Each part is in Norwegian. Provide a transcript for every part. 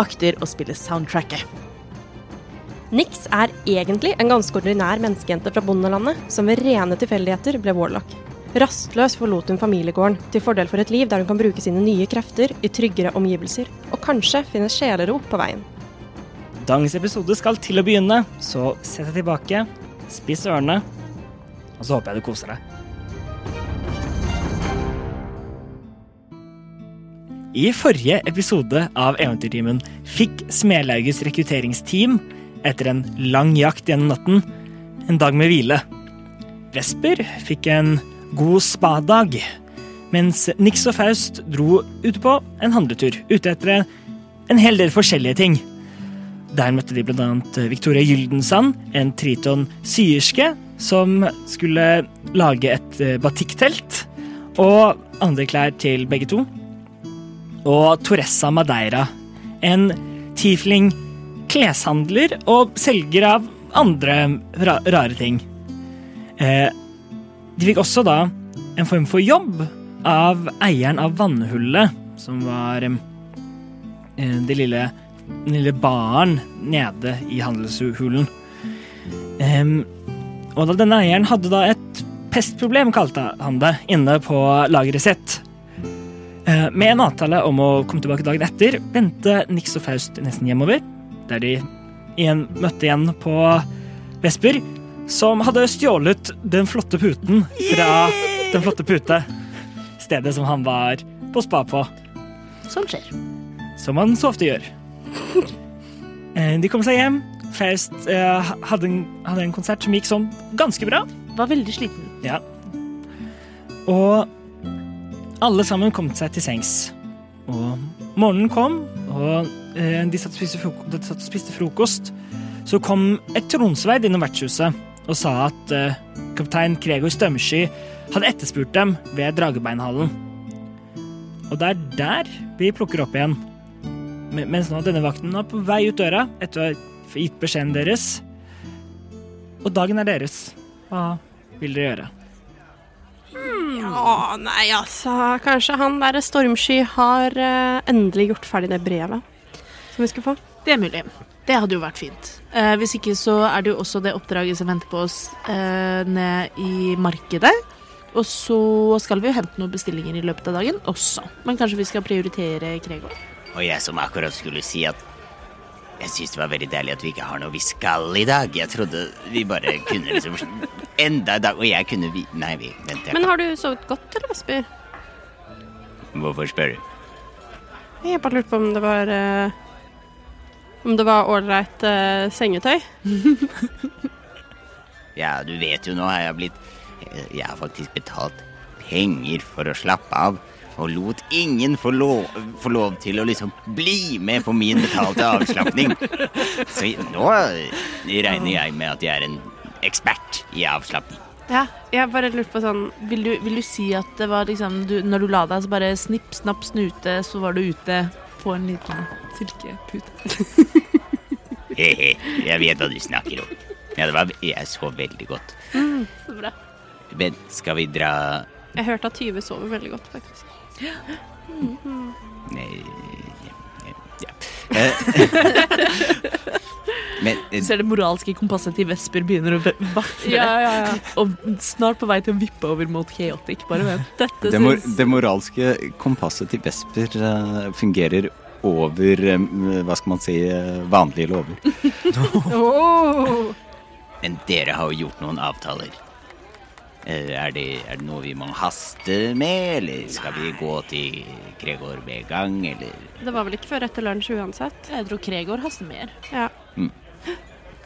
akter å spille soundtracket. Nix er egentlig en ganske ordinær menneskejente fra bondelandet, som ved rene tilfeldigheter ble warlock. Rastløs forlot hun familiegården, til fordel for et liv der hun kan bruke sine nye krefter i tryggere omgivelser, og kanskje finne sjelero på veien. Dagens episode skal til å begynne, så sett deg tilbake, spiss ørene, og så håper jeg du koser deg. I forrige episode av Eventyrtimen fikk Smelaugets rekrutteringsteam, etter en lang jakt gjennom natten, en dag med hvile. Vesper fikk en god spadag, mens Nix og Faust dro ut på en handletur, ute etter en hel del forskjellige ting. Der møtte de bl.a. Victoria Gyldensand, en Triton syerske, som skulle lage et eh, batikktelt. Og andre klær til begge to. Og Toressa Madeira, en tiefling kleshandler og selger av andre ra rare ting. Eh, de fikk også da en form for jobb av eieren av Vannhullet, som var eh, det lille den lille baren nede i handelshulen. Ehm, og da denne eieren hadde da et pestproblem, kalte han det, inne på lageret sitt. Eh, med en avtale om å komme tilbake dagen etter vendte Nix og Faust nesten hjemover, der de igjen møtte igjen på Vesper, som hadde stjålet den flotte puten fra Den flotte pute, stedet som han var på spa på Sånt Sånn skjer. som han så ofte gjør. Eh, De kom seg hjem. Faust eh, hadde, en, hadde en konsert som gikk sånn ganske bra. Var veldig sliten. Ja. Og alle sammen kom seg til sengs. Og morgenen kom, og eh, de satt og spiste frokost. De satt og spiste frokost. Så kom et tronsverd innom vertshuset og sa at eh, kaptein Gregor Stømsky hadde etterspurt dem ved Dragebeinhallen. Og det er der vi plukker opp igjen. Men- Mens nå denne vakten er på vei ut døra etter å ha gitt beskjeden deres. Og dagen er deres. Hva vil dere gjøre? Å nei, altså. Kanskje han derre Stormsky har eh, endelig gjort ferdig det brevet som vi skulle få. Det er mulig. Det hadde jo vært fint. Eh, hvis ikke så er det jo også det oppdraget som venter på oss eh, ned i markedet. Og så skal vi jo hente noen bestillinger i løpet av dagen også. Men kanskje vi skal prioritere Gregor. Og jeg som akkurat skulle si at jeg syns det var veldig deilig at vi ikke har noe vi skal i dag. Jeg trodde vi bare kunne liksom Enda en dag. Og jeg kunne vi... Nei, vi venter. Men har du sovet godt, eller, Vesper? Hvorfor spør du? Jeg bare lurte på om det var eh, Om det var ålreit eh, sengetøy. Ja, du vet jo nå har jeg blitt eh, Jeg har faktisk betalt penger for å slappe av. Og lot ingen få lov, få lov til å liksom bli med på min betalte avslapning. Så nå regner jeg med at jeg er en ekspert i avslapning. Ja, jeg bare lurte på sånn Vil du, vil du si at det var liksom du, Når du la deg, så bare snipp, snapp, snute, så var du ute på en liten silkepute? He-he, jeg vet hva du snakker om. Ja, det var, jeg sov veldig godt. Så bra. Men skal vi dra Jeg hørte at Tyve sover veldig godt, faktisk. Nei, eh, ja. ja. Eh, Men eh, Du ser det moralske kompasset til Vesper begynner å vakle. ja, ja. Og snart på vei til å vippe over mot Chaotic. Bare vent. Dette Det, mor det moralske kompasset til Vesper eh, fungerer over eh, Hva skal man si eh, vanlige lover. Oh. Men dere har jo gjort noen avtaler. Eh, Er det, er det noe vi må haste med, eller skal vi gå til Gregor med en gang, eller Det var vel ikke før etter lunsj uansett. Jeg tror Kregor haster mer. Ja.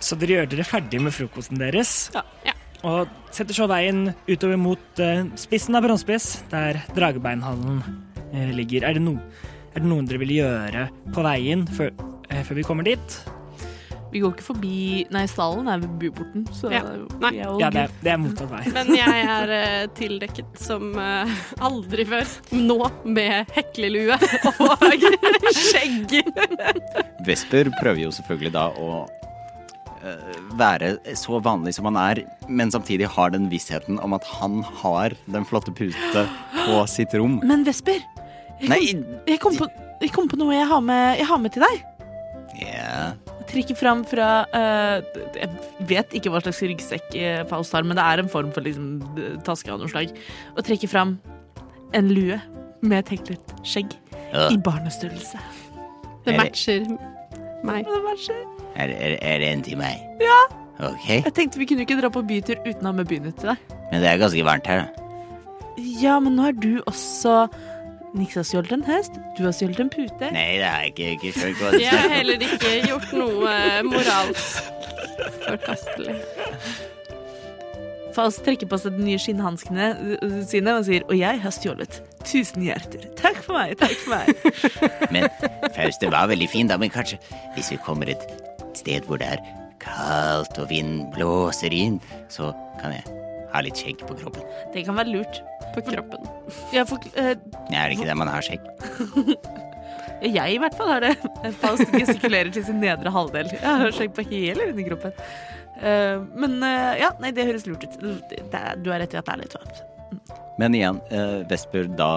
Så dere gjør dere ferdig med frokosten deres. Ja. ja. Og setter så veien utover mot eh, spissen av Brånspiss, der Dragebeinhallen eh, ligger. Er det, no, er det noen dere vil gjøre på veien før, eh, før vi kommer dit? Vi går ikke forbi Nei, stallen er ved buporten, så Ja. Nei. vi er jo Ja, det er, det er motsatt vei. Men jeg er eh, tildekket som eh, aldri før. Nå med heklelue og skjegg. Vesper prøver jo selvfølgelig da å eh, være så vanlig som han er, men samtidig har den vissheten om at han har den flotte pute på sitt rom. Men Vesper, Nei jeg kom, på, jeg kom på noe jeg har med, jeg har med til deg. ja. Trikke fram fra eh, Jeg vet ikke hva slags ryggsekk eh, Faust har, men det er en form for liksom, taske av noe slag. Og trekke fram en lue med et heklet skjegg Ja. i barnestørrelse. Det matcher Og meg. det var så- Er, er, er det en til meg? Ja. Ok, Jeg tenkte vi kunne ikke dra på bytur uten å ha med bynytt til deg. men det er ganske varmt her. da. Ja, men nå har du også Nix har stjålet en hest, du har stjålet en pute. Nei, det er ikke, ikke skjønt hva du Jeg har snakker om. heller ikke gjort noe eh, moralsk forkastelig. Faust trekker på seg de nye skinnhanskene øh, sine og sier Og jeg har stjålet tusen hjerter. Takk for meg, takk for meg. Men Faust, det var veldig fin da, men kanskje hvis vi kommer et sted hvor det er kaldt og vind blåser inn, så kan jeg ha litt skjegg på kroppen. Det kan være lurt. På kroppen. Jeg, får, øh, Nei, Er det ikke det man har skjegg? jeg i hvert fall har det. Faust gestikulerer til sin nedre halvdel. Jeg har skjegg på hele underkroppen. Eh, men øh, ja, nei, det høres lurt ut. Det, er- du har rett i at det er litt varmt. Men igjen, eh, Vesper da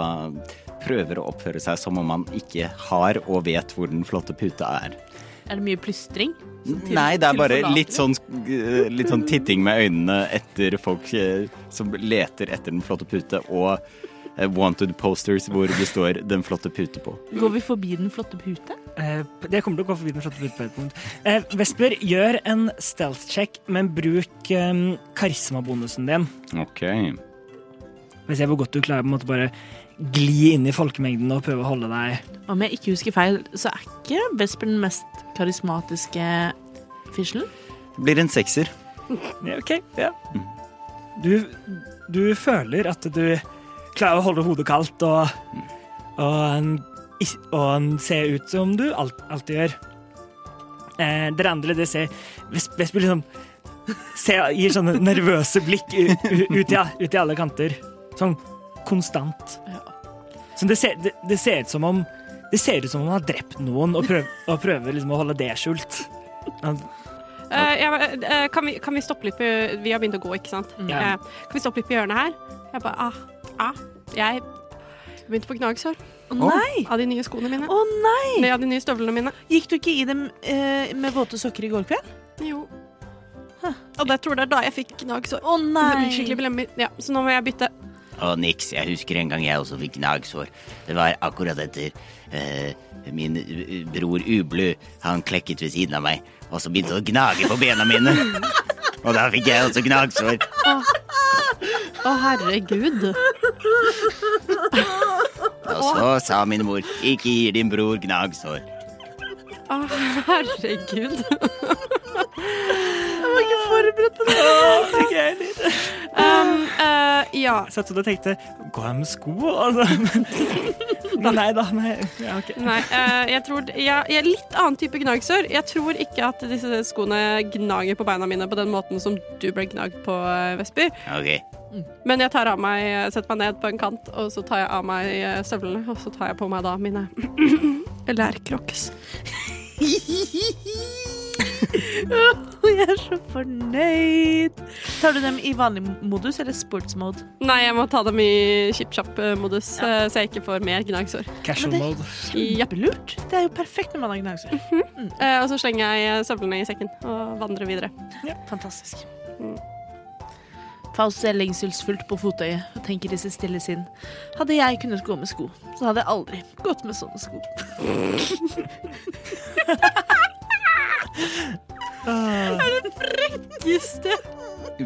prøver å oppføre seg som om han ikke har og vet hvor den flotte puta er. Er det mye plystring? Nei, det er bare litt sånn, eh, litt sånn titting med øynene etter folk eh, som leter etter den flotte pute, og eh, wanted posters hvor det står 'Den flotte pute' på. Går vi forbi den flotte pute? Eh, Det kommer til å gå forbi den flotte pute på et punkt. Eh, Vesper, gjør en stealth check, men bruk eh, karismabonusen din. Ok. Vi ser hvor godt du klarer på en måte bare gli inn i folkemengden og prøve å holde deg Om jeg ikke husker feil, så er ikke Vesper den mest karismatiske fislen. Blir en sekser. Ja, OK. Ja. Du, du føler at du klarer å holde hodet kaldt og, og, og se ut som du alt, alltid gjør. Eh, dere andre det ser Ves- Vesper liksom ser, gir sånne nervøse blikk u, u, ut, i, ut i alle kanter. Sånn konstant. Ja. Så det ser, det, det ser ut som om Det ser ut som om han har drept noen og prøver, og prøver liksom å holde det skjult. Han, Eh, jeg, eh, kan, vi, kan vi stoppe litt på Vi har begynt å gå, ikke sant? Mm. Ja. Eh, kan vi stoppe litt på hjørnet her? Jeg bare ah, ah. Jeg begynte på gnagsår Å nei! av de nye skoene mine. Å nei! Nei, av de nye støvlene mine. Gikk du ikke i dem eh, med våte sokker i går kveld? Jo. Og det tror jeg er da jeg fikk gnagsår. Å Det nei! blir skikkelig belemmer. Ja, så nå må jeg bytte. Og niks. Jeg husker en gang jeg også fikk gnagsår. Det var akkurat etter eh, min eh, bror Ublu. Han klekket ved siden av meg, og så begynte han å gnage på bena mine. Og da fikk jeg også gnagsår. Å, herregud. Og så sa min mor 'ikke gi din bror gnagsår'. Å, herregud. Jeg var ikke forberedt på det! Um, eh, ja. satt sånn og tenkte Går jeg med sko? Altså. Men nei da. Nei. Ja, ok. Nei, eh, jeg tror jeg, jeg er litt annen type gnagsår. Jeg tror ikke at disse skoene gnager på beina mine på den måten som du ble gnagd på, eh, Vesper. Ok. Men jeg tar av meg, setter meg ned på en kant, og så tar jeg av meg eh, støvlene. Og så tar jeg på meg da mine lærcrocs. Å, Jeg er så fornøyd! Tar du dem i vanlig modus eller sportsmode? Nei, jeg må ta dem i chip-chap-modus, eh, så jeg ikke får mer gnagsår. Casual Men det- mode. Ja. Lurt. Det er jo perfekt når man har gnagsår. Eh, Og så slenger jeg eh, støvlene i sekken og vandrer videre. Fantastisk. Faust ser lengselsfullt på fotøyet og tenker i sitt stille sinn. Hadde jeg kunnet gå med sko, så hadde jeg aldri gått med sånne sko.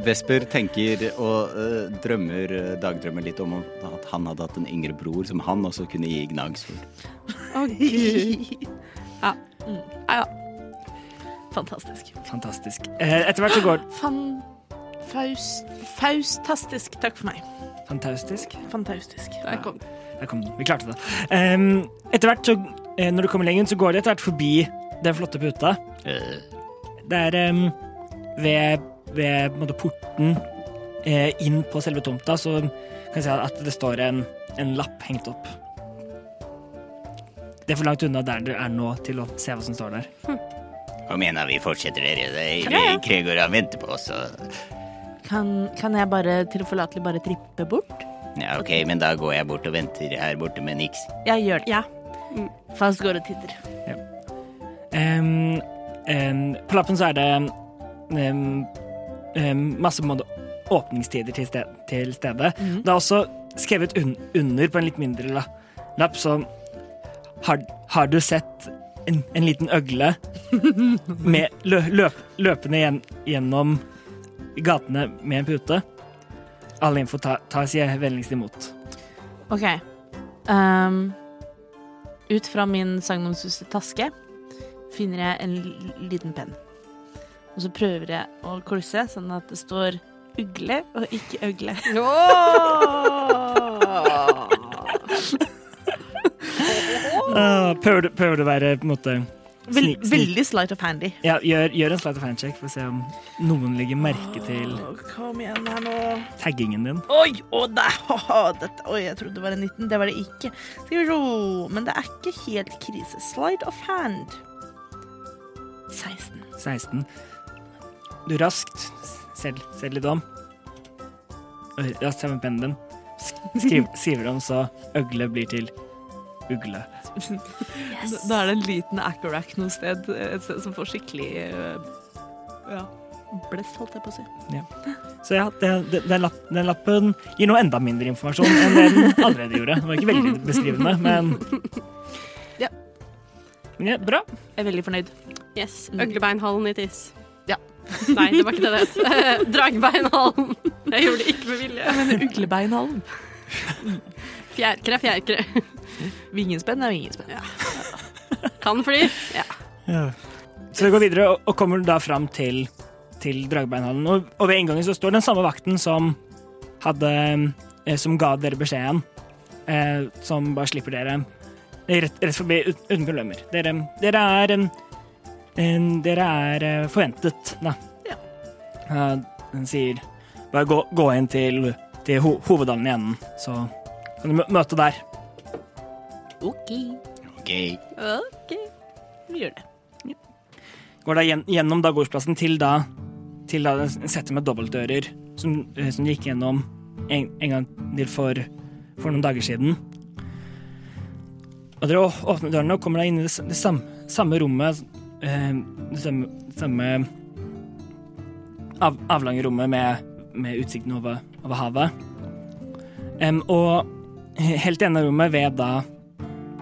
Vesper tenker og eh, drømmer, eh, dagdrømmer litt om at han hadde hatt en yngre bror som han også kunne gi gnagsfugl. Ja. Mm. ja. Fantastisk. Fantastisk. Eh, Etter hvert så går Fan... Faust... Faustastisk. Takk for meg. Fantastisk. Fantastisk. Der kom det. Der kom den. Vi klarte det. Ehm, etter hvert så, eh, når du kommer lenger, inn, så går det etter hvert forbi den flotte puta. Eh, Det er ehm, ved, ved på en måte, porten eh, inn på selve tomta, så kan jeg si at det står en, en lapp hengt opp. Det er for langt unna der dere er nå, til å se hva som står der. Kom igjen, da. Vi fortsetter, dere. Kregor har ventet på oss. Og... Kan, kan jeg bare tilforlatelig bare trippe bort? Ja, OK, men da går jeg bort og venter her borte med Nix. Jeg gjør det. Ja. Faust går og titter. Ehm, ehm, på lappen så er det ehm, ehm, masse på en måte åpningstider til, sted, til stedet. Det er også skrevet un under på en litt mindre la lapp sånn har, har du sett en, en liten øgle med lø løp løpende gjen gjennom gatene med en pute? All info ta- tas jeg vennligst imot. Ok. Ehm, ut fra min sagnomsuste taske finner jeg en l- liten penn. Og så prøver jeg å klusse sånn at det står ugle og ikke øgle. Ah, prøver, du, prøver du å være på en måte Vel- snik- snik- veldig slight of handy. Ja, gjør, gjør en slight of hand-check for å se om noen legger merke til kom igjen her nå. taggingen din. Oi, å, der, haha, dette, oi, jeg trodde det var en 19. Det var det ikke. Skal vi se. Men det er ikke helt krise. Slide of hand. 16. 16. Du raskt ser, ser litt om. Raskt tar med pennen din. Sk- Skriv, skriver om så øgle blir til ugle. Da er det en liten Accorack noe sted, et sted som får skikkelig eh, ja, Blest, holdt jeg på å si. Så ja, det- det- den, lapp, den lappen gir nå enda mindre informasjon enn det den allerede gjorde. Den var ikke veldig beskrivende, men Ja. Men ja, bra. Jeg er veldig fornøyd. Yes. Øglebeinhallen i tiss. Ja. Nei, det var ikke det det Eh, het. Dragbeinhallen. Jeg gjorde det ikke med vilje. Uglebeinhallen. Fjærkre, fjærkre. Vingespenn er vingespenn. Ja. Kan fly. Ja. Så vi går videre og, og kommer da fram til, til Dragbeinhallen. Og, og ved inngangen så står den samme vakten som hadde eh, Som ga dere beskjeden. Eh, som bare slipper dere rett, rett forbi ut, uten problemer. Dere, dere er en, en Dere er eh, forventet, da. Ja. Eh, den sier bare gå, gå inn til, til ho hoveddalen i enden, så kan du mø- møte der. OK. Vi gjør det. går da gjen- gjennom da gårdsplassen til da til da en sette med dobbeltdører som, eh, som gikk gjennom en, en gang til for, for noen dager siden. Og dere å- åpner dørene og kommer da inn i det, s- det samme, samme rommet, eh, det samme, samme av, avlange rommet med, med utsikten over, over havet. Em, og helt i enden av rommet ved da,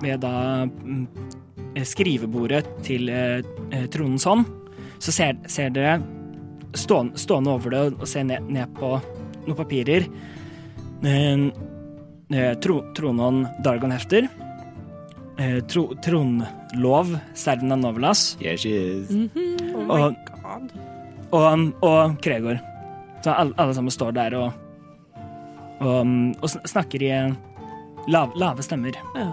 ved da mm, eh, skrivebordet til eh, eh, tronens hånd, så ser, ser dere stående, stående over det og ser ned, ned på noen papirer eh, eh, tro, Tronhånd Dargon-hefter. Eh, tro, tronlov Serden av Novelas. Yes, yes. og, og, og Kregor. Så alle, alle sammen står der og, og, mm, og sn- snakker i eh, lav, lave stemmer. Ja.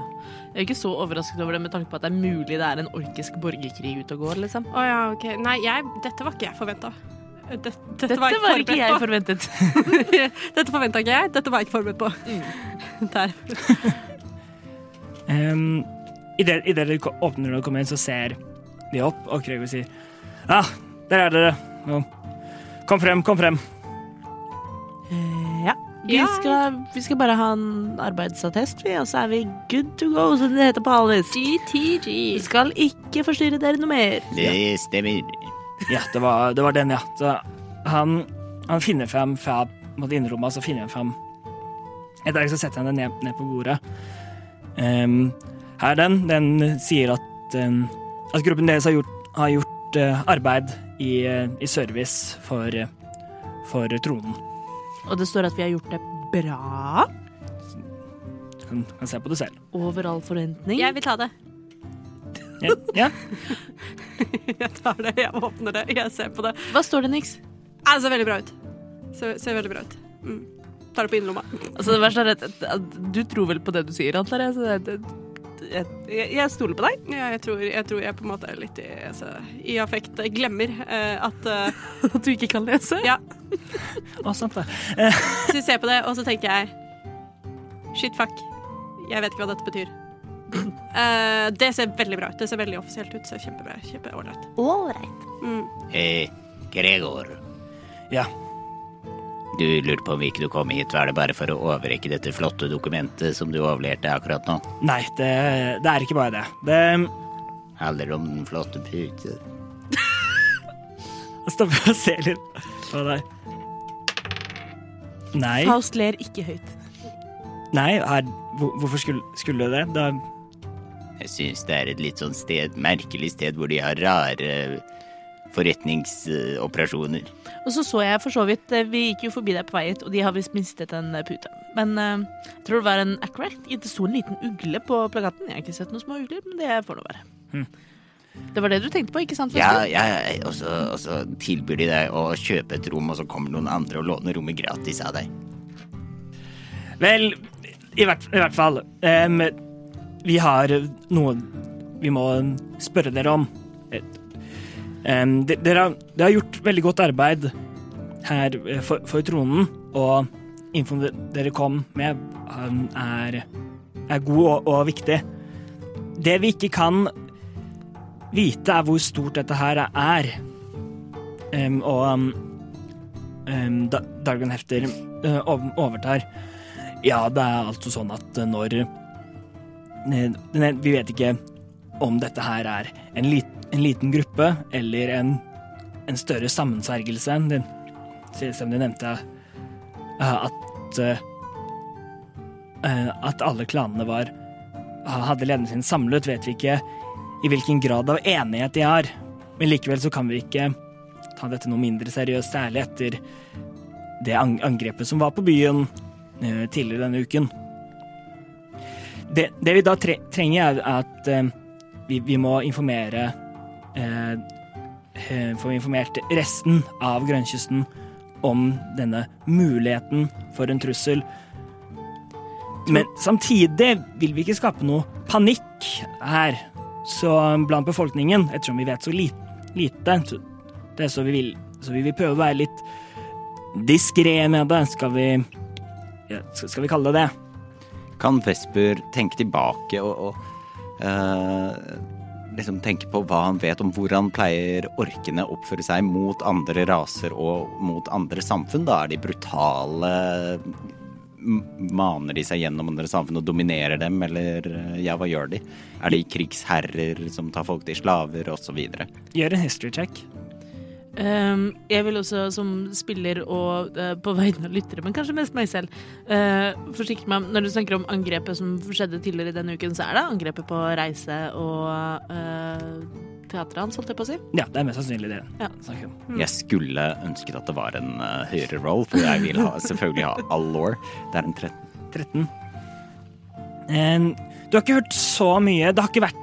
Jeg er ikke så overrasket over det med tanke på at det er mulig det er en orkisk borgerkrig ute og går, liksom. Å ja, OK. Nei, jeg, dette var ikke jeg forventa. Dette, dette, Dette var, var ikke jeg forberedt forventet. på. Dette forventa ikke jeg. Dette var jeg ikke forberedt på. Der. Um, Idet i det dere ko- åpner døra og kommer inn, så ser de opp, og Kregor sier Ja, ah, der er dere. Nå, Kom frem, kom frem. Eh, Ja. Vi, Ja. Skal, vi skal bare ha en arbeidsattest, vi, og så er vi good to go, som det heter på Alice. Vi GTG. skal ikke forstyrre dere noe mer. Det stemmer. Ja, det var, det var den, ja. Så han, han finner frem fra mot innerrommet, og så finner jeg fram. Etter hvert så setter jeg den ned, ned på bordet. Ehm, her er den. Den sier at, ehm, at gruppen deres har gjort, har gjort eh, arbeid i, eh, i service for, eh, for tronen. Og det står at vi har gjort det bra. Du kan, kan se på det selv. Over all forventning. Jeg vil ta det. Ja, ja. Jeg tar det, jeg åpner det, jeg ser på det. Hva står det, Nix? Ja, det ser veldig bra ut. Ser, ser veldig bra ut. Mm. Tar det på innerlomma. Altså, det sånn verste er at, at, at du tror vel på det du sier, antar jeg. Så det, det, jeg, jeg, jeg stoler på deg. Ja, jeg, tror, jeg tror jeg på en måte er litt i, altså, i affekt Jeg glemmer eh, at eh, At du ikke kan lese. Ja, Å, sant det. så jeg ser på det, og så tenker jeg Shit, fuck. Jeg vet ikke hva dette betyr. Eh, det ser veldig bra ut. Det ser veldig offisielt ut. Ser kjempebra Kjempeålreit. Mm. Hei, Eh, Gregor. Ja. Du lurte på om ikke du kom hit. Var det bare for å overrekke dette flotte dokumentet som du overlerte akkurat nå? Nei, det, det er ikke bare det. Det Handler om den flotte pute. jeg stopper og ser litt på deg. Nei, Faust ler ikke høyt. nei her, hvor- hvorfor skulle, skulle det det? Da- Jeg syns det er et litt sånn sted, merkelig sted hvor de har rare forretningsoperasjoner. Og så så jeg for så vidt eh, Vi gikk jo forbi deg på vei hit, og de har visst mistet en eh, pute. Men eh, jeg tror det var en accurate. Det sto en liten ugle på plakaten. Jeg har ikke sett noen små ugler, men det får nå være. Det var det du tenkte på, ikke sant? Ja, Vesper? ja, og så og så tilbyr de deg å kjøpe et rom, og så kommer noen andre og låner rommet gratis av deg. Vel, i hvert, i hvert fall. em, vi har noe vi må spørre dere om. Em, de- dere, har, dere har gjort veldig godt arbeid her eh, for, for tronen, og infoen de- dere kom med, han er, er god og, og viktig. Det vi ikke kan vite, er hvor stort dette her er. Em, og um, em, da, Dagen hefter eh, ov- overtar. Ja, det er altså sånn at når ne- ne- Vi vet ikke om dette her er en, lit, en liten gruppe eller en, en større sammensvergelse enn den som du nevnte, eh, at eh, eh, at alle klanene var hadde lederne sin samlet, vet vi ikke i hvilken grad av enighet de har. Men likevel så kan vi ikke ta dette noe mindre seriøst, særlig etter det ang- angrepet som var på byen eh, tidligere denne uken. Det, det vi da tre trenger, er at eh, vi, vi må informere eh, eh, Få informert resten av grønnkysten om denne muligheten for en trussel. Men samtidig vil vi ikke skape noe panikk her så blant befolkningen, ettersom vi vet så li lite. Så, det er så, vi vil, så vi vil prøve å være litt diskré med det, skal vi ja, skal, skal vi kalle det det? Kan Vesper tenke tilbake og, og eh, liksom tenke på hva han vet om hvordan pleier orkene å oppføre seg mot andre raser og mot andre samfunn? Da er de brutale M- Maner de seg gjennom andre samfunn og dominerer dem, eller eh, ja, hva gjør de? Er de krigsherrer som tar folk til slaver, osv.? Gjør en history check. Ehm, jeg vil også som spiller og eh, på vegne av lyttere, men kanskje mest meg selv, eh, forsikre meg om Når du snakker om angrepet som skjedde tidligere denne uken, så er det angrepet på reise og eh, teatret hans, holdt jeg på å si. Ja, det er mest sannsynlig det. Ja. Snakker om. Mm. Jeg skulle ønsket at det var en eh, høyere roll, for jeg vil ha, selvfølgelig ha all law. Det er en 13. 13. En- Ehm, du har ikke hørt så mye. Det har ikke vært,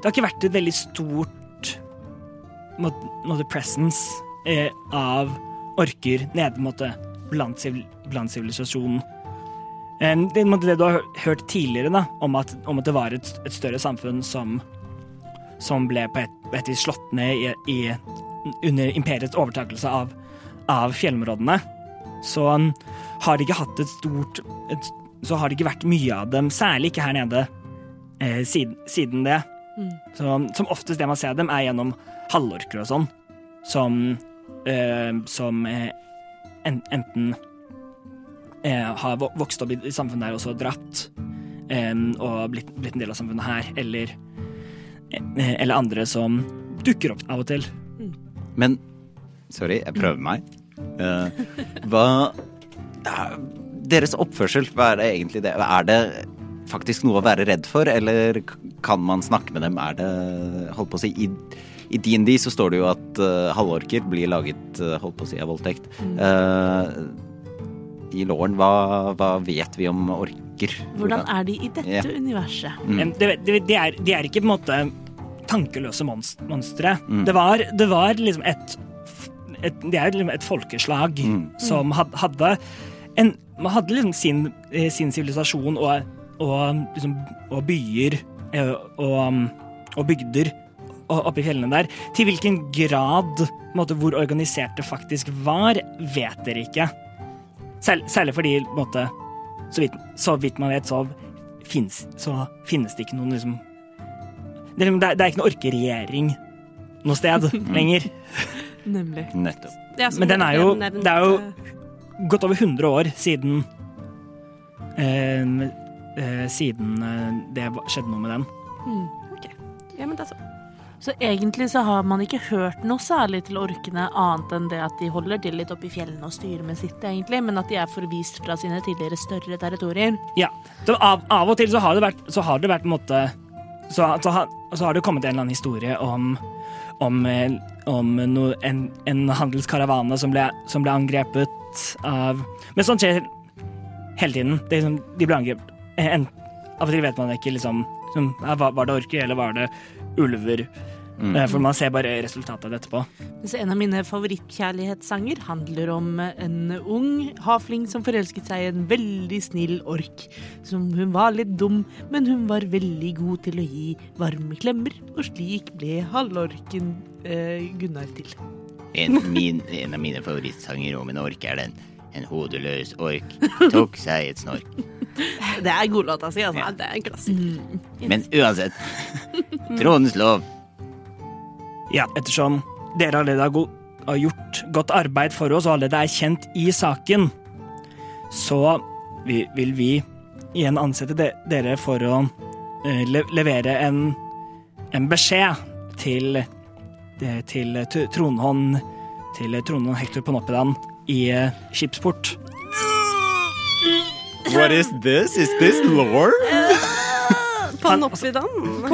det har ikke vært et veldig stort må- måtte, presence eh, av orker nede måtte, blant, sivil, blant sivilisasjonen. En, det, måtte, det du har hørt tidligere, da, om at, om at det var et, et større samfunn som, som ble på et, på et vis slått ned i, i, under imperiets overtakelse av, av fjellområdene, så um, har de ikke hatt et stort et, så har det ikke vært mye av dem, særlig ikke her nede, eh, siden, siden det. Så, som oftest det man ser dem, er gjennom halvorker og sånn, som, eh, som eh, en, enten eh, har vo- vokst opp i, i samfunnet der og så dratt, eh, og blitt, blitt en del av samfunnet her, eller, eh, eller andre som dukker opp av og til. Mm. Men Sorry, jeg prøver meg. Eh, hva ja, Deres oppførsel, hva er det egentlig det? Er det faktisk noe å være redd for, eller k- kan man snakke med dem? Er det Holdt på å si I i DND så står det jo at eh, halvorker blir laget eh, holdt på å si av voldtekt. Mm. Eh, I låren, hva, hva vet vi om orker? Hvordan er de i dette Ja. universet? Mm. Men det, det, det, er, de er ikke på en måte tankeløse mons- monstre. Mm. Det, var, det var liksom et, f- et Det er liksom et folkeslag Mm. som had- hadde en, Man hadde liksom sin, eh, sin sivilisasjon og, og, liksom, og byer eh, og, og bygder o- oppe i fjellene der. Til hvilken grad, på en måte, hvor organisert det faktisk var, vet dere ikke. Særl- særlig fordi, på en måte, så vidt, så vidt man vet, så finnes, så finnes det ikke noen liksom Det er, liksom, det er ikke noen orkeregjering noe sted lenger. Nemlig. Nettopp. Men den er jo- det er jo- eh, Godt over 100 år siden eh, eh, Siden eh, det var- skjedde noe med den. Ja, men det er så. Så egentlig så har man ikke hørt noe særlig til orkene, annet enn det at de holder til litt oppe i fjellene og styrer med sitt, egentlig, men at de er forvist fra sine tidligere større territorier. Ja. Så av, av og til så har det vært Så har det vært på en måte så, så, har, så har det kommet en eller annen historie om om, eh, om no, en, en handelskaravane som ble, som ble angrepet av Men sånt skjer hele tiden. Det er liksom, de blir angrepet. Eh, En, av og til vet man ikke liksom, som, ja, var, var det orker, eller var det ulver? Mm. Eh, For man ser bare resultatet av det etterpå. Mens en av mine favorittkjærlighetssanger handler om en ung havfling som forelsket seg i en veldig snill ork. Som hun var litt dum, men hun var veldig god til å gi varme klemmer. Og slik ble halvorken eh, Gunnar til. En, min, en av mine favorittsanger om en ork er den. En hodeløs ork tok seg et snork. Det er godlåta si, altså. Ja. Det er en Mm. klassiker. Men uansett. Tronens lov. Ja, ettersom dere allerede har, go har gjort godt arbeid for oss og allerede er kjent i saken, så vi, vil vi igjen ansette de dere for å eh, le levere en, en beskjed til, det- til t- Tronhånd til Tronhånd Hector Panoppedan i eh, skipsport. What is this? Is this lore? Panoptidan.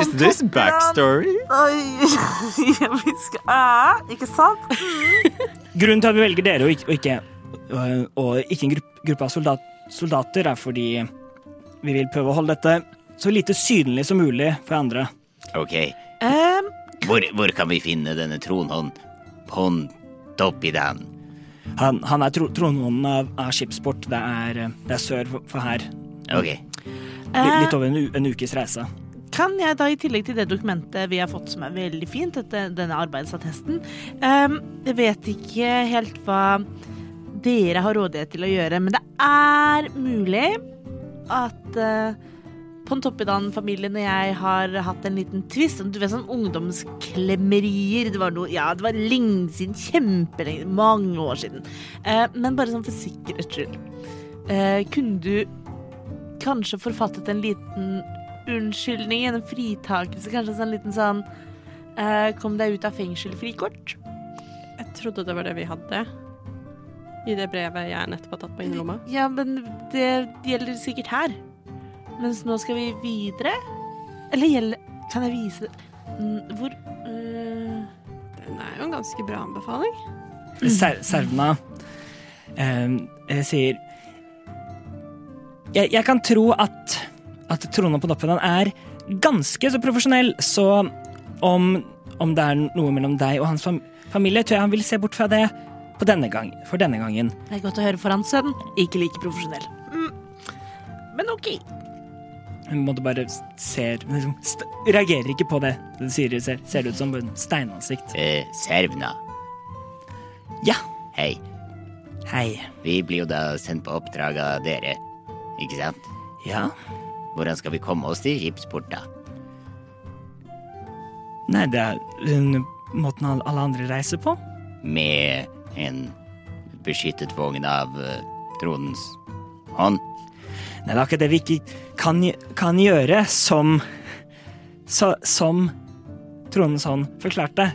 Is this backstory? Grunnen til at vi velger dere og ikke, og ikke, øh, og ikke en grupp, gruppe av soldat, soldater, er fordi vi vil prøve å holde dette så lite synlig som mulig for andre. Ok. altså, Hvor, hvor kan vi finne denne tronhånd? Hånd oppi den. Han, han er tro, tronhånden av, av skipsport. Det er, øh, det er sør for, for her. Ok. Litt, litt over en, u, en ukes reise. Kan jeg da i tillegg til det dokumentet vi har fått som er veldig fint, dette, denne arbeidsattesten ehm, Jeg vet ikke helt hva dere har rådighet til å gjøre, men det er mulig at uh, Pontoppidan-familien og jeg har hatt en liten tvist. Du vet sånn ungdomsklemmerier. Det var noe Ja, det var lenge siden. Kjempelenge. Mange år siden. Eh, men bare sånn for sikkerhets skyld. eh, kunne du kanskje forfattet en liten unnskyldning, en fritakelse, kanskje en sånn liten sånn eh, Kom deg ut av fengsel-frikort. Jeg trodde det var det vi hadde i det brevet jeg nettopp har tatt på innerlomma. Ja, men det gjelder sikkert her. Mens nå skal vi videre. Eller gjelder Kan jeg vise Mm, Hvor eh, Den er jo en ganske bra anbefaling. Ser, Servna ehm, eh, sier jeg, jeg kan tro at, at Trone på Doppedan er ganske så profesjonell, så om, om det er noe mellom deg og hans fam familie, tror jeg han vil se bort fra det på denne gang, for denne gangen. Det er godt å høre for hans sønn. Ikke like profesjonell. Mm. Men OK. Hun måtte bare ser, liksom, st reagerer ikke på det du sier. Ser, ser det ut som en steinansikt. Eh, Servna. Ja, Hei. hei. Vi blir jo da sendt på oppdrag av dere. Ikke sant? Ja. Hvordan skal vi komme oss til skipsport, da? Nei, det er øh, måten alle- alle andre reiser på. Med en beskyttet vogn av eh, tronens hånd? Nei, det er akkurat det vi ikke kan, kan gjøre, som så, Som Trondens hånd forklarte.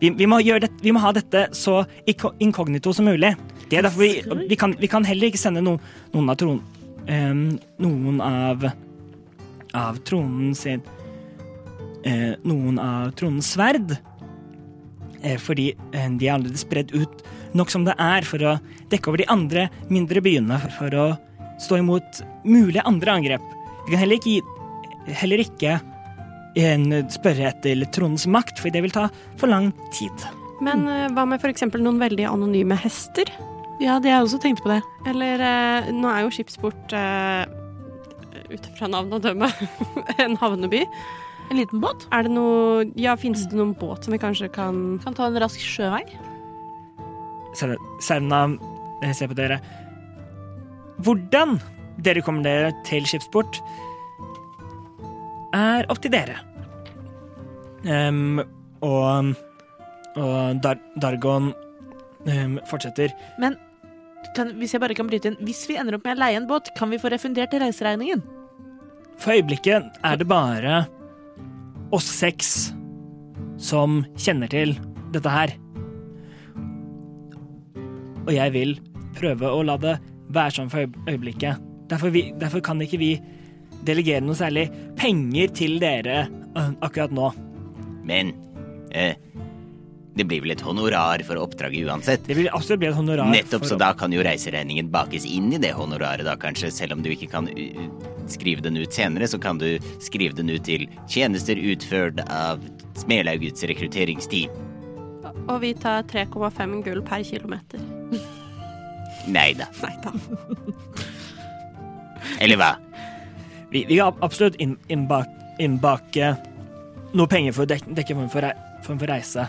Vi, vi, må gjøre det, vi må ha dette så ikko- inkognito som mulig. Det er derfor vi, vi, kan, vi kan heller ikke sende noen, noen av tron... ehm, noen av av tronen sin eh, Noen av tronens sverd. Eh, fordi eh, de er allerede spredd ut nok som det er for å dekke over de andre mindre byene for å stå imot mulige andre angrep. Vi kan heller ikke, gi- heller ikke eh, spørre etter tronens makt, for det vil ta for lang tid. Men eh, hva med f.eks. noen veldig anonyme hester? Ja, det jeg også tenkte på det. Eller eh, nå er jo skipsport eh, ut fra navn og dømme en havneby. En liten båt. Er det noe Ja, finnes det noen båt som vi kanskje kan Kan ta en rask sjøvei. Sau- Sauna eh, ser på dere. Hvordan dere kommer dere til skipsport, er opp til dere. Em, og og Dar Dargon em, fortsetter. Kan, hvis jeg bare kan bryte inn. Hvis vi ender opp med å leie en båt, kan vi få refundert reiseregningen? For øyeblikket er det bare oss seks som kjenner til dette her. Og jeg vil prøve å la det være sånn for øyeb- øyeblikket. Derfor, vi, derfor kan ikke vi delegere noe særlig penger til dere eh, akkurat nå. Men eh, det blir vel et honorar for oppdraget uansett? Det vil absolutt bli et honorar. Nettopp, for- så da kan jo reiseregningen bakes inn i det honoraret, da kanskje. Selv om du ikke kan u- u- skrive den ut senere, så kan du skrive den ut til tjenester utført av Smelaugets rekrutteringsteam. Og vi tar 3,5 gull per kilometer. Nei da. Nei da. Eller hva? Vi, vi kan absolutt inn- innbak, innbake noe penger for å dekke, dekke form, for, rei- form for reise.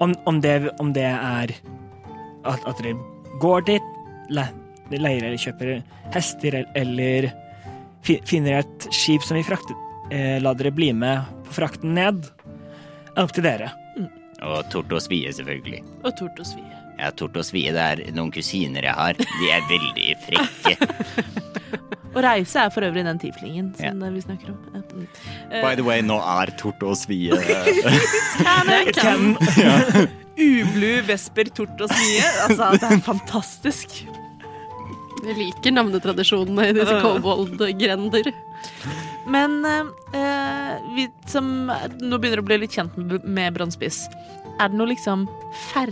Om, om, det, om det er at, at dere går dit, le, leier eller kjøper hester, eller fi, finner et skip som vi frakter eh, La dere bli med på frakten ned. er Opp til dere. Og Tort og Svie, selvfølgelig. Og tort å svie. Ja, Tort og Svie, det er noen kusiner jeg har. De er veldig frekke. Og reise er for øvrig den tieflingen som vi snakker om. Ja. By the way, nå er Tort eh, og Svie Ken, Ublu, vesper, tort og smie. Altså, det er fantastisk. Vi liker navnetradisjonene i disse kobold-grender. Men eh, eh, vi som nå begynner å bli litt kjent med- med Brannspiss, er det noe liksom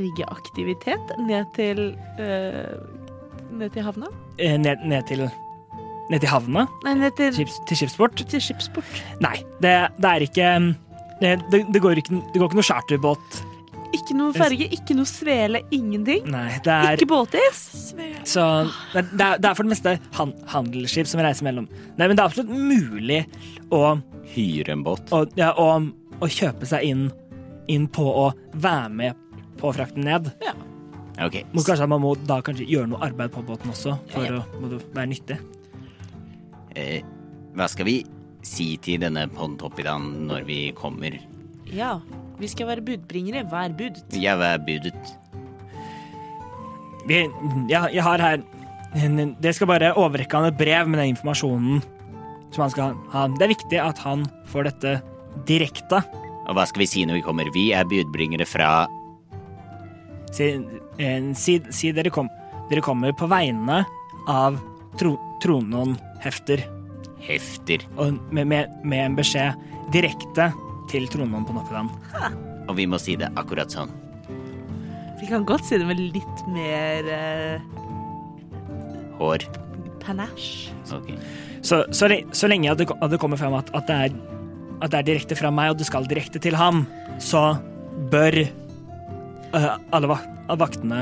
fergeaktivitet ned til eh, Ned til havna? eh, ned, ned til Ned til havna? Nei, ned til, Skips, til skipsport? til skipsport. Nei, det, det er ikke det, det, går ikke, det går ikke noe charterbåt. Ikke noe ferge, ikke noe svele, ingenting. Nei, det er Ikke båtis. Så det, det er- det er for det meste han, handelsskip som reiser mellom. Nei, men det er absolutt mulig å, Hyre en båt. å, ja, å, å kjøpe seg inn, inn på å være med på frakten ned. Ok, Må kanskje man må da kanskje gjøre noe arbeid på båten også, for å må det være nyttig. eh, hva skal vi si til denne Pontoppidan når vi kommer? Ja, vi skal være budbringere. Hva er bud? Jeg var budet. Vi, ja, jeg har her en- Dere skal bare overrekke han et brev med den informasjonen som han skal ha. Det er viktig at han får dette direkte. Og hva skal vi si når vi kommer? Vi er budbringere fra Si, eh, si, si dere, kom, dere kommer på vegne av tro, Tronon hefter hefter. og med, med, med en beskjed direkte til Tronon på Noppeland. Og vi må si det akkurat sånn. Vi kan godt si det med litt mer eh, Hår. panache. Ok. Så, så, le- så lenge at det, ko- at det kommer frem at, at, det er, at det er direkte fra meg, og det skal direkte til ham, så bør eh, alle vak alle vaktene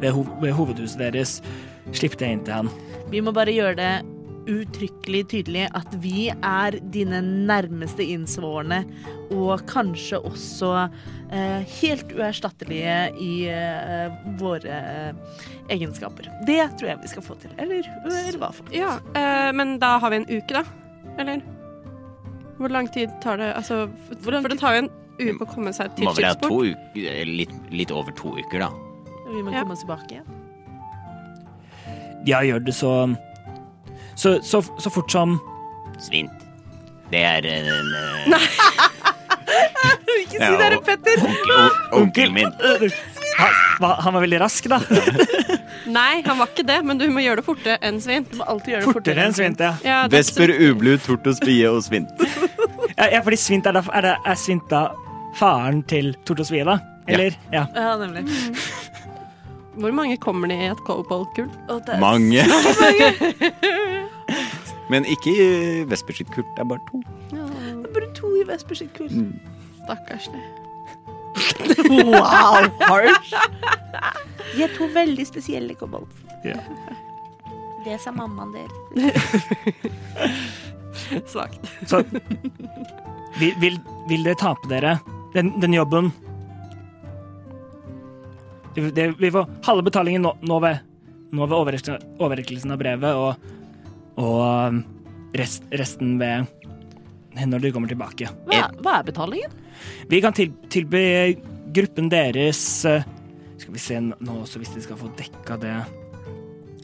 ved, ho ved hovedhuset deres slippe det inn til han. Vi må bare gjøre det uttrykkelig tydelig at vi er dine nærmeste innsvårne, og kanskje også eh, helt uerstattelige i eh, våre eh, egenskaper. Det tror jeg vi skal få til. Eller, eller hva for noe. Ja, eh, men da har vi en uke, da? Eller? Hvor lang tid tar det Altså, f- for det tar jo en uke å komme seg til Må vel ha skipsport. to uker eh, litt, litt over to uker, da. Vi må Ja. komme oss tilbake igjen. Ja, gjør det så så, så, så fort som Svint. Det er en, eh, en Nei. Ikke si det, Petter! Onkel, o- onkelen min. Han, Hva, han var veldig rask, da. Nei, han var ikke det, men du må gjøre det fortere enn svint. Du må alltid gjøre det Fortere enn Svint, ja. Ja, det- Vesper, ublu, tort og spie og svint. ja. ja, Fordi Svint er da er, det, er Svint da faren til Tort og Svie, da? Eller? Ja. Ja, nemlig. Hvor mange kommer det i et koboldkull? Og det er- Mange. Men ikke i Vesper sitt kult, det er bare to. Bare to i Vesper sitt kull. Stakkarslig. Wow, harsh! De er to veldig spesielle kobolt. Ja. Det sa mammaen del. Svakt. Så vil, vil, vil dere ta på dere den, den jobben? Det, det, vi får halve betalingen nå, nå ved, nå ved overrekkelsen, overrekkelsen av brevet, og, og um, rest, resten ved når du kommer tilbake. Hva, er- hva er betalingen? Vi kan til, tilby gruppen deres eh, Skal vi se n- nå også, hvis de skal få dekka det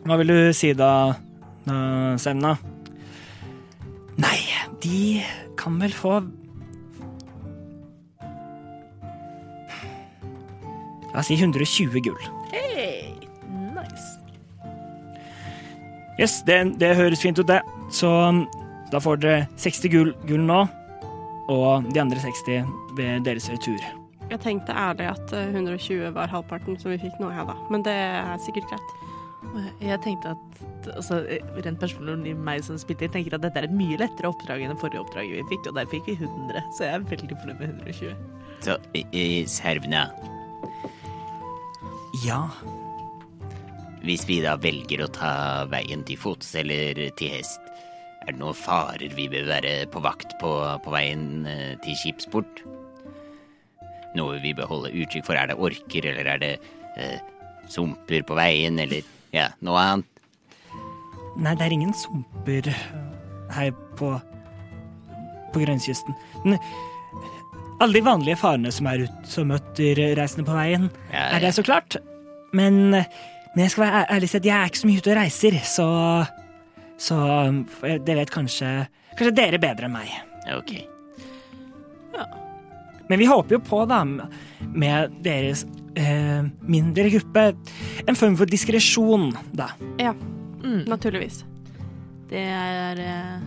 Hva vil du si da, da Semna? Nei, de kan vel få La oss si 120 gull. Hey, nice. Yes, det, det høres fint ut, det. Så mm, da får dere 60 gull, gull nå, og de andre 60 ved deres retur. Jeg tenkte ærlig at eh, 120 var halvparten som vi fikk nå, ja da. Men det er sikkert greit. Jeg tenkte at altså, Rent personlig meg som spiller tenker at dette er et mye lettere oppdrag enn det forrige oppdraget vi fikk, og der fikk vi 100, så jeg er veldig fornøyd med 120. Så, i, i Servna, Ja, hvis vi da velger å ta veien til fots eller til hest, er det noen farer vi bør være på vakt på på veien eh, til skipsport? Noe vi bør holde utkikk for? Er det orker, eller er det eh, sumper på veien, eller ja, noe annet? Nei, det er ingen sumper her på på grønnskysten. Men alle de vanlige farene som er ute som møter reisende på veien, Ja, er det så klart. Men, men jeg skal være æ- ærlig og si at jeg er ikke så mye ute og reiser, så Så eh, det vet kanskje Kanskje dere bedre enn meg. Ok. Men vi håper jo på, da, med deres eh, mindre gruppe, en form for diskresjon, da. Ja, naturligvis. Mm. Det er eh,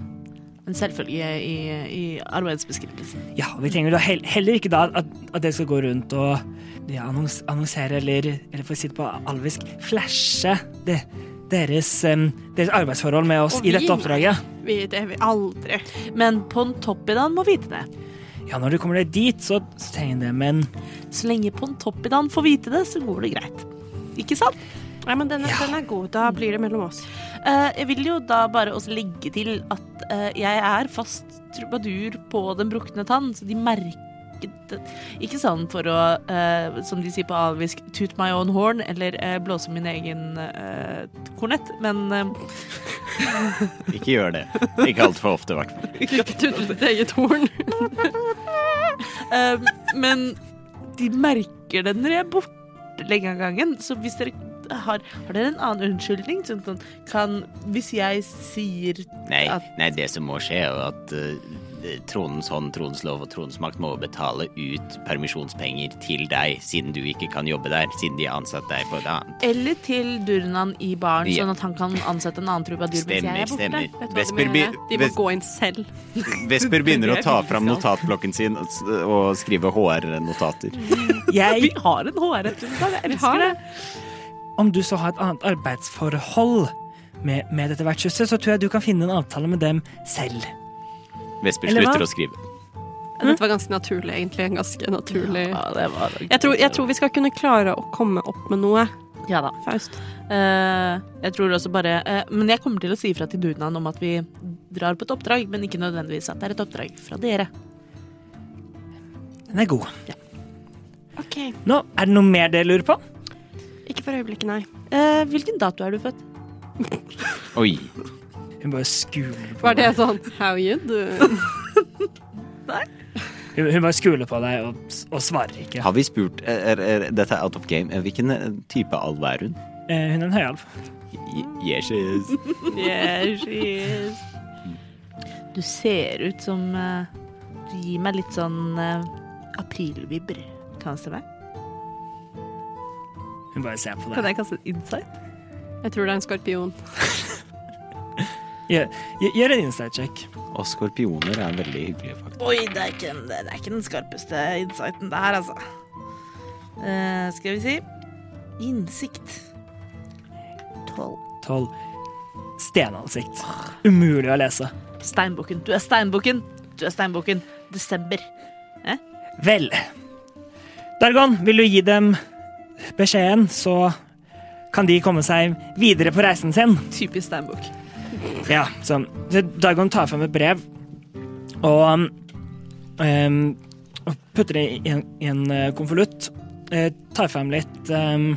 en selvfølge i, i arbeidsbeskrivelsen. Ja, og vi trenger da hel- heller ikke da at, at dere skal gå rundt og ja, annons, annonsere, eller, eller for å si det på alvisk, flashe det, deres, em, deres arbeidsforhold med oss Og i vi- dette oppdraget. Vi, det vil aldri. Men Pontoppidan må vite det. Ja, når du kommer deg dit, så, så trenger det, men Så lenge Pontoppidan får vite det, så går det greit. Ikke sant? Nei, men den er, den er god. Da blir det mellom oss. Eh, jeg vil jo da bare også legge til at eh, jeg er fast trubadur på Den brukne tann, så de merker det. Ikke sånn for å, eh, som de sier på alvisk, toot my own horn, eller eh, blåse min egen eh, kornett, men eh, Ikke gjør det. Ikke altfor ofte, i hvert fall. Ikke tulle ditt eget horn. eh, Men de merker det når jeg er borte lenge av gangen, så hvis dere har, har dere en annen unnskyldning? Sånn, sånn, kan, hvis jeg sier Nei, At- nei, det som må skje, er jo at eh, tronens hånd, tronens lov og tronens makt må betale ut permisjonspenger til deg, siden du ikke kan jobbe der, siden de har ansatt deg på et annet. Eller til Durnan i baren, Ja. sånn at han kan ansette en annen trubadur mens jeg Stemmer, er borte. stemmer. Vet du hva de Vesper, må be- gjøre? De må Ves- gå inn selv. Vesper begynner å ta fram notatblokken sin og s- og skrive HR-notater. Vi jeg, har en HR-representant, jeg elsker det. om du så har et annet arbeidsforhold med, med dette vertshuset, så tror jeg du kan finne en avtale med dem selv. Vesper Eller hva? slutter å skrive. Dette var ganske naturlig, egentlig. En ganske naturlig Ja, det var jeg tror, jeg tror vi skal kunne klare å komme opp med noe, Ja da. Faust. Eh, jeg tror også bare eh, Men jeg kommer til å si ifra til Durnan om at vi drar på et oppdrag, men ikke nødvendigvis at det er et oppdrag fra dere. Den er god. Ok. Nå, er det noe mer dere lurer på? Ikke for øyeblikket, nei. Eh, hvilken dato er du født? Oi. Hun bare skuler på Var det deg. sånn How you do? Hun, hun bare skuler på deg og, s- og svarer ikke. Har vi spurt er, er, er, Dette er out of game. Eh, Hvilken eh, type alv er hun? Eh, Hun er en høyalv. J- Jesus. Yes, yes. Du ser ut som eh, Du gir meg litt sånn eh, aprilvibber. Kan det stemme? Hun bare ser på Kan deg. jeg kaste en insight? Jeg tror det er en skorpion. Gjør, gjør en insight-check. Og skorpioner er veldig hyggelige, faktisk. Oi, det er ikke, det er ikke den skarpeste insighten der, altså. Eh, skal vi si innsikt. Tolv. Tolv. Stenansikt. Umulig å lese. Steinbukken. Du er steinbukken. Du er steinbukken. Desember. Vel. Dargon, vil du gi dem beskjeden, så kan de komme seg videre på reisen sin? Typisk steinbukk. Ja, sånn. Så Dagon tar frem et brev og um, um, og putter det i en, i en eh, konvolutt. Eh, tar frem litt um,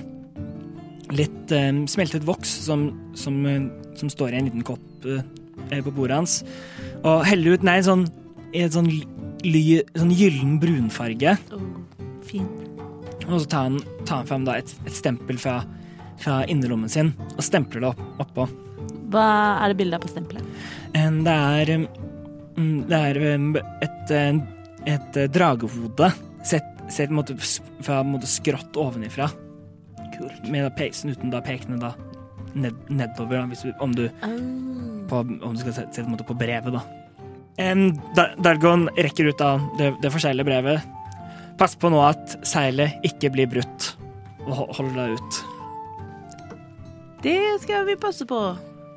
litt um, smeltet voks som, som, eh, som står i en liten kopp eh, på bordet hans, og heller ut nei, sånn, i en sånn, ly, sånn gyllen brunfarge. Fin. Og så tar han, tar han frem da et, et stempel fra, fra innerlommen sin og stempler det opp, oppå. Hva er det bildet av på stempelet? En- Det er, um, mm, det er um, et, eh, et eh, dragehode sett, sett på en måte, s- fra en måte skrått ovenifra. Kult. Med da peisen uten da pekene da ned, nedover, da, hvis du, om, du, på, om du skal se, se på, en måte på brevet, da. Em, Dar- Dargon rekker ut da det, det forseglte brevet. Pass på nå at seilet ikke blir brutt, og ho- hold deg ut. Det skal vi passe på.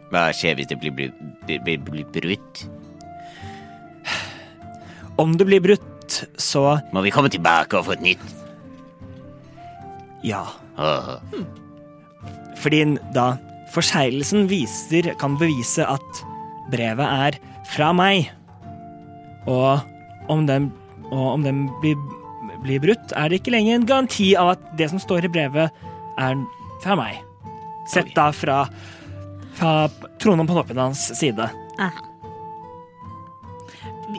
Hva skjer hvis det blir, bru- blir, blir, blir brutt? Om det blir brutt, så Må vi komme tilbake og få et nytt? ja. Åh. Fordi da forseglelsen viser, kan bevise at brevet er fra meg. Og om den, og om den blir, blir brutt, er det ikke lenger en garanti av at det som står i brevet, er fra meg. Sett da fra, fra tronen på toppen hans side. Ah.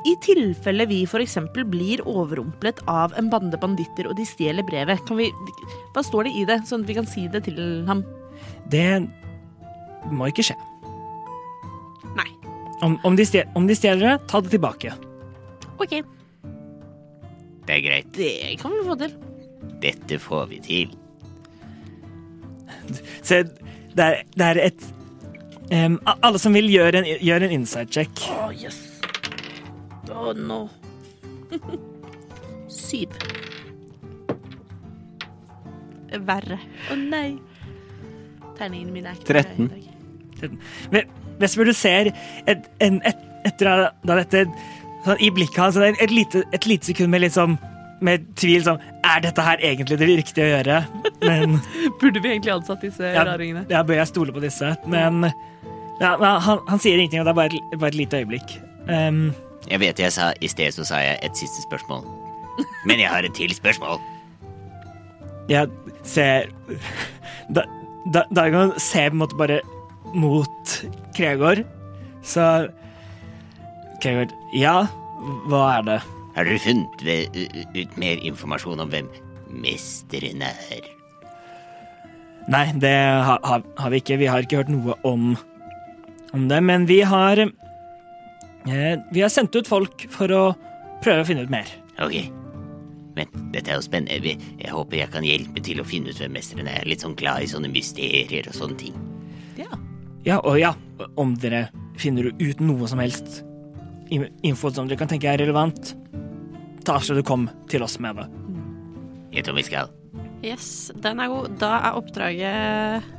I tilfelle vi f.eks. blir overrumplet av en bande banditter og de stjeler brevet, kan vi Hva står det i det, sånn at vi kan si det til ham? Det må ikke skje. Om, om, de, stjeler, om de stjeler det, ta det tilbake. OK, Det er greit. det kan vi få til. Dette får vi til. Se, det er, det er et em, a- Alle som vil, gjør en, gjør en insight-check. Å, yes. Å, no. Syv. Verre. Å nei. Terningene mine er ikke 13. bra i dag. Ve- Vesper, du ser et, en, et, etter da- da dette sånn, I blikket hans sånn, et, et, lite, et lite sekund med, litt sånn- med tvil sånn Er dette her egentlig det riktige å gjøre? Men Burde vi egentlig ansatt disse jeg, raringene? jeg bør jeg stole på disse. Men ja, men han, han sier ingenting, og det er bare et, bare et lite øyeblikk. Em, Jeg vet jeg sa I sted så sa jeg et siste spørsmål. Men jeg har et til spørsmål. Jeg ser da, da, Dagon ser på en måte bare mot Kregård, så Kregård, ja, hva er det? Har dere funnet ve- u- u- ut mer informasjon om hvem mesteren er? Nei, det har, har, har vi ikke. Vi har ikke hørt noe om, om det, men vi har eh, Vi har sendt ut folk for å prøve å finne ut mer. Ok. Men dette er jo spennende. Vi- Jeg håper jeg kan hjelpe til å finne ut hvem mesteren er. Jeg er Litt sånn glad i sånne mysterier og sånne ting. Ja, og ja, om dere finner ut noe som helst in- info som dere kan tenke er relevant, ta så du kom til oss med det. Jeg tror vi skal. Yes, den er god. Da er oppdraget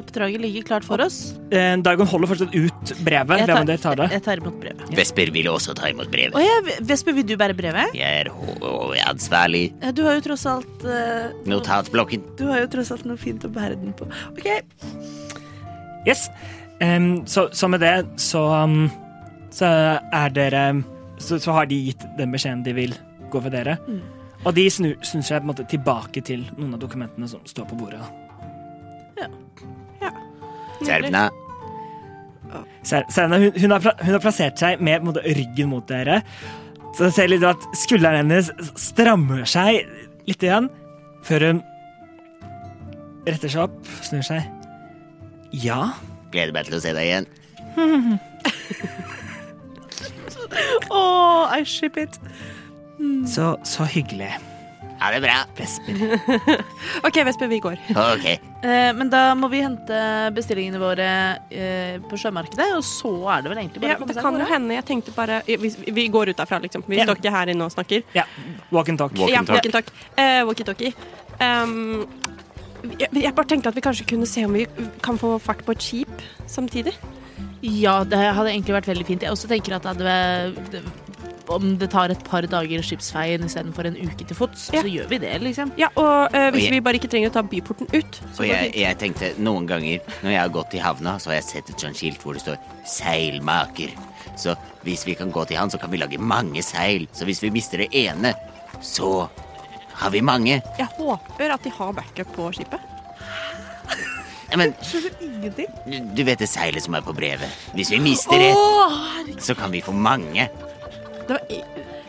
Oppdraget ligger klart for oss. Eh, Dagon holder fortsatt ut brevet. Jeg Hvem tar- av dere tar det? Jeg tar imot brevet. Vesper ville også ta imot Å brevet. ja, Vesper, vil du bære brevet? Jeg er h- h- ansvarlig. Ja, Du har jo tross alt eh, Notatblokken. Du har jo tross alt noe fint å bære den på. OK. Yes. Em, så, så med det så um, Så er dere så, så har de gitt den beskjeden de vil gå for dere. Mm. Og de snur, snur seg på en måte tilbake til noen av dokumentene som står på bordet. Servna. Ser- Serena hun, hun, har, pla- hun har plassert seg med på en måte, ryggen mot dere. Så du ser litt at skulderen hennes strammer seg litt igjen, før hun retter seg opp, snur seg. Ja. Gleder meg til å se deg igjen. Oh, I ship it. Så, så hyggelig. Ha det bra. Vesper. OK, Vesper, vi går. Ok. Eh, men da må vi hente bestillingene våre eh, på sjømarkedet, og så er det vel egentlig bare Ja, å komme det seg kan av jo gårde. hende. Jeg tenkte bare Vi, vi går ut derfra, liksom. Vi Ja. står ikke her inne og snakker. Ja, walk and talk. Walk. Ja, Walkie-talkie. walkie-talkie. Eh, walkie-talkie. Um, jeg, jeg bare tenkte at vi kanskje kunne se om vi kan få fart på et skip samtidig. Ja, det hadde egentlig vært veldig fint. Jeg også tenker at det hadde, vært- det, om det tar et par dager skipsveien istedenfor en uke til fots, Ja. så gjør vi det, liksom. Ja, og eh, hvis Og jeg- vi bare ikke trenger å ta byporten ut, så Og går jeg, vi jeg tenkte noen ganger når jeg har gått i havna, så har jeg sett et sånt skilt hvor det står 'seilmaker'. Så hvis vi kan gå til han, så kan vi lage mange seil. Så hvis vi mister det ene, så har vi mange. Jeg håper at de har backup på skipet. Nei, Men Du- Du vet det seilet som er på brevet? Hvis vi mister det, så kan vi få mange. Det var,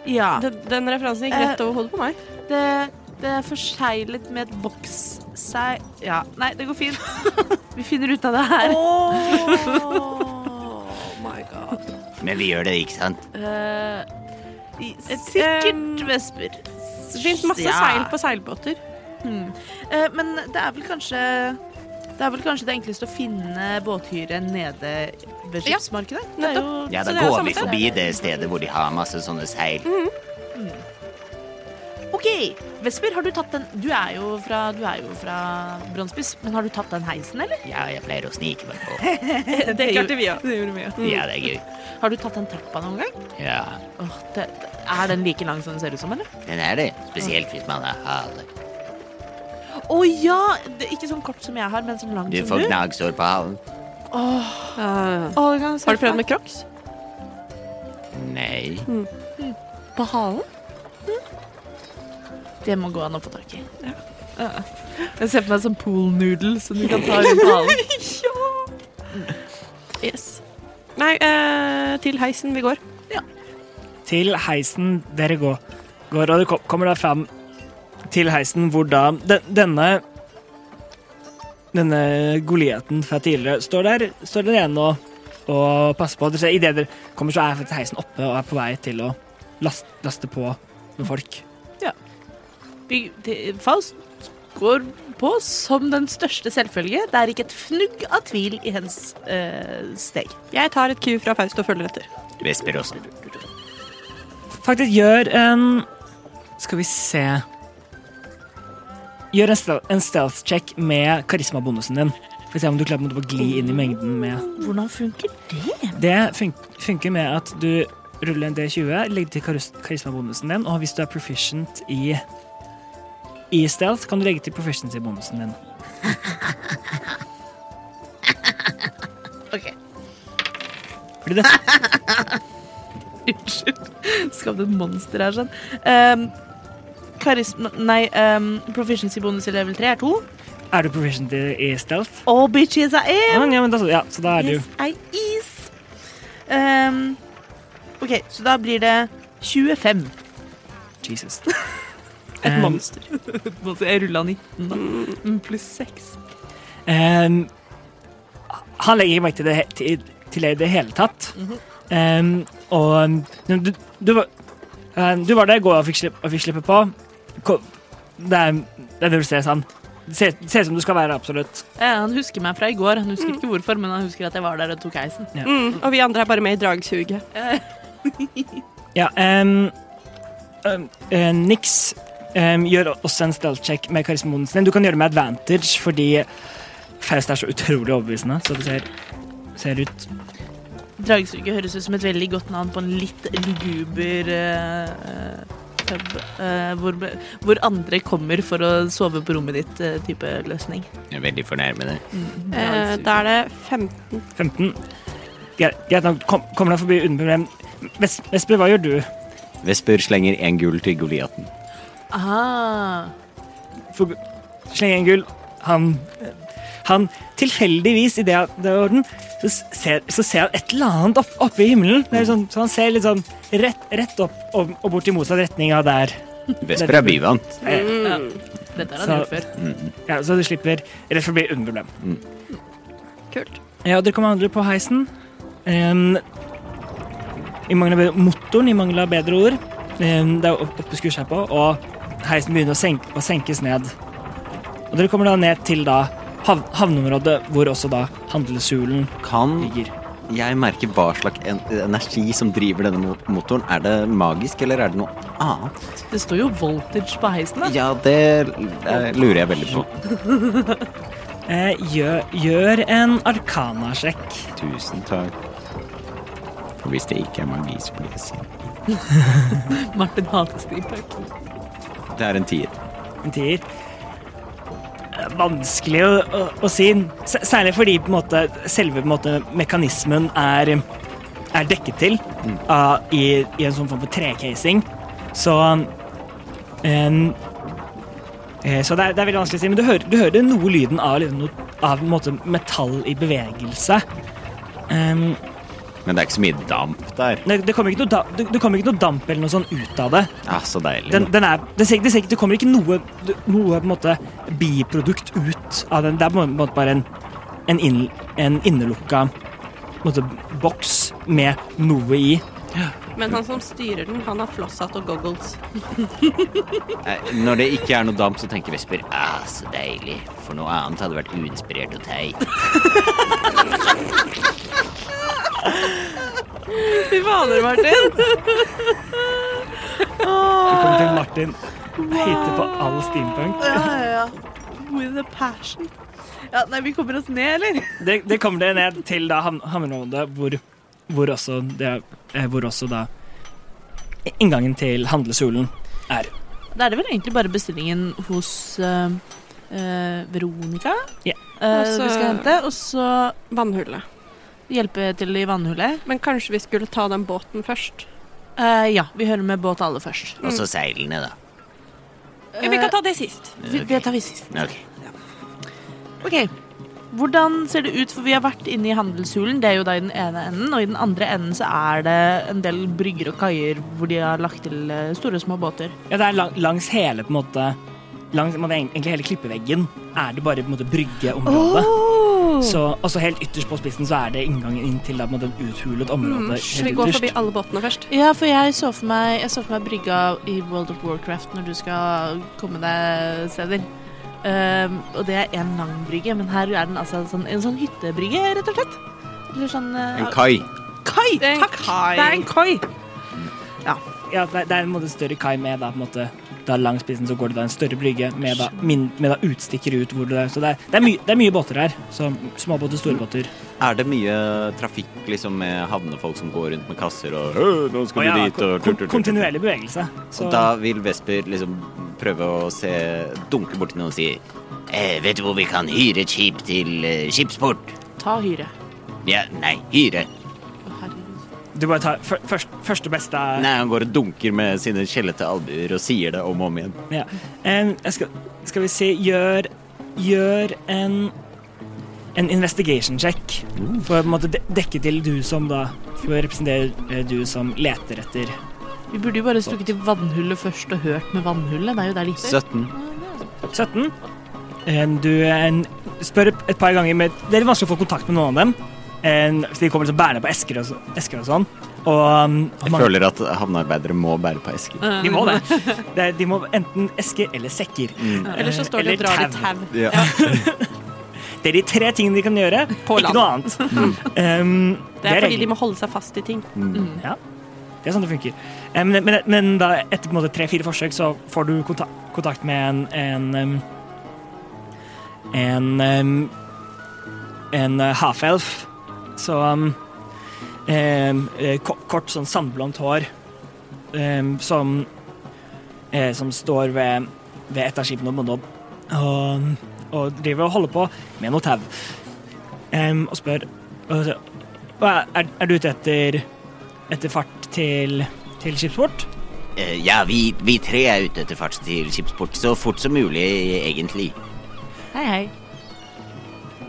ja. Det, Den, den Eh, referansen gikk rett over hodet på meg. det, det er forseglet med et boksseil Ja, nei, det går fint. vi finner ut av det her. Men vi gjør det, ikke sant? Eh, i- sikkert vesper. Det fins masse Ja. seil på seilbåter. Eh, men det er vel kanskje det er vel kanskje det enkleste å finne båthyre nede ved Ja, skipsmarkedet? Det er nettopp. jo- Ja, da Så det er går samme vi sted. Mhm. forbi det stedet hvor de har masse sånne seil. OK, Vesper, har du tatt den Du er jo fra, du er jo fra Brønnspiss, men har du tatt den heisen, eller? Ja, jeg pleier å snike meg på. Det Klarte vi òg. Ja, det er gøy. Har du tatt den trappa noen gang? Ja, Åh, det, det, er den like lang som den ser ut som, eller? den er det. Spesielt hvis man har hale. Å ja! Det, ikke sånn kort som jeg har, men sånn lang Du som får du. gnagsår på halen. Å, det kan jeg se Har du for meg. prøvd med crocs? Nei. På halen? Det må gå an å få tak i. Ja. Jeg ser på meg som pool noodle som du kan ta rundt halen. Yes. Nei, eh, til heisen vi går. til heisen dere går. går og du kom- kommer da fram til heisen hvor da de- denne denne Goliaten fra tidligere står der, står den ene og, og passer på. Dere ser, Idet dere kommer, så er faktisk heisen oppe og er på vei til å laste, laste på med folk. Big- det- Faust går på som den største selvfølge. Det er ikke et fnugg av tvil i hennes eh, steg. Jeg tar et ku fra Faust og følger etter. Vesper også. Faktisk gjør en Skal vi se Gjør en, stel en stealth check med karismabonusen din. For å se om du klarer på en måte å gli inn i mengden med Hvordan funker det? Det fun funker med at du ruller en D20, legger til karus- karismabonusen din, og hvis du er proficient i, i stealth, kan du legge til proficiency-bonusen din. Ok. Fordi det, Unnskyld. Skapte et monster her, sånn. Um, karisma Nei, um, proficiency-bonus i level 3 er 2. er du proficient i, i stealth? Oh, bitches, I am! Ja, men- ja, men da, ja, så da er du Yes, I is. Um, OK, så da blir det 25. Jesus. Et Um, monster. Jeg rulla 19, da. Mm, Pluss 6. Ehm, han legger ikke merke til det, he- til, til det i det hele tatt. Ehm, og um, du, du, var- ehm, du var der i går og fikk slippe, og fikk slippe på. Ko- Det er, det er det du ser, sånn. Det ser det ser ut som du skal være absolutt. Ja, han husker meg fra i går. Han husker ikke hvorfor, men han husker at jeg var der og tok heisen. Mm, og vi andre er bare med i dragsuget. Ja, ehm, ehm, eh, Nix ehm, gjør også en stealth check med karismaen sin. Du kan gjøre det med advantage fordi Faust er så utrolig overbevisende, så det ser, ser ut Dragsuget høres ut som et veldig godt navn på en litt luguber eh, pub. eh, hvor, hvor andre kommer for å sove på rommet ditt-type løsning. Jeg er veldig fornærmende. Eh, da er det 15 15. Greit, greit nok. Kom, kommer deg forbi uten problem. Ves- Vesper, hva gjør du? Vesper slenger én gull til Goliaten. Ah, For, sleng en gull. Han, han tilfeldigvis, i det det er orden, så s- ser, så ser han et eller annet opp, oppe i himmelen. Det er sånn, så han ser litt sånn rett, rett opp og, og bort i motsatt retning av der. Vesper er byvant. dette har han gjort Så- før. Ja, så du slipper rett forbi uten problem. Kult. Ja, dere kommer andre på heisen. Em, I mangel av bedre, motoren, i mangel av bedre ord. Em, det er opp- oppeskur seg på, og heisen begynner å, senk å senkes ned. Og dere kommer da ned til da hav havneområdet hvor også da handelshulen Kan ligger. jeg merke hva slags en energi som driver denne mo- motoren? Er det magisk, eller er det noe annet? Det står jo voltage på heisen. da. Ja, det eh, lurer jeg veldig på. Eh, gjør, gjør en arkana-sjekk. Tusen takk. Og hvis det ikke er magi, så blir det sint. Martin hater steampunk. Det er en tier. En tier. Eh, Vanskelig å, å, å si. S- Særlig fordi på en måte, selve på en måte, mekanismen er, er dekket til av- i, i en sånn form for trecasing. Så em, eh, Så det er, det er veldig vanskelig å si, men du hører, du hører noe lyden av, liksom noe, av på en måte, metall i bevegelse. Em, Men det er ikke så mye damp der. nei, det kommer ikke noe, da, det, det kommer ikke noe damp eller noe sånn ut av det. Ja, Ah, så deilig. Den, den er, det, ser, det, ser, ikke- det kommer ikke noe, noe på en måte biprodukt ut av den. Det er på en måte bare en, en, inn, en innelukka på en måte, boks med noe i. Men han som styrer den, han har flosshatt og goggles. Eh, Når det ikke er noe damp, så tenker Vesper ah, så deilig. For noe annet hadde vært uinspirert og teit. Fy fader, Martin. Velkommen til Martin. Hater på all steampunk. Ja, ja, ja. With a passion. Ja, nei, vi kommer oss ned, eller? Det, det kommer dere ned til da ham- havneområdet, hvor, hvor også, det, eh, hvor også da inngangen til handelshulen er. Da er det vel egentlig bare bestillingen hos eh, eh, Veronica Ja. eh, Og så- vi skal hente. Og så Vannhullet. hjelpe til i vannhullet. Men kanskje vi skulle ta den båten først? Eh, ja, vi hører med båt alle først. Og så seilene, da. Ja, vi kan ta det sist. Vi, det tar vi sist. Ok. Ok, hvordan ser det ut? For vi har vært inne i handelshulen, det er jo da i den ene enden, og i den andre enden så er det en del brygger og kaier hvor de har lagt til eh, store og små båter. Ja, det er lang, langs hele på en måte Langs på en måte, egentlig hele klippeveggen er det bare på en måte bryggeområdet. Oh. Mm. Så, og så helt ytterst på spissen så er det inngangen inn til da, på en måte, et uthulet område. Skal Mm, vi helt gå ytterst. forbi alle båtene først? Ja, for jeg så for meg, jeg så for meg brygga i World of Warcraft når du skal komme deg steder. Ehm, og det er en lang brygge, men her er den altså en sånn, en sånn hyttebrygge, rett og slett. Eller sånn eh, En kai. kai! Det er en Takk! kai. Det er en kai! Ja, det, er- det er en måte større kai med da, på en måte, da langs spissen så går det da en større brygge med da, min, med da utstikkere ut hvor det er. Så det er, det er, mye- det er mye båter her. Så små båter, store båter. Er det mye trafikk liksom med havnefolk som går rundt med kasser og «Hø, nå skal Og vi ja, dit og kon- kon- kontinuerlig bevegelse. Og Så da vil Vesper liksom prøve å se dunke borti noen og si Eh, vet du hvor vi kan hyre et skip til eh, skipsport? Ta hyre. Ja, nei, hyre. Å, herregud. du bare tar fyr- først, første beste Nei, han går og dunker med sine skjellete albuer og sier det om og om igjen. Ja. En, jeg skal, skal vi se Gjør, gjør en en investigation check Mm. for å på en måte de- dekke til du som da For å representere eh, du som leter etter Vi burde jo bare stukket i vannhullet først og hørt med vannhullet. Det er jo der de sitter. 17. 17. En, du en, spør et par ganger med Det er litt vanskelig å få kontakt med noen av dem. En, så de kommer liksom bærende på esker og, så- esker og sånn. Og, um, og Jeg mange- føler at havnearbeidere må bære på esker. de må det. det. er- De må enten esker eller sekker. Mm. Eller så står de Eller og drar i tau. tau. Ja. Det er de tre tingene de kan gjøre. På ikke land. noe Mm. annet. Um, Det er fordi regelen. de må holde seg fast i ting. Mm. Ja, det er sånn det funker. Eh, Men, men, men da etter på en måte tre-fire forsøk så får du konta- kontakt med en en, em, en, em, en eh, half-elf. Så em, em, eh, ko- kort, sånn sandblondt hår em, som eh, som står ved, ved et av skipene og, bonde opp, og, og driver og holder på med noe tau. Em, og spør og, så- «Hva er, er du ute etter etter fart til, til skipsport. Eh, ja, vi, vi tre er ute etter fart til skipsport så fort som mulig, egentlig. Hei, hei.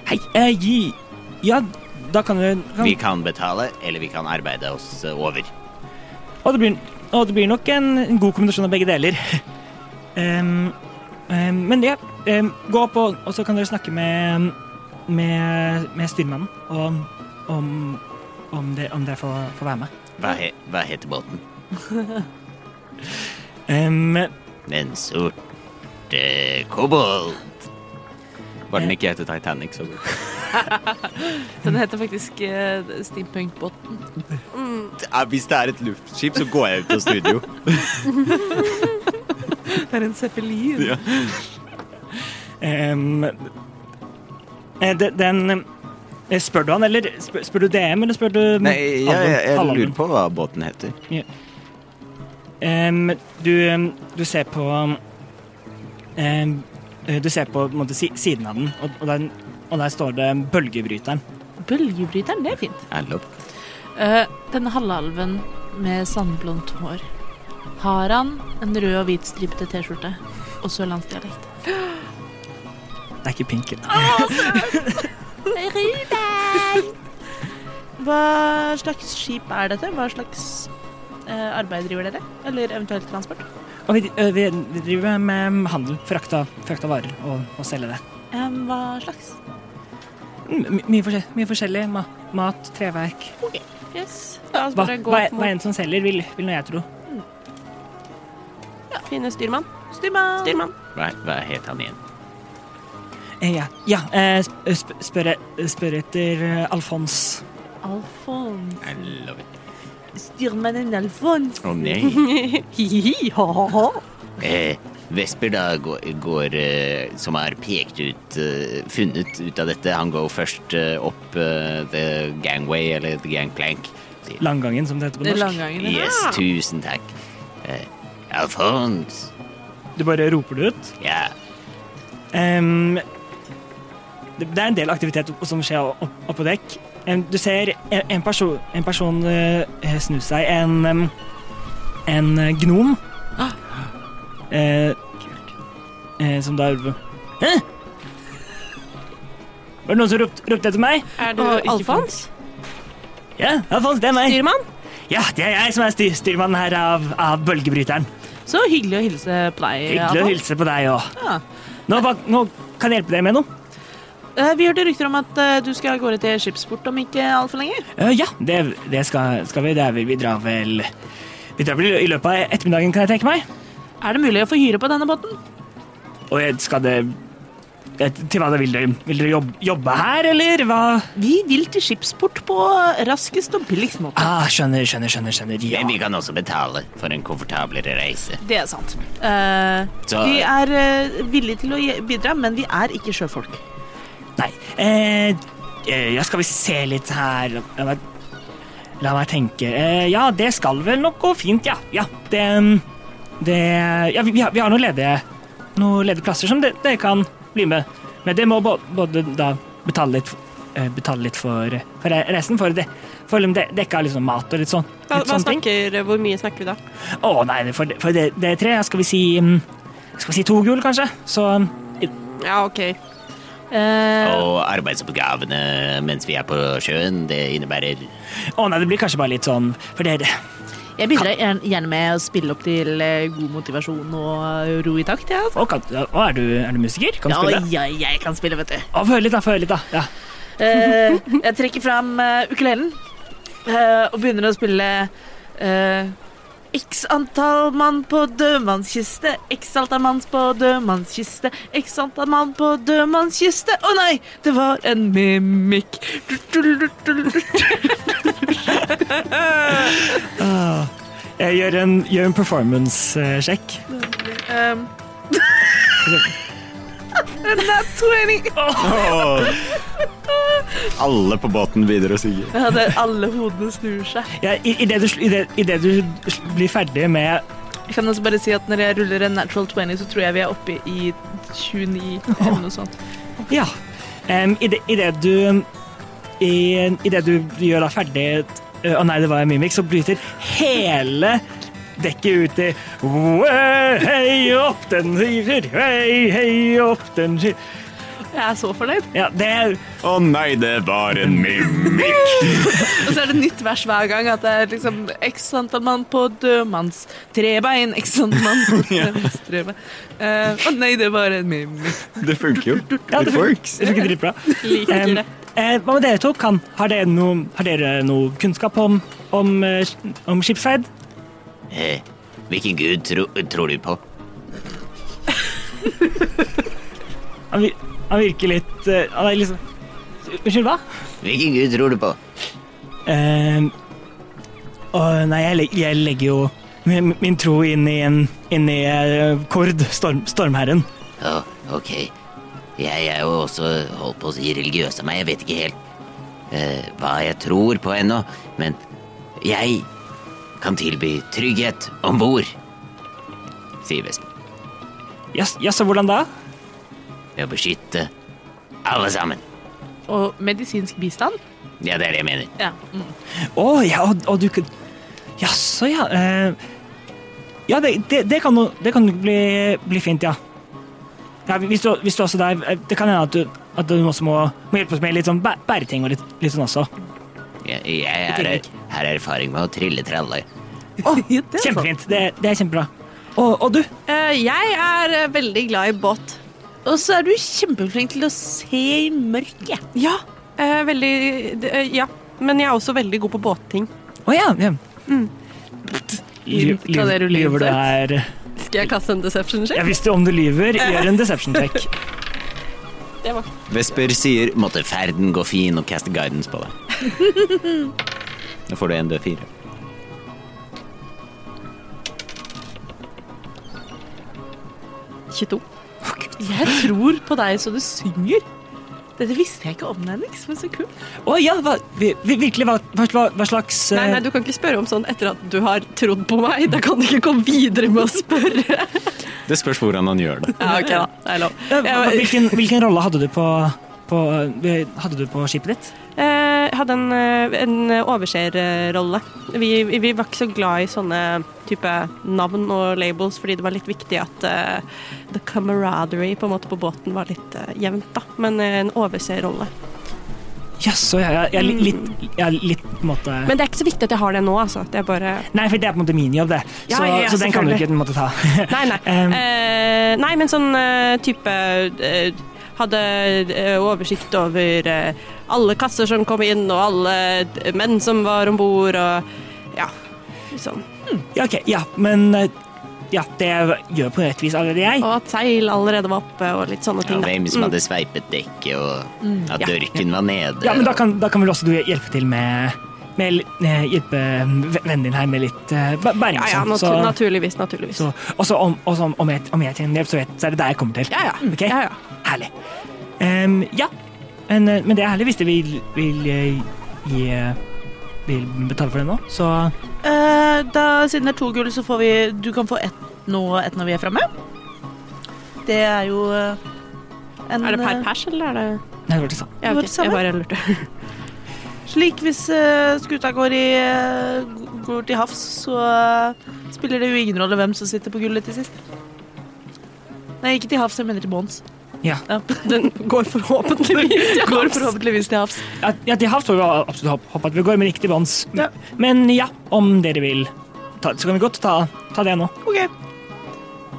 Hei, eh, gi Ja, da kan du kan, Vi kan betale, eller vi kan arbeide oss eh, over. og, det blir, og det blir nok en, en god kombinasjon av begge deler. Em, em, men ja, em, gå opp, og, og så kan dere snakke med, med, med styrmannen om, om, om det, om det får, får være med. Hva, he, hva heter båten? Em, Den sorte kobolt. Var den ikke heter Titanic, så Den heter faktisk eh, uh, Steampunk Botten. Hvis det er et luftskip, så går jeg ut av studio. Det er en zeppelin. Ja. Ehm, eh, de- den eh, Spør du han, eller spør, spør du DM, eller spør du Nei, jeg, jeg, jeg Allan? lurer på hva båten heter. Ehm, du, ehm, du ser på ehm, eh, Du ser på, på en måte, si- siden av den, og, og, den, og der står det 'Bølgebryteren'. Bølgebryteren, det er fint. Erlop. Eh, denne halvalven med sandblondt hår. Har han en rød og hvit stripete T-skjorte og sørlandsdialekt? Det er ikke pinken. Hva slags skip er dette? Hva slags eh, arbeid driver dere? Eller eventuelt transport? Og vi, eh, vi, vi driver med handel. Frakta, frakta varer og, og selge det. Eh, hva slags? M mye, forskjell, mye forskjellig. Ma mat, treverk. Yes. La oss Hva, bare gå hva, opp hva mot enn som selger, vil, vil nå jeg tro. finne styrmann. Styrmann! Styrmann. Hva, hva het han igjen? Eh, ja, ja eh, sp sp spør, spør etter eh, Alfons. Alfons. I love it. Styrmannen Alfons. Å nei. Hihi, ha-ha-ha. Eh, Vesper da går, går eh, som er pekt ut, eh, funnet ut av dette, han går først eh, opp eh, the gangway, eller the gangplank. Sier, Langgangen, som det heter på norsk. Langgangen. ja. Yes, tusen takk. Eh, Alfons. Du bare roper det ut. Ja. Ehm, det, det er en del aktivitet opp- som skjer opp- oppå dekk. Ehm, du ser en, en person, en person eh, snu seg. En, em, en eh, gnom. Eh, eh, som da roper Hæ? Var det noen som ropte, ropte etter meg? Er du Og ikke Alfons? Ja, Alfons, det er meg. Styrmann? Ja, det er jeg som er styr, styrmannen her av, av Bølgebryteren. Så hyggelig å hilse på deg. Hyggelig å Alfons. hilse på deg òg. Ja. Nå, hva- nå kan jeg hjelpe deg med noe. Eh, vi hørte rykter om at eh, du skal av gårde til skipsport om ikke altfor lenge. Eh, ja, det, det skal, skal vi. Det er vel, vi drar vel Vi drar vel i løpet av ettermiddagen, kan jeg tenke meg. Er det mulig å få hyre på denne båten? Og jeg skal det jeg- Til hva det vil dere? Vil dere jobbe, jobbe her, eller hva? Vi vil til skipsport på raskest og billigst måte. Ah, skjønner, skjønner, skjønner. skjønner ja. Men vi kan også betale for en komfortablere reise. Det er sant. Eh, Så- vi er eh, villige til å gi- bidra, men vi er ikke sjøfolk. Nei. Eh, eh, ja, skal vi se litt her La meg, la meg tenke. Eh, ja, det skal vel nok gå fint, ja. ja det mm, det Ja, vi, vi har, vi har noen ledige noen ledige plasser som de- dere kan bli med. Men dere må bå- både da betale litt, f- eh, betale litt for, for reisen, for det for om det dekker liksom mat og litt sånn. Hva, Litt hva sånne ting. snakker, eh, hvor mye snakker vi da? Å nei, det- for, for det, det er tre. Skal vi si mm, Skal vi si to gull, kanskje? Så mm, Ja, OK. Eh, Og arbeidsoppgavene mens vi er på sjøen, det innebærer Å nei, det blir kanskje bare litt sånn For det, Jeg bidrar gjerne- gjerne med å spille opp til eh, god motivasjon og eh, ro i takt. Ja, Å, kan, å er, du, er du musiker? Kan du ja, spille? ja jeg kan spille, vet du. Å, få høre litt, da. Få høre litt, da. Ja. Eh, jeg trekker fram eh, ukulelen eh, og begynner å spille eh, X antall mann på dødmannskiste, x antall mann på dødmannskiste, x antall mann på dødmannskiste. Å nei, det var en mimikk. Jeg gjør en, gjør en performance-sjekk. Um, Not 20. Alle på båten begynner å synge. Ja, det er alle hodene snur seg. Ja, i- Idet du, sl- i det- i det du sl- blir ferdig med Jeg kan også bare si at når jeg ruller en natural 20, så tror jeg vi er oppe i 29 eller noe sånt. Ja. Um, Idet i det du i, i det du gjør da ferdig eh, Å nei, det var en mimikk, så bryter hele dekket ut i «Way, Hei opp, den river, hei, hei opp, den river. Jeg er så fornøyd. Ja, det er Å nei, det var en mimikk. Og så er det nytt vers hver gang. At det er liksom x antall mann på dødmanns trebein. X antall mann på dødmanns trebein. Eh, Å nei, det var en mimikk. Det funker jo. Ja, det funker, det funker dritbra. Liker Em, det. eh, Hva med dere to? Kan, har, dere noe, har dere noe kunnskap om, om, eh, om skipsferd? Eh, hvilken gud tro, tror du på? Han, vir, han virker litt eh, Han er liksom Unnskyld, hva? Hvilken gud tror du på? Eh, å, nei, jeg, leg- jeg legger jo min, min tro inn i en inn i eh, Kord, storm, stormherren. Ja, ok. Jeg er jo også holdt på å si religiøs av meg. Jeg vet ikke helt eh, hva jeg tror på ennå, men jeg kan tilby trygghet om bord, sier Vesper. Jaså, yes, hvordan da? Ved å beskytte alle sammen. Og medisinsk bistand? Mm. Ja, det er det jeg mener. Ja. Å, ja, og, og du kan Jaså, ja. eh, ja, det, det, det kan jo det kan jo bli, bli fint, ja. ja hvis, du, hvis du også der eh, Det kan hende at du, at du også må, må hjelpe oss med litt sånn bæ- bæreting og litt, litt sånn også. Jeg, jeg er, Teknikk. her er erfaring med å trille tralle. Kjempefint. Det, det er kjempebra. Og, og du? Eh, jeg er eh, veldig glad i båt. Og så er du kjempeflink til å se i mørket. Ja, eh, veldig det, eh, Ja. Men jeg er også veldig god på båtting. Å ja. ja. Mm. Lyv- Kan dere lyv- Lyver du her Skal jeg kaste en deception Jeg visste om du lyver. Gjør en deception check. Vesper sier 'måtte ferden gå fin' og caste guidance på deg. Nå får du en D4. Jeg tror på deg så du synger. Dette visste jeg ikke om deg, Nix, men så kult. Å ja, hva, vi, vi- virkelig, hva, hva, hva- hva slags Nei, nei, eh, du kan ikke spørre om sånn etter at du har trodd på meg. Da kan du ikke komme videre med å spørre. Det spørs hvordan han gjør det. Ja, ok da, det er lov. eh, hva- hvilken, hvilken rolle hadde du på, på, eh, hadde du på skipet ditt? Eh, hadde en, eh, en overseerrolle. Vi, vi var ikke så glad i sånne type navn og labels, fordi det var litt viktig at eh, the camaraderie på en måte på båten var litt eh, jevnt, da. Men eh, en overseerrolle. Jaså, ja, ja, ja, li- litt, ja, litt på en måte Men det er ikke så viktig at jeg har det nå, altså. Det er bare Nei, for det er på en måte min jobb, det. Ja, så, ja, ja, så den kan du ikke på en måte ta. Nei, nei. Em. Eh, nei, men sånn eh, type eh, hadde eh, oversikt over eh, alle kasser som kom inn, og alle eh, menn som var om bord, og ja, sånn. Ja, ok, ja, men eh, ja, det gjør på et vis allerede jeg. Og at seil allerede var oppe, og litt sånne Ja, ting. da. hvem som Mm. hadde sveipet dekket, og at Ja. dørken var nede. Ja, men da og- kan, da kan vel også du hjelpe til med, med li- eh, Hjelpe v- vennen din her med litt eh, bæ- bæring Ja, ja, og sånn. natu Så- naturligvis, naturligvis. så- Og så om, og så om, om, jeg, om jeg trenger hjelp, så, vet, så er det der jeg kommer til. Ja, ja. Ok? ja, ja. Herlig. Em, ja, men, eh, men det er herlig hvis du vil, vil eh, gi eh, Vil betale for det nå, så Eh, da, siden det er to gull, så får vi Du kan få ett nå og ett når vi er framme. Det er jo eh, en Er det per eh, pers, eller er det Nei, det var det samme. Ja, Var ok, det samme? Jeg bare lurte. Slik hvis eh, skuta går, i, eh, g- går til havs, så eh, spiller det jo ingen rolle hvem som sitter på gullet til sist. Nei, ikke til havs, jeg mener til bånns. Ja. Den går forhåpentligvis til Går havs. forhåpentligvis til havs. Ja, ja, til havs får vi absolutt hopp- hoppe at vi går, men ikke til vanns. Ja. Men ja, om dere vil, ta, så kan vi godt ta, ta det nå. OK.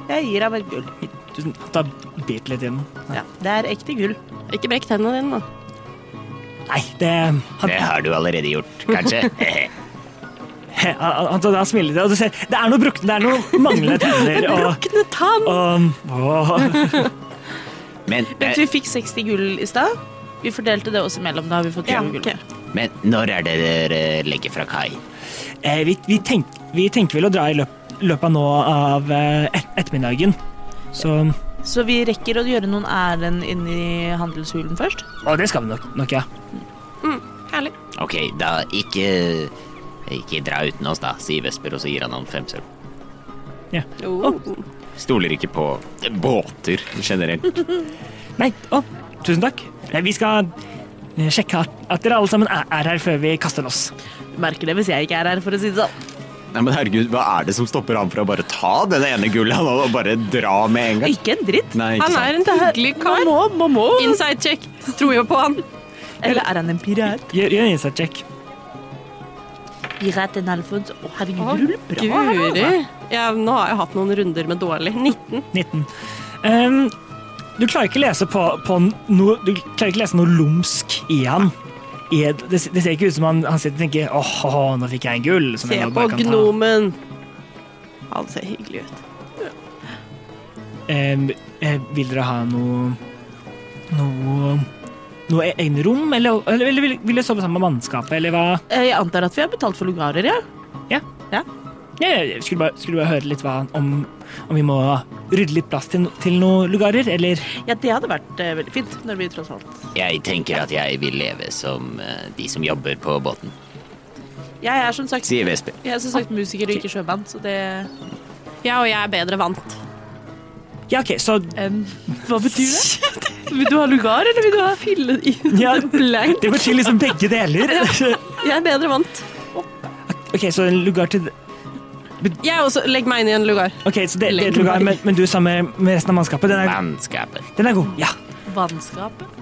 Jeg gir deg bare gull. Tusen- Ta bit litt i den. Ja, det er ekte gull. Ikke brekk tennene dine, da. Nei, det Han, Det har du allerede gjort, kanskje? han, han, han, han smiler til deg, og du ser det er noe brukne, det er noe manglende tenner og, Brukne tann! og, og men, Vent, vi fikk 60 gull i stad. Vi fordelte det oss imellom. Da har vi fått 20 Ja, gull. ok. men når er det dere legger fra kai? eh, vi, vi, tenk, vi tenker vel å dra i løp, løpet av nå av eh, et, ettermiddagen. Så Så vi rekker å gjøre noen ærend inni handelshulen først. Og det skal vi nok, nok ja. Herlig. Ok, da ikke ikke dra uten oss, da, sier Vesper, og så gir han han fem sølv. Stoler ikke på båter generelt. Nei, å, tusen takk. Nei, vi skal eh, sjekke at, at dere alle sammen er, er her før vi kaster loss. Merker det hvis jeg ikke er her, for å si det sånn. Nei, men herregud, Hva er det som stopper han fra å bare ta den ene gullet og bare dra med en gang? Ikke en dritt. Nei, ikke Han sant. er en hyggelig kar. Må, må, må. Inside check. Tror jo på han. Eller er han en pirat? Gjør, gjør en innsatssjekk. Pirat en Alfons. Å, herregud, Å, du ruller bra. her, altså. Guri. Ja, nå har jeg hatt noen runder med dårlig. 19. 19. Ehm, du klarer ikke lese på, på noe Du klarer ikke lese noe lumsk i han. I, det, det ser ikke ut som han, han sitter og tenker åh, åh, nå fikk jeg en gull. Som Se jeg nå på bare kan ta. gnomen. Han ser hyggelig ut. Em, eh, vil dere ha noe Noe Noe e- egne rom, eller, eller, eller vil, vil dere sove sammen med mannskapet, eller hva? Eh, Jeg antar at vi har betalt for lugarer, ja. Ja, ja, jeg skulle bare, skulle bare høre litt hva, om, om vi må rydde litt plass til, no- til noen lugarer, eller Ja, det hadde vært eh, veldig fint, når vi tross alt Jeg tenker at jeg vil leve som eh, de som jobber på båten, Jeg er som sagt, sier Vesper. jeg er som sagt musiker og ikke sjømann, så det Ja, og jeg er bedre vant. Ja, OK, så Eh, em, Hva betyr det? Vil du ha lugar, eller vil du ha fylle i? ja, Det betyr liksom begge deler. Jeg er bedre vant. OK, så en lugar til Jeg også. Legg meg inn i en lugar. Ok, så det, det er et lugar, men, men du sammen med- med resten av mannskapet, den er, Mannskapet. den er god. Ja. Vannskapet?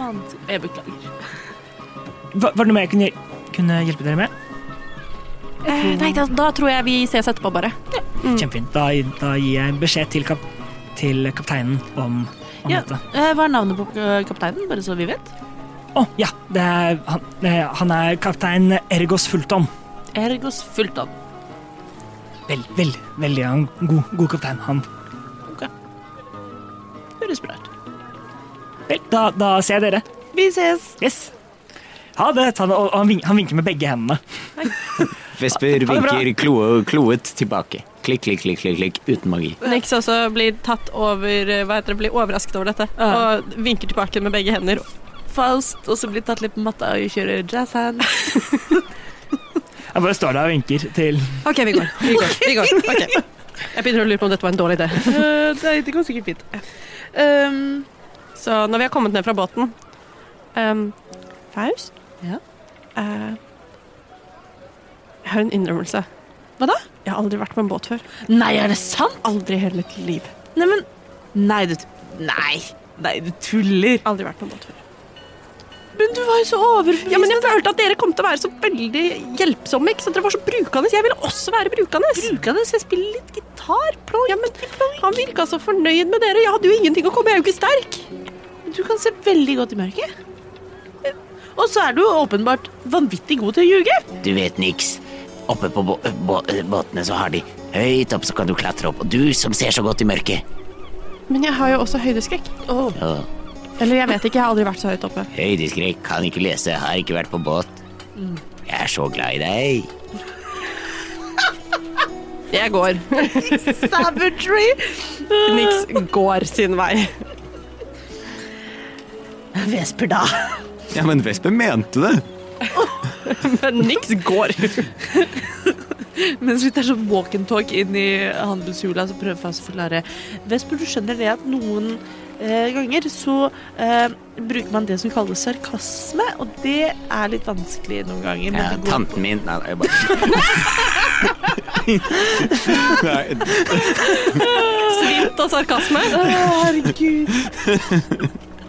Manns... Jeg beklager. Hva, var det noe mer jeg kunne, kunne hjelpe dere med? nei, da, da tror jeg vi ses etterpå, bare. Kjempefint. Da, da gir jeg beskjed til, kap, til kapteinen om, om Ja. dette. Eh, Hva er navnet på eh, kapteinen, bare så vi vet? Å, ja. Det er, han, eh, han er kaptein Ergos Fulton. Ergos Fulton. Vel, vel, veldig han, god, god kaptein, han. Høres bra ut. Vel, da, da ser jeg dere. Vi ses! Yes. Ha det. Ta det. Og, og han, vink, han vinker med begge hendene. Vesper Ha det bra. vinker kloe, kloet tilbake. Klikk, klikk, klikk, klikk, klikk, uten magi. Nix også blir tatt over eh, Hva heter det, blir overrasket over dette. Ja. Og vinker tilbake med begge hender. Faust, og så blir tatt litt på matta og kjører jazzhand. Han bare står der og vinker til OK, vi går. Vi går. Vi går. Ok. Jeg begynner å lure på om dette var en dårlig idé. Eh, Nei, det går sikkert fint. Ehm, Så når vi har kommet ned fra båten ehm, Faust? Ja? Eh, jeg har en innrømmelse. Hva da? Jeg har aldri vært på en båt før. nei, er det sant? Aldri i hele mitt liv. Nei, men Nei, du Nei, nei du tuller. Aldri vært på en båt før. Men du var jo så overbevist. Ja, men jeg følte at dere kom til å være så veldig hjelpsomme. ikke sant? Dere var så brukende. Jeg ville også være brukende. Brukende, så jeg spiller litt gitar. Ja, men han virka så fornøyd med dere. Jeg hadde jo ingenting å komme, jeg er jo ikke sterk. Du kan se veldig godt i mørket. Eh, Og så er du jo åpenbart vanvittig god til å ljuge. Du vet niks. Oppe på bå bå eh, båtene så har de høyt opp, så kan du klatre opp. Og du som ser så godt i mørket. Men jeg har jo også høydeskrekk. Ja, Eller jeg vet ikke, jeg har aldri vært så høyt oppe. Høydeskrekk, kan ikke lese, har ikke vært på båt. Mm. Jeg er så glad i deg. Jeg går. Savagery. Nix går sin vei. Vesper, da. Ja, men Vesper mente det. Men Nix går. Mens vi tar sånn walk and talk inn i handelshula, så prøver Faust å forklare. Vesper, du skjønner det at noen eh, ganger så eh, bruker man det som kalles sarkasme, og det er litt vanskelig noen ganger. men Ja, det går- tanten min Nei, nei, bare Nei, Svint og sarkasme. Å, herregud.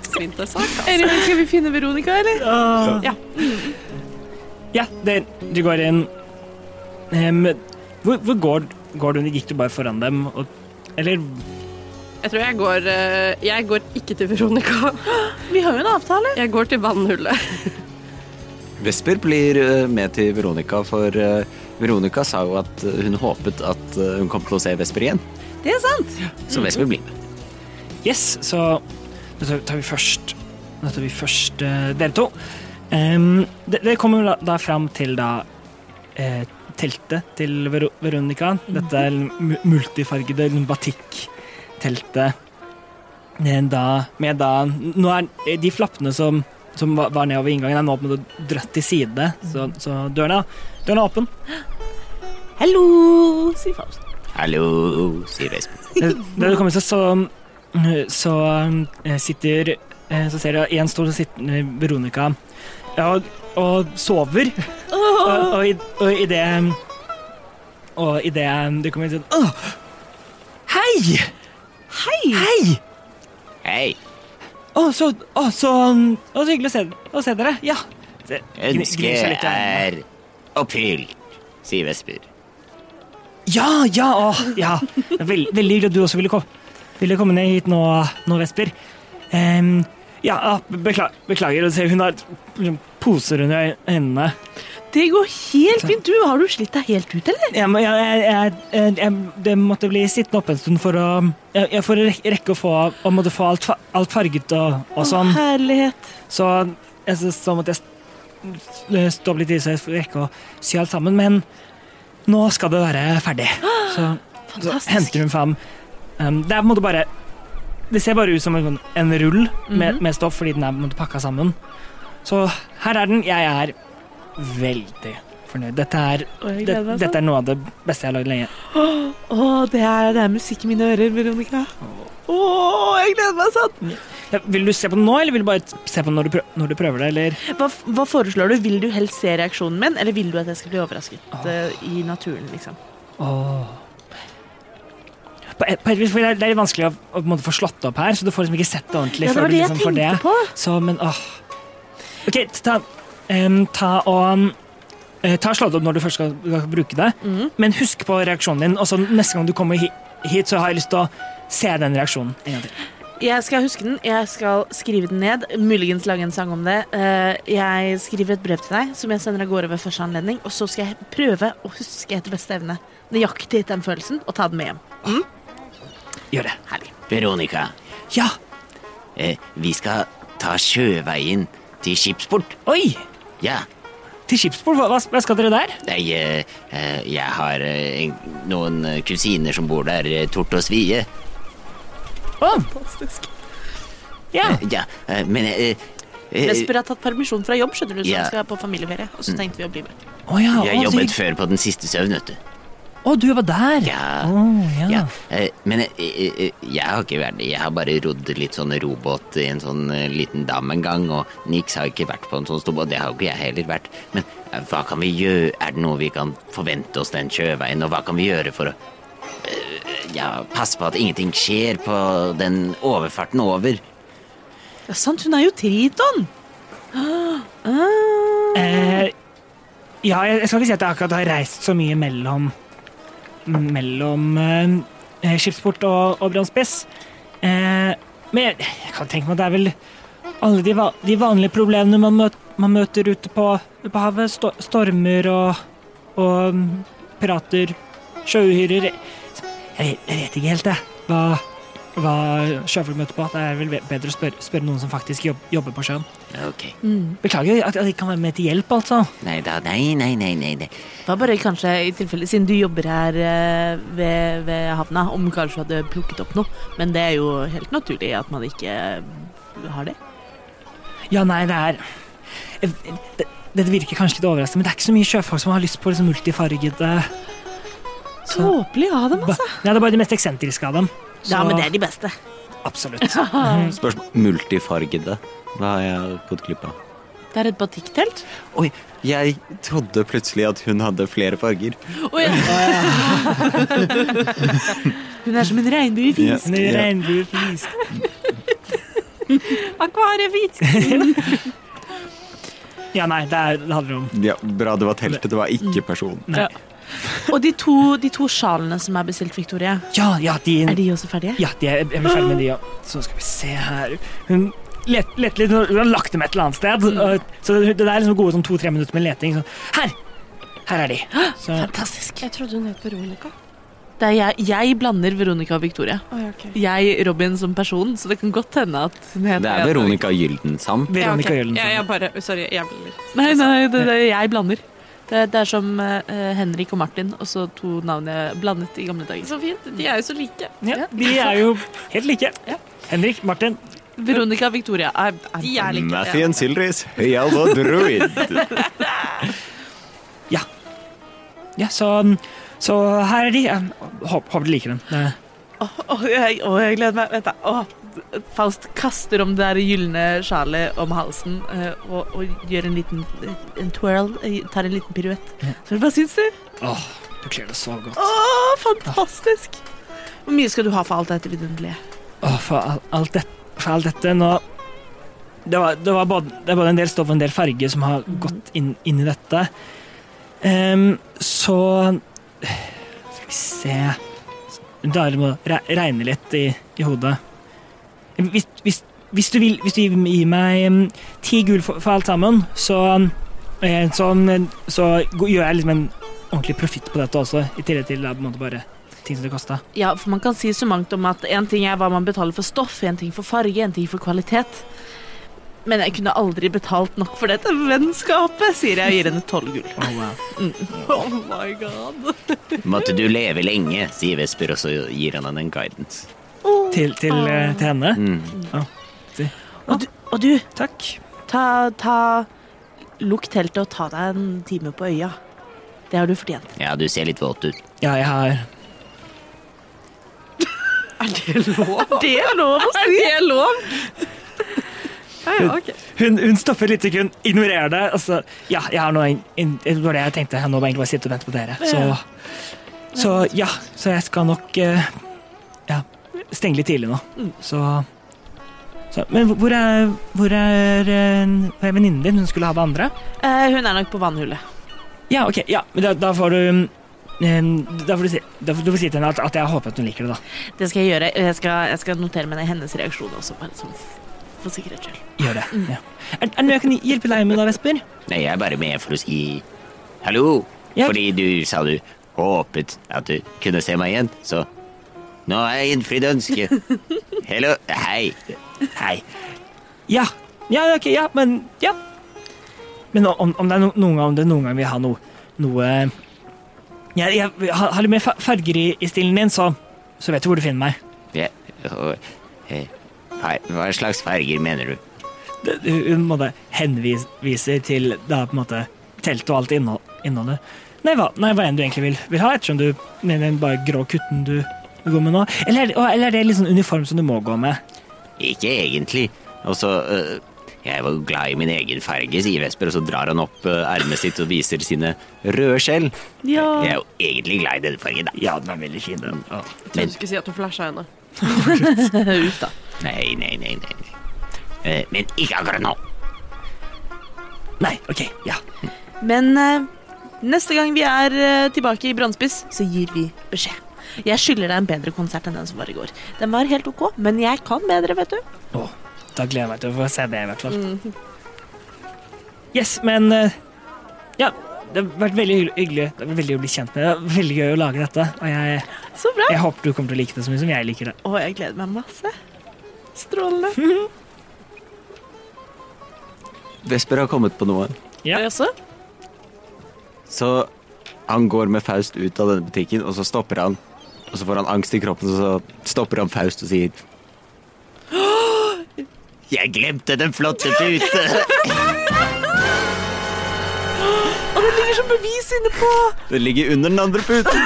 Svint og sarkasme. Anyway, skal vi finne Veronica, eller? Ja. Ja, det, du går inn Em, Hvor, hvor går, går du? Gikk du bare foran dem? Og, eller Jeg tror jeg går eh, Jeg går ikke til Veronica. Vi har jo en avtale. Jeg går til vannhullet. Vesper blir eh, med til Veronica, for eh, Veronica sa jo at eh, hun håpet at eh, hun kom til å se Vesper igjen. Det er sant. Så Vesper blir med. Yes, så Nå tar tar vi først Nå tar vi først eh, dere to. Em, det, det kommer da, da fram til da eh, teltet til Vero Veronica. Dette er mu- multifargede batikk-teltet. Eh, Da, med da Nå er eh, de flappene som, som var, var nedover inngangen, er nå på en måte dratt til side, så, så døren, er, døren er åpen. Hallo, sier Faust. Hallo, sier Vesper. Eh, Da du kommer så, så, så eh, sitter eh, Så ser jeg en stor sittende Veronica ja, og, og sover. Og, og, i, og i det Og i det du kommer inn sånn Åh! Hei! Hei! Hei. Å, så, å, så, å, så hyggelig å se, å se dere. Ja. Det- gni- gnir seg litt i Ønsket øynene. er oppfylt, sier Vesper. Ja, ja, å, ja. Vel- veldig hyggelig at du også ville komme, ville komme ned hit nå, nå Vesper. Em, ja, ah, bekla beklager. å se, Hun har liksom poser under øynene. Det går helt fint. Du, har du slitt deg helt ut, eller? Jeg, må- jeg, jeg, jeg, jeg, det måtte bli sittende oppe en stund for å jeg, jeg For å rek- rekke å få, å måtte få alt, fa- alt farget og, og sånn. Herlighet. Så, jeg, så, så måtte jeg st- stå opp litt i så jeg skulle rekke å sy alt sammen. Men nå skal det være ferdig. Så, så henter hun fram um, Det er på en måte bare Det ser bare ut som en, sånn- en rull med, Mhm. med stoff, fordi den er på en måte pakka sammen. Så her er den. Jeg er veldig fornøyd. Dette er, Å, jeg det, gleder meg sånn. dette er noe av det beste jeg har lagd lenge. Å, det er, det er musikk i mine ører, Veronica. Å, jeg gleder meg sånn! Ja, vil du se på den nå, eller vil du bare se på den når du, prø når du prøver det? Eller? Hva, hva foreslår du? Vil du helst se reaksjonen min, eller vil du at jeg skal bli overrasket eh, i naturen, liksom? På et, på et vis, for det, er, det er litt vanskelig å, å på en måte få slått opp her, så du får liksom ikke sett det ordentlig. Ja, det før var du det jeg liksom får tenkte det. på. Så, men åh. Ok, ta, em, ta og eh, Ta slå det opp når du først skal, skal bruke det, Mm. men husk på reaksjonen din. Og så neste gang du kommer hi- hit, så har jeg lyst til å se den reaksjonen en gang til. Jeg skal huske den, jeg skal skrive den ned, muligens lage en sang om det. Eh, Jeg skriver et brev til deg som jeg sender av gårde ved første anledning, og så skal jeg prøve å huske etter beste evne nøyaktig den følelsen og ta den med hjem. Gjør det. Veronica, Ja! eh, vi skal ta sjøveien til Skipsport. Oi! Ja, Til Skipsbord, hva, hva- hva skal dere der? jeg, eh, eh, jeg har eh, en- noen eh, kusiner som bor der, eh, Tort og Svie. Ja. Eh, Ja, eh, men eh, eh, Vesper har tatt permisjon fra jobb, skjønner du, så Ja. han skal på familieferie. Og så tenkte vi å bli med. Å ja. Jeg Å, så jobbet hygg- før på Den siste søvn, vet du. Å, du var der. Ja. Å, Ja, ja. eh, men eh, eh, eh, jeg har ikke vært Jeg har bare rodd litt sånn robåt i en sånn eh, liten dam en gang, og Nix har ikke vært på en sånn stor båt. Det har jo ikke jeg heller vært. Men eh, hva kan vi gjøre? Er det noe vi kan forvente oss den sjøveien, og hva kan vi gjøre for å eh, ja, passe på at ingenting skjer på den overfarten over? Ja, sant, hun er jo Triton! Ah, Eh, ja, jeg, jeg skal ikke si at jeg akkurat har reist så mye mellom mellom eh, skipsport og, og Brønnspiss. Eh, men jeg, jeg kan tenke meg at det er vel alle de, va- de vanlige problemene man, møt, man møter ute på, på havet. Sto, stormer og, og mm, pirater, sjøuhyrer jeg, jeg, vet- jeg vet ikke helt, jeg. Hva, hva sjøfolk møter på. Det er vel bedre å spørre, spørre noen som faktisk jobb, jobber på sjøen. Ok. Beklager at jeg ikke kan være med til hjelp, altså. Nei da, nei, nei, nei, nei. nei. Hva bare kanskje, i tilfelle, siden du jobber her eh, ved, ved havna, om kanskje du hadde plukket opp noe. Men det er jo helt naturlig at man ikke har det. Ja, nei, det er det, Dette virker kanskje litt overraskende, men det er ikke så mye sjøfolk som har lyst på liksom multifargede Tåpelig av dem, ba- Nei, det er bare de mest eksentriske av dem. Ja, men det er de beste. Absolutt. Spørsmål Multifargede. Hva har jeg gått glipp av? Det er et batiktelt. Oi, jeg trodde plutselig at hun hadde flere farger. Hun er som en regnbue i Ja. fis. Nå Ja. regner du fisk. Akvariefis! Ja, nei, det, er, det handler om Ja, bra det var teltet, det var ikke personen. Og de to, de to sjalene som er bestilt, Victoria, Ja, ja, de, er de også ferdige? ja, de er, jeg blir ferdig med de, ja. Så skal vi se her Hun lette let litt, hun har lagt dem et eller annet sted. Mm. og- Så det, det er liksom gode sånn to-tre minutter med leting. Sånn, her! Her er de. Så, Fantastisk. Jeg trodde hun het Veronica. Det er jeg, jeg blander Veronica og Victoria. Å, ja, ok. Jeg Robin som person, så det kan godt hende at hun heter Det er Veronica Gyldensand. Veronica Ja, ok. Jøllen. Ja, jeg bare Sorry, jeg blir Nei, nei, det, det, jeg blander. Det, det er som eh, Henrik og Martin, og så to navn jeg blandet i gamle dager. Så fint. De er jo så like. Ja, de er jo helt like. Henrik, Martin, Veronica og Victoria er, er De er like. Mathien Silris, høyal og druid. Ja, så, så her er de. Jeg håper, håper de liker den. Det- Åh, jeg, åh, jeg gleder meg. Vent, da. Åh, Faust kaster om det der gylne sjalet om halsen eh, og, og gjør en liten en twirl. eh, Tar en liten piruett. Så hva syns du? Åh, du kler det så godt. Åh, fantastisk! Hvor mye skal du ha for alt dette vidunderlige? Åh, for, all, alt det, for alt dette nå det, var, det, var både, det er både en del stoff og en del farge som har gått inn, inn i dette. Ehm, så Skal vi se Dale må re, regne litt i, i hodet. Hvis, hvis, hvis du vil hvis du gir gir meg ehm, ti gull for, for alt sammen, så Eh, Sånn, så go- gjør jeg liksom en ordentlig profitt på dette også, i tillegg til da, på en måte bare ting som det kosta. Ja, for man kan si så mangt om at en ting er hva man betaler for stoff, en ting for farge, en ting for kvalitet. Men jeg kunne aldri betalt nok for dette vennskapet, sier jeg og gir henne tolv gull. Oh my god. Måtte du leve lenge, sier Vesper, og så gir han henne en guidance. Til, til, eh, til henne. Mm. Og du, og du Takk. ta, ta Lukk teltet og ta deg en time på øya. Det har du fortjent. Ja, du ser litt våt ut. Ja, jeg har Det er lov å si! Det er lov! Ja, ja, ok. Hun, hun stopper et lite sekund, ignorerer det. og så, ja, jeg har nå en, en, det var det jeg tenkte. Jeg nå må egentlig bare sitte og vente på dere. Så, så ja, så jeg skal nok eh, ja, stenge litt tidlig nå. Så, så Men hvor er, hvor er, eh, hvor er venninnen din? Hun skulle ha med andre? Eh, hun er nok på vannhullet. Ja, ok. Ja, men da, da får du eh, da får du, si, da får du får si til henne at, at jeg håper at hun liker det, da. Det skal jeg gjøre. Jeg skal, jeg skal notere meg ned hennes reaksjon også, bare sånn f- for sikkerhets skyld. Gjør det. Ja. Er, er det noe jeg kan hjelpe deg med da, Vesper? Nei, jeg er bare med for å si hallo. Ja. Fordi du sa du håpet at du kunne se meg igjen, så nå har jeg innfridd ønsket. Hello. Hei. Hei. Ja. Ja, ok, ja, men ja. Men om, om, det, er no, noen gang, om det noen gang vil ha noe, noe jeg, jeg har har litt mer fa- farger i, i stilen din, så, så vet du hvor du finner meg. Ja, og, eh, far- Hva slags farger mener du? Det- Hun måtte henviser til da, på en måte, teltet og alt innhold, innholdet. Nei hva, nei, hva enn du egentlig vil, vil ha, ettersom du mener den bare grå kutten du du går med nå. Eller, er det- og- eller er det litt sånn uniform som du må gå med? Ikke egentlig. Og så eh, Jeg var jo glad i min egen farge, sier Vesper, og så drar han opp eh, ermet sitt og viser sine røde skjell. Jeg er jo egentlig glad i denne fargen, da. Ja, den er veldig fin, den. Jeg trodde du skulle si at hun flasha henne. Nei, nei, nei, nei. nei. Eh, Men ikke akkurat nå. Nei, ok, ja. Men eh, neste gang vi er eh, tilbake i Brannspiss, så gir vi beskjed. Jeg skylder deg en bedre konsert enn den som var i går. Den var helt ok, men jeg kan bedre, vet du. Åh, da gleder jeg meg til å få se det, i hvert fall. Yes, men eh, Ja, det har vært veldig hyggelig- hyggelig. Det var veldig å bli kjent med deg. Det var Veldig gøy å lage dette. Og jeg, Så bra. jeg håper du kommer til å like det så mye som jeg liker det. Å, jeg gleder meg masse. Strålende. Vesper har kommet på noe. Ja. Jeg også. Så han går med Faust ut av denne butikken, og så stopper han. Og så får han angst i kroppen, og så stopper han Faust og sier Jeg glemte den flotte pute! Og det ligger som bevis inne på Det ligger under den andre puten!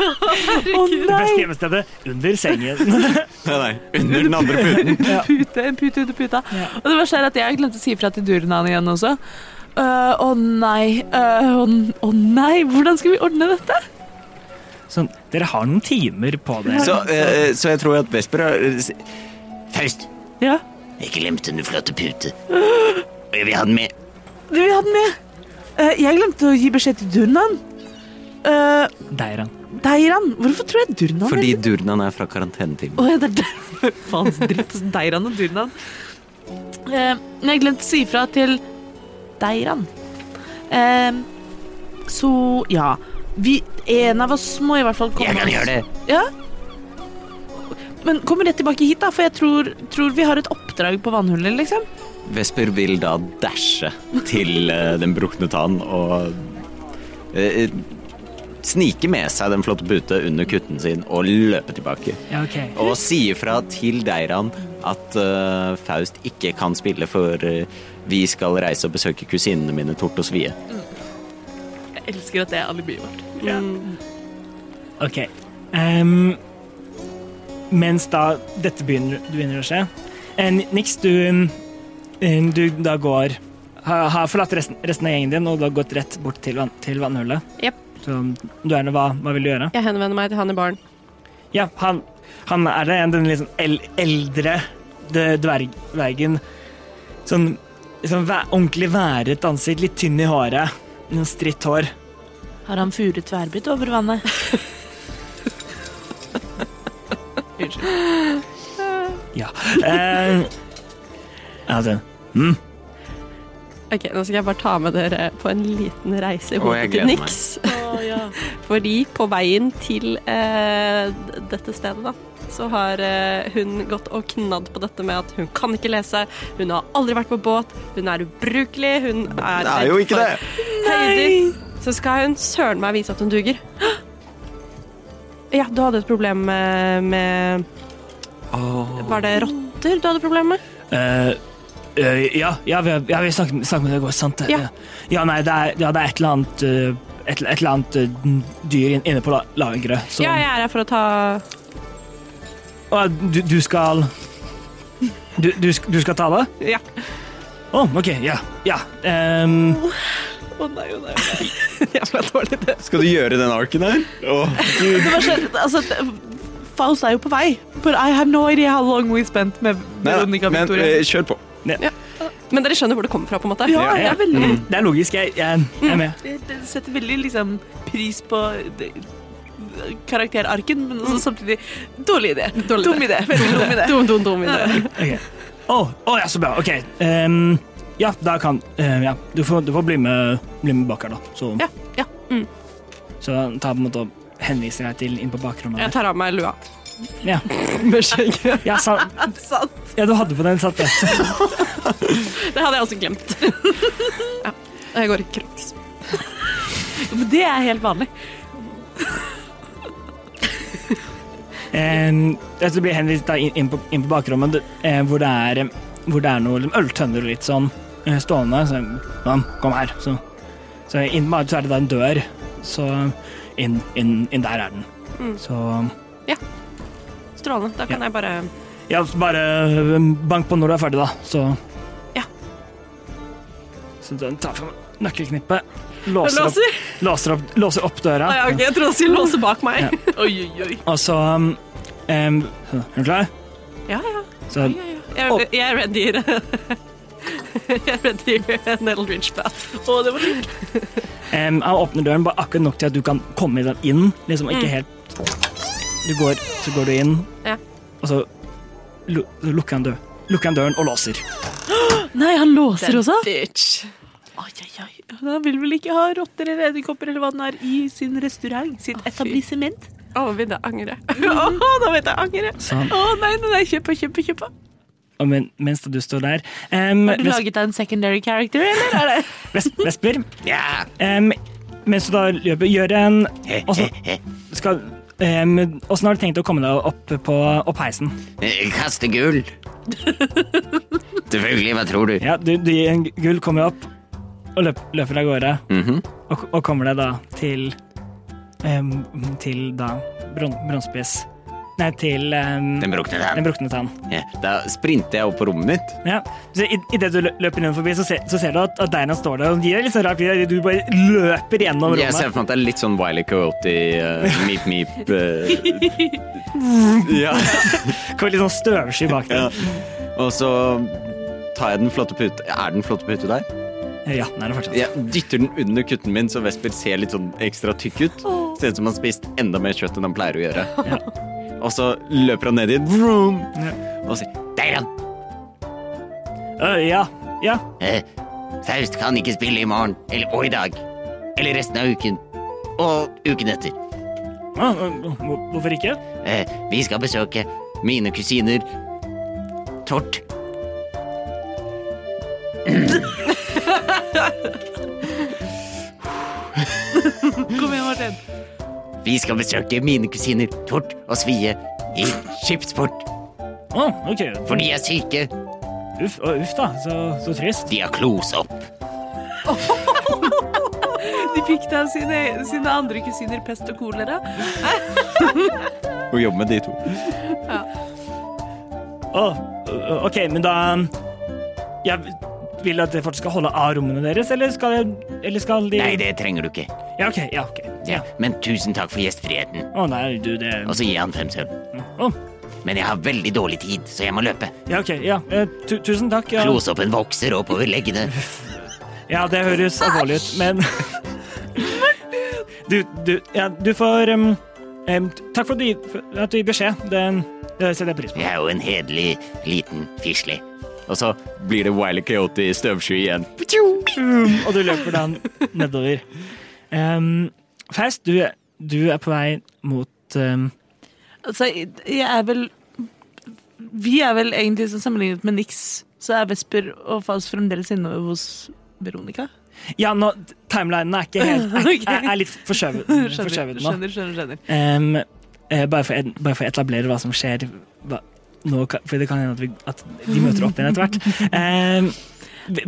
Å Beste nei! hjemmestedet under sengen. Nei, nei, under den andre puten. Pute, en pute under puta. Og det verste er at jeg glemte å si ifra til Durnan igjen også. Eh, Å nei. eh, Å å nei, hvordan skal vi ordne dette? Sånn, dere har noen timer på dere. Så, eh, så jeg tror at Vesper har Faust, Ja, jeg glemte den flotte pute. Og jeg vil ha den med. Du, vi hadde den med. Eh, jeg glemte å gi beskjed til Durnan. Uh, Deiran. Deiran. Hvorfor tror jeg Durnan Fordi er Durnan er fra karantenetiden. Å ja, det er derfor. Faens dritt. Deiran og Durnan. Eh, men jeg glemte å si ifra til Deiran. Eh, så ja. Vi, en av oss må i hvert fall komme Jeg kan oss- gjøre det. Ja. Men kom rett tilbake hit, da, for jeg tror, tror vi har et oppdrag på vannhullet, liksom. Vesper vil da dashe til eh, den brukne tann og eh, eh, snike med seg den flotte pute under kutten sin og løpe tilbake. Ja, ok. Og sier fra til Deiran at eh, Faust ikke kan spille, for eh, vi skal reise og besøke kusinene mine Tort og Svie. Jeg elsker at det er alibiet vårt. Ok. Ehm, mens da dette begynner, begynner å skje eh, Nix, du, eh, du da går Har har forlatt resten, resten av gjengen din og da gått rett bort til, vann, til vannhullet. Jep. Så du er nå hva, hva vil du gjøre? Jeg henvender meg til han i baren. Ja, han, han er det, den liksom el eldre d- dverg, dvergen. Sånn, sånn væ ordentlig været ansikt, litt tynn i håret. Noen stritt hår. Har han furet tverrbitt over vannet? Unnskyld. Ja. Eh, altså, mm. Ok, Nå skal jeg bare ta med dere på en liten reise i Å, hodet jeg til gleder meg. Nix. Fordi på veien til eh, d- dette stedet, da, så har eh, hun gått og knadd på dette med at hun kan ikke lese, hun har aldri vært på båt, hun er ubrukelig, hun er Det er jo ikke det! høyder. Så skal hun søren meg vise at hun duger. Ja, du hadde et problem med, med Var det rotter du hadde problem med? Eh, eh, ja, ja, vi, har- ja, vi snakket, snakket med deg i går, sant? det? Ja. ja, nei, det er, ja, det er et eller annet eh, et, et eller annet eh, dyr inn- inne på la- lageret som Ja, jeg er her for å ta Å, du, du skal du, du, sk- du skal ta det? Ja. Å, OK. Ja. ja. ehm, Jævla dårlig det. Skal du gjøre den arken her? Åh, Gud. Det var så, altså, Faust er jo på vei. But I have no idea how long we spent med Nei, da, Veronica men Victoria. eh, kjør på. Men dere skjønner hvor det kommer fra, på en måte? ja, jeg er veldig, mm, det er logisk. Jeg, jeg, jeg er med. jeg setter veldig liksom, pris på det, karakterarken, men også samtidig Mm. dårlig idé. Dum idé. Veldig dum idé. Dum, dum, dum idé. Ok. Å, å, ja, så bra. OK. ehm, ja, da kan ehm, Ja, du får, du får bli med, bli med bak her, da. Så, Ja, ja, mm. så han tar på en måte og henviser deg til inn på bakrommet. Jeg tar av meg lua. Ja. Med skjegget. der. Ja, sa, ja, du hadde på den, satt det. Det hadde jeg også glemt. Ja. Jeg går i crocs. Men det er helt vanlig. Um, altså, du blir henvist da inn, inn, på, inn på bakrommet, det- eh, hvor, det er, eh, hvor det er noen øltønner og litt sånn eh, stående. Så, «Kom, kom her. Så, så inn på så er det da en dør. Så inn, inn, inn der er den. Mm. Så Strålende. Da kan jeg bare ja, så bare eh, bank på når du er ferdig, da. Så Ja. Så den tar fram nøkkelknippet, låser opp, låser, opp, låser opp døra. Ah, ja, ok, Jeg trodde du skulle låse bak meg. Oi, oi, oi. Og så um, em, så, Er du klar? Ja, ja. Så Jeg, jeg er ready. Jeg er ready en Eldridge Bath. Å, det var litt Em, han åpner døren bare akkurat nok til at du kan komme deg inn. Liksom ikke helt Du går, så går du inn, Mm. Ja. og så, lu så lukker han døren. Lukker han døren og låser. Nei, han låser også. Bitch. Ai, ai, ai. Han vil vel ikke ha rotter eller edderkopper eller hva den er i sin restaurant, sitt Å, fy. etablissement. Å, vil jeg angre. Å, da vet jeg angre. Så han, Å, nei, nei, nei, kjøp på, kjøp på, kjøp på. og men, mens du står der em, Har du Ves- laget deg en secondary character, eller? Er det? ves Vesper, Ja. em, mens du da løper, gjør en He, Og så he, he. skal em, Åssen har du tenkt å komme deg opp på opp heisen? Eh, Kaste gull. Selvfølgelig. Hva tror du? Ja, du, du gir en gull, kommer opp og løp, løper av gårde. Mhm. og, og kommer deg da til em, Til da bron bronsespiss. Nei, til em, Den brukne den tann. brukne tann. Ja. Da sprinter jeg opp på rommet mitt. Ja. Så i- Idet du lø- løper inn forbi, så ser, så ser du at, at Deinan står der og gir deg litt sånn rart blikk. Du bare løper gjennom Jeg ser rommet. for meg at det er litt sånn Wiley Coyote, eh, Meep Meep eh. Ja. Kommer litt sånn støvsky bak ja. deg. Og så tar jeg den flotte pute Er den flotte pute der? Ja, den er det fortsatt. Jeg dytter den under kutten min, så Vesper ser litt sånn ekstra tykk ut. Ser ut som han har spist enda mer kjøtt enn han pleier å gjøre. Ja. Og så løper han ned i vroom, og sier Deiran, Øh, ja. ja. eh, Faust kan ikke spille i morgen, eller, og i dag, eller resten av uken, og uken etter. Ah, øh, hvor- hvorfor ikke? Eh, vi skal besøke mine kusiner Tort. Kom igjen, Martin. Vi skal besøke mine kusiner Tort og Svie i skipsport. Å, ok. For de er syke. Uff, å, uff da. Så, så trist. De har klosopp. De fikk det av sine, sine andre kusiner pest og kolera. og jobbe med de to. Å, øh, ok, men da Jeg vil at folk skal holde av rommene deres, eller skal, eller skal de Nei, det trenger du ikke. Ja, ok. Ja, ok. Ja. Men tusen takk for gjestfriheten. Å nei, du, det Og så gir jeg han fem sølv. Å, Men jeg har veldig dårlig tid, så jeg må løpe. ja, ok. Ja. Eh, tu tusen takk. Ja. Klosoppen vokser oppover leggene. ja, det høres alvorlig ut, men Du, du, ja, du får em, em, Takk for at du, gi- for at du gir beskjed. Det, det setter jeg pris på. Jeg er jo en hederlig liten fisle. Og så blir det Wiley Coyote i støvsky igjen. og du løper da nedover. Um, Faust, du, du er på vei mot um, Altså, jeg er vel Vi er vel egentlig sånn sammenlignet med Nix, så er Vesper og Faust fremdeles inne hos Veronica. Ja, nå, timelinen er ikke helt er, er, er litt forskjøvet Mm, Skjønner, forskjøvet nå. skjønner, skjønner. skjønner. Um, eh, bare, for, bare for å etablere hva som skjer hva, nå, ka- for det kan hende at, vi, at de møter opp igjen etter hvert. Um,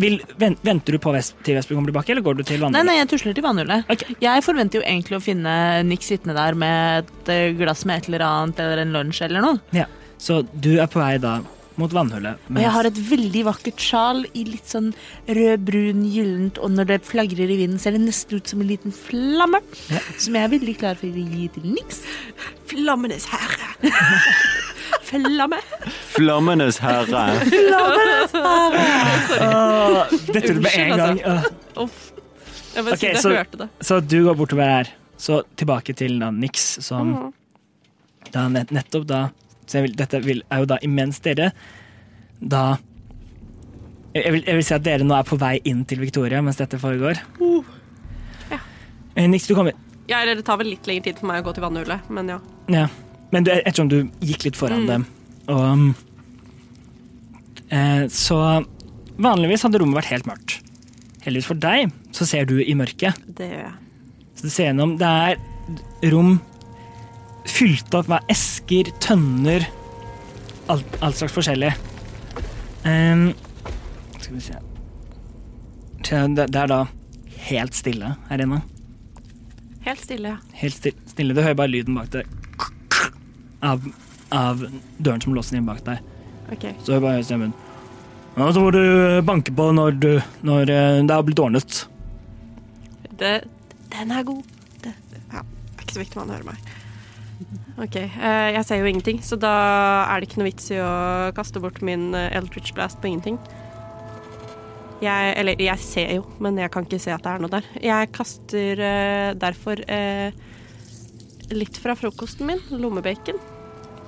vil, ven- venter du på Ves- til Vesper kommer tilbake, eller går du til Nei, vandringen? nei, jeg tusler til vannhullet. Ok. Jeg forventer jo egentlig å finne Nix sittende der med et eh, glass med et eller annet, eller en lunsj eller noe. Så du er på vei da mot vannhullet. Og jeg mens- har et veldig vakkert sjal i litt sånn rød, brun, gyllent, og når det flagrer i vinden, ser det nesten ut som en liten flamme. Som jeg er veldig klar for å gi til Nix. Flammenes herre. Flamme. Flammenes herre. Åh, Dette gjorde du med en gang. altså. Åh. Uff. Jeg bare Ok, sier jeg så- hørte det. Så du går bortover her. Så tilbake til da Nix, som da nett, nettopp da så jeg vil, Dette vil, er jo da imens dere da jeg jeg vil, jeg vil si at dere nå er på vei inn til Victoria mens dette foregår. Uh. Eh, Nix, du kommer Ja, eller det tar vel litt lengre tid for meg å gå til vannhullet, men ja. Ja. Men du, ettersom du gikk litt Mm. foran dem, og um, eh, Så vanligvis hadde rommet vært helt mørkt. Heldigvis for deg, så ser du i mørket. Det gjør jeg. Så du ser gjennom, det er rom fylt opp med esker, tønner, alt, alt slags forskjellig. Ehm, skal vi se Så det, det er da helt stille her inne. Helt stille, ja. Helt sti- stille. Du hører bare lyden bak deg. Av, av døren som låser inn bak deg. Ok. Så hører bare stemmen. Ja, så må du banke på når, du, når eh, det har blitt ordnet. Det, den er god. Det, ja, det er ikke så viktig om han hører meg. Ok, eh, jeg ser jo ingenting, så da er det ikke noe vits i å kaste bort min eh, Eldritch Blast på ingenting. Jeg, eller, jeg ser jo, men jeg kan ikke se at det er noe der. Jeg kaster eh, derfor eh, litt fra frokosten min, lommebacon,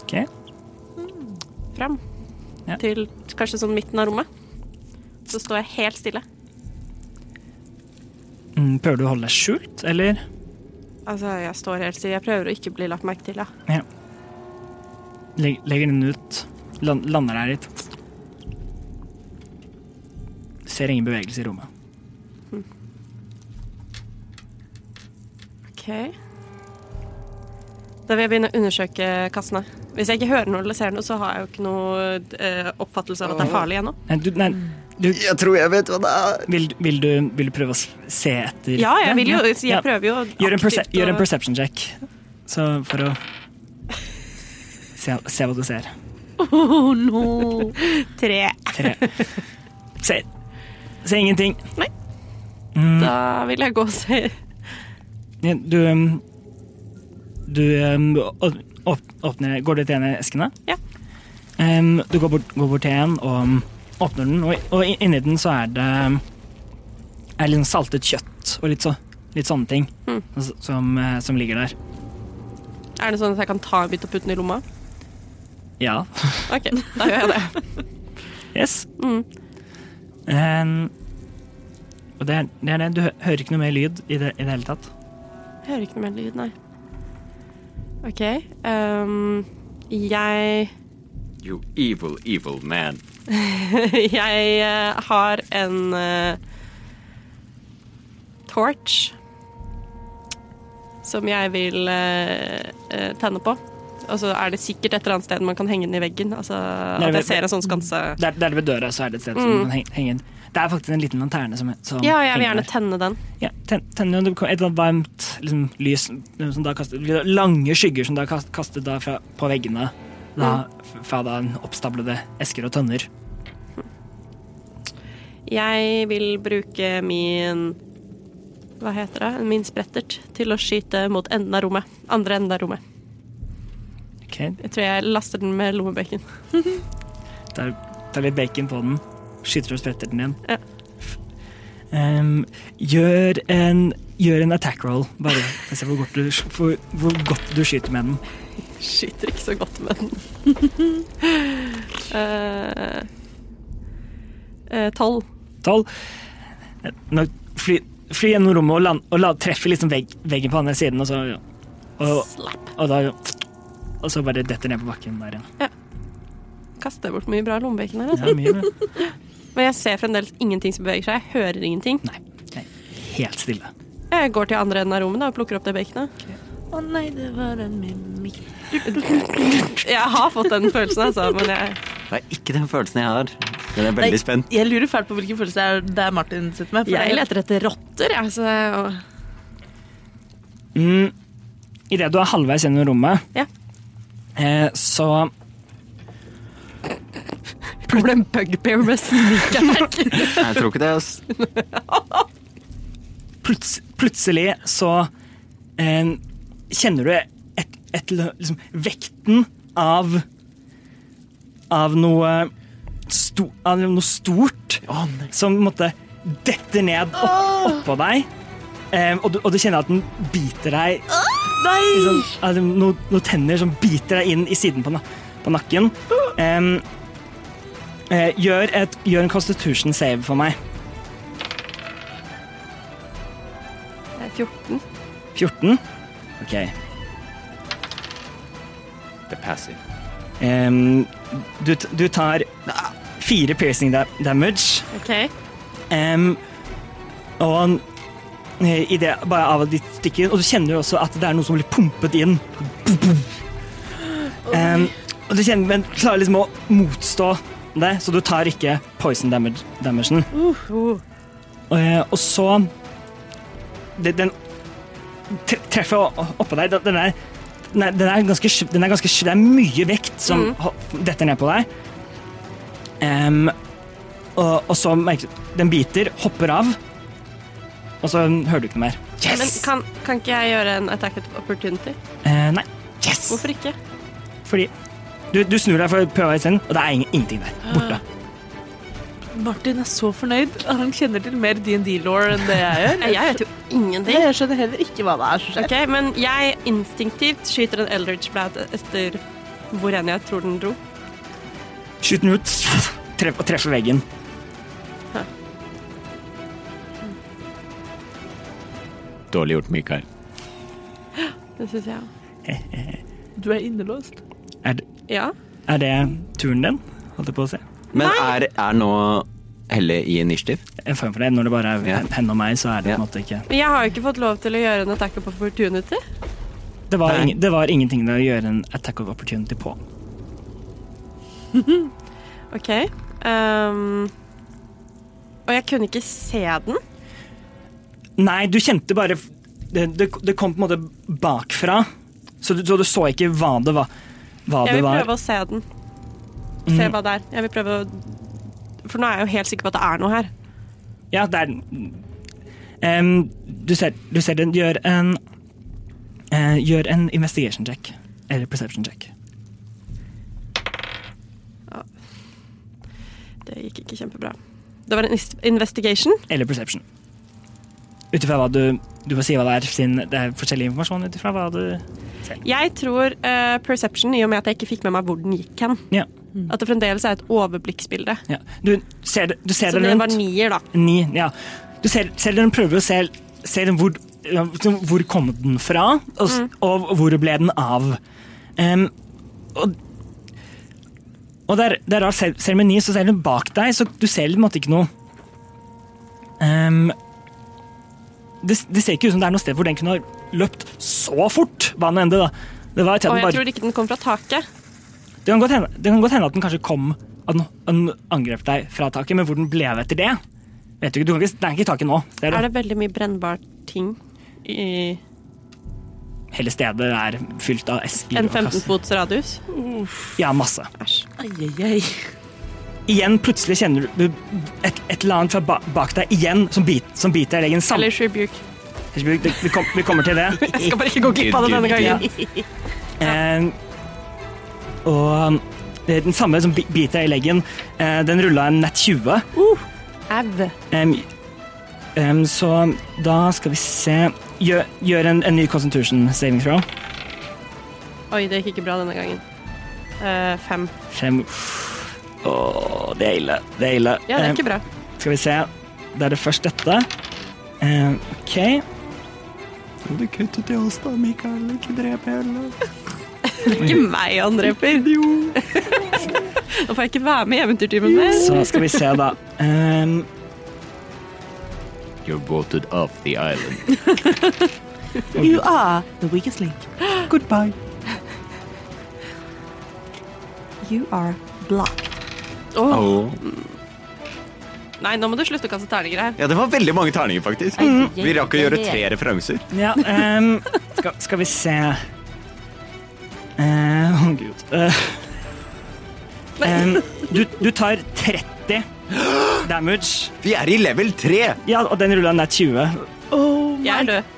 Ok. fram. Ja. Til kanskje sånn midten av rommet. Så står jeg helt stille. Mm, Prøver du å holde deg skjult, eller? Altså, jeg står helt stille. Jeg prøver å ikke bli lagt merke til, ja. Leg- Legger den ut. Land, lander der litt. Ser ingen bevegelse i rommet. Ok. Da vil jeg begynne å undersøke kassene. Hvis jeg ikke hører noe eller ser noe, så har jeg jo ikke noe eh, oppfattelse av at det er farlig ennå. Nei, du, nei, du, Jeg tror jeg vet hva det er. vil, vil, du, vil du prøve å s- se etter Ja, jeg vil jo Ja. Jeg prøver jo Gjør en, perse aktivt gjør en å- perception check, så for å se, se hva du ser. Oh, Tre. Tre. Se, se ingenting. Nei. Mm, Da vil jeg gå og se. ja, du um, Du um, å- åp- åpner Går du til en av eskene? Ja. Um, du går bort, går bort til en og um, åpner den, og, og in- inni den så er det um, er litt sånn saltet kjøtt og litt, så, litt sånne ting Mm. s- som, eh, som ligger der. Er det sånn at jeg kan ta en bit og putte den i lomma? Ja. OK, da gjør jeg det. Yes. Mm. Um, og det er, det er det. Du hø- hører ikke noe mer lyd i det, i det hele tatt. Jeg hører ikke noe mer lyd, nei. OK. ehm, jeg You evil, evil man. Jeg eh, har en eh, torch som jeg vil eh, eh, tenne på. Og så er det sikkert et eller annet sted man kan henge den i veggen. Altså, Nei, at men- jeg ser en sånn skanse. Der, der ved døra så er det et sted som Mm. man heng- henger Det er faktisk en liten lanterne som, som Ja, jeg vil henger gjerne der. tenne den. Ja, ten, tenner, det kom- et eller annet varmt liksom, lys noe som da kastet, Lange skygger som da er kast- kastet da fra, på veggene. Da, Fra da en oppstablede esker og tønner. Jeg vil bruke min Hva heter det? Min sprettert til å skyte mot enden av rommet. Andre enden av rommet. Ok, Jeg tror jeg laster den med lommebenken. tar, tar litt bacon på den, skyter og spretter den igjen. Ja. Ehm, gjør, en, gjør en attack roll, bare for å se hvor godt, du, hvor, hvor godt du skyter med den. Skyter ikke så godt med den. Eh, Eh, tolv. tolv. Nå fly, fly gjennom rommet og, land, og la, treffer liksom vegg, veggen på andre siden, og så og, og, da, og så bare detter ned på bakken der igjen. Kaster bort mye bra lommebacon her. Altså. Ja, mye bra. Men jeg ser fremdeles ingenting som beveger seg. Jeg hører ingenting. Nei, nei, helt stille. Jeg går til andre enden av rommet da, og plukker opp det baconet. Å nei, det var en mimikk. Jeg har fått den følelsen, altså. Men jeg, Det er ikke den følelsen jeg har. Den er veldig spent. Jeg lurer fælt på hvilken følelse det er, det er Martin sitter med. for det jeg er- leter etter rotter, jeg. altså? Så, og Mm, Idet du er halvveis gjennom rommet, Ja. eh, så kommer det en bugbear med sneakermerk. Nei, Jeg tror ikke det, ass. pluts, plutselig så eh, kjenner du et, et, lø- liksom, vekten av av noe, sto, av noe stort som på en måte detter ned opp, oppå deg. Eh, og, du, og du kjenner at den biter deg liksom, at det- noe- Noen tenner som biter deg inn i siden på, na, på nakken. Em, eh, gjør, et, gjør en constitution save for meg. 14. 14. OK. Det passer. Ehm, du, t- du tar ah, fire piercing da damage. Ok. ehm, og han- eh, i det bare av at de stikker, og du kjenner jo også at det er noe som blir pumpet inn. Ehm, og du kjenner, men klarer liksom å motstå det, så du tar ikke poison damage, damagen. Og, eh, og så det, Den tre- treffer o- oppå deg. Den- Den er, den er, den er ganske, sv- den er ganske sv- Det er mye vekt som ho- detter ned på deg. Em, og, og så merker du Den biter, hopper av, og så hører du ikke noe mer. Men kan, kan ikke jeg gjøre en attack of opportunity? Eh, nei. Yes! Hvorfor ikke? Fordi du, du snur deg for å prøve isteden, og det er ingen, ingenting der. Ah. Borte. Martin er så fornøyd. Han kjenner til mer D&D-law enn det jeg gjør. Nei, Jeg vet jo ingenting. Jeg skjønner heller ikke hva det er. Ok, Men jeg instinktivt skyter en eldridge blad etter hvor enn jeg tror den dro. Skyt den ut treff, og treffer veggen. Dårlig gjort, Mikael. Det synes jeg. Du er innelåst. Er, det- Ja. er det turen din? Holdt jeg på å si. Men er, er nå Helle i initiativ? En form for det. Når det bare er Ja. henne og meg, så er det Ja. på en måte ikke Men jeg har jo ikke fått lov til å gjøre en attack of opportunity. Det var, Nei. ingen, det var ingenting der å gjøre en attack of opportunity på. Ok. ehm, og jeg kunne ikke se den. Nei, du kjente bare Det, det, det kom på en måte bakfra, så du så, du så ikke hva det var. Hva det Mm. Jeg vil var. prøve å se den. Se hva det er. Jeg vil prøve å For nå er jeg jo helt sikker på at det er noe her. Ja, det er Em, Du ser, du ser den gjør en eh, Gjør en investigation check. Eller perception check. Det gikk ikke kjempebra. Det var en is- investigation. Eller perception. Ut ifra hva du Du må si hva det er, siden det er forskjellig informasjon ut ifra hva du Jeg tror eh, perception, i og med at jeg ikke fikk med meg hvor den gikk hen. Ja. At det fremdeles er et overblikksbilde. ja. Du ser det, du ser Så det det rundt. var nier, da. Ni, ja. Du ser, ser den prøver å se, se den hvor, hvor kom den fra, og, Mm. s- og hvor ble den av. Em, og og det er- det er rart, selv, selv med ni så ser den bak deg, så du ser på en måte ikke noe Em, det, det ser ikke ut som det er noe sted hvor den kunne ha løpt så fort, hva den endte, da. Det, var til at den Og jeg bare, tror ikke den kom fra taket. det, kan godt hende, det kan godt hende at den kanskje kom At den, at den angrep deg fra taket, men hvor den ble av etter det Vet du ikke, du kan ikke, Den er ikke i taket nå. Det Er det veldig mye brennbart ting i Hele stedet er fylt av esker en og kasser. 15 fots radius? Ja, masse. Æsj. Igjen plutselig kjenner du et, et eller annet fra ba bak deg igjen som, bit, som biter deg i leggen. Sam- Eller rebuke. Vi, vi, kom, vi kommer til det. Jeg skal bare ikke gå glipp av det denne gangen. Eh, og det er den samme som bi- biter deg i leggen, eh, den rulla en nett 20. Au. Em, em, så da skal vi se Gjør, gjør en, en ny Constitution saving throw. Oi, det gikk ikke bra denne gangen. Eh, fem. Fem. Åh, det er ille. Det er ille. Ja, det er ikke bra. Eh, skal vi se. Da er det først dette. Eh, OK. Skal du kutte til oss da, Mikael? Ikke drep heller. Ikke meg han dreper. Da får jeg ikke være med i eventyrtimen mer. Så skal vi se, da. Eh, You're voted off the island. You Ah, are the weakest link. Goodbye. You are blocked. Nei, nå må du slutte å kaste terninger her. Ja, det var veldig mange terninger, faktisk. Vi rakk å gjøre tre referanser. Ja, ehm, skal, skal vi se Eh, Å, gud. Eh, ehm, du, du tar 30 damage. Vi er i level 3! Ja, og den rulla er 20. Jeg er død.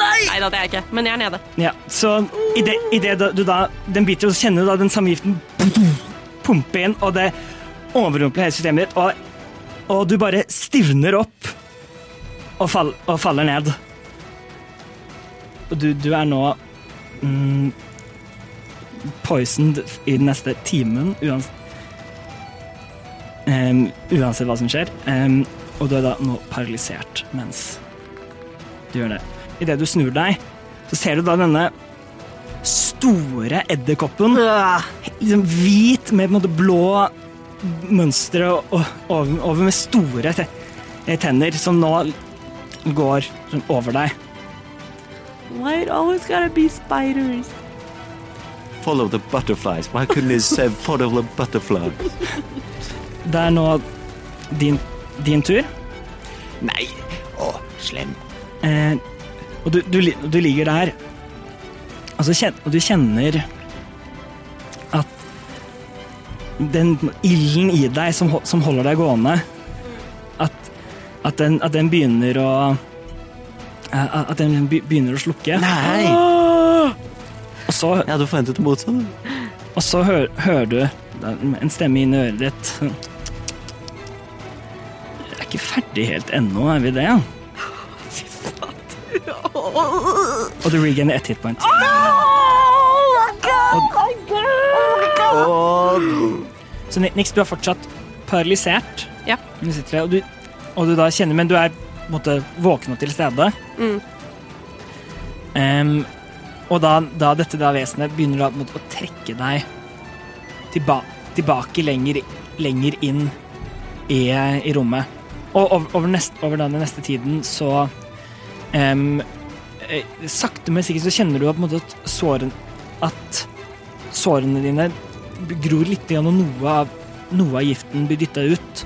Nei da, det er jeg ikke. Men jeg er nede. Ja, så i det, i det da- du da Den biter jo, så kjenner du da den samme giften pumpe inn, og det overrumpler hele systemet ditt, og, og du bare stivner opp og, fall, og faller ned. Og du, du er nå mm, poisoned i den neste timen, uans Em, uansett hva som skjer. Em, og du er da nå paralysert mens du gjør det. Idet du snur deg, så ser du da denne store edderkoppen. Liksom hvit med på en måte blå mønstre og- og- over, over med store te- eh, tenner, som nå går sånn over deg. Why it always gotta be spiders? Follow the butterflies. Why couldn't they say follow the butterfly? Det er nå din, din tur. Nei! Å, slem. Eh, og du, du, li- du ligger der, og, så kjen, og du kjenner at den ilden i deg som, ho- som holder deg gående, at, at, den, at den begynner å eh, At den be- begynner å slukke. Nei! Og så, Jeg hadde forventet det motsatte. og så hø- hører du en stemme inn i øret ditt. Vi er ikke ferdig helt ennå, er vi det? Og du regainer ett hitpoint. Så Ni- Nix, du er fortsatt paralysert. Ja. Du sitter der, og, du, og du da kjenner, men du er på en måte våken og til stede. Mm. Em, og da, da dette da vesenet begynner da, på en måte, å trekke deg tilba tilbake lenger, lenger inn i, i rommet. Og over, over, nest, over da, den neste tiden så em, eh, Sakte, men sikkert så kjenner du at, på en måte, at, såren, at sårene dine gror litt igjen, og noe av, noe av giften blir dytta ut.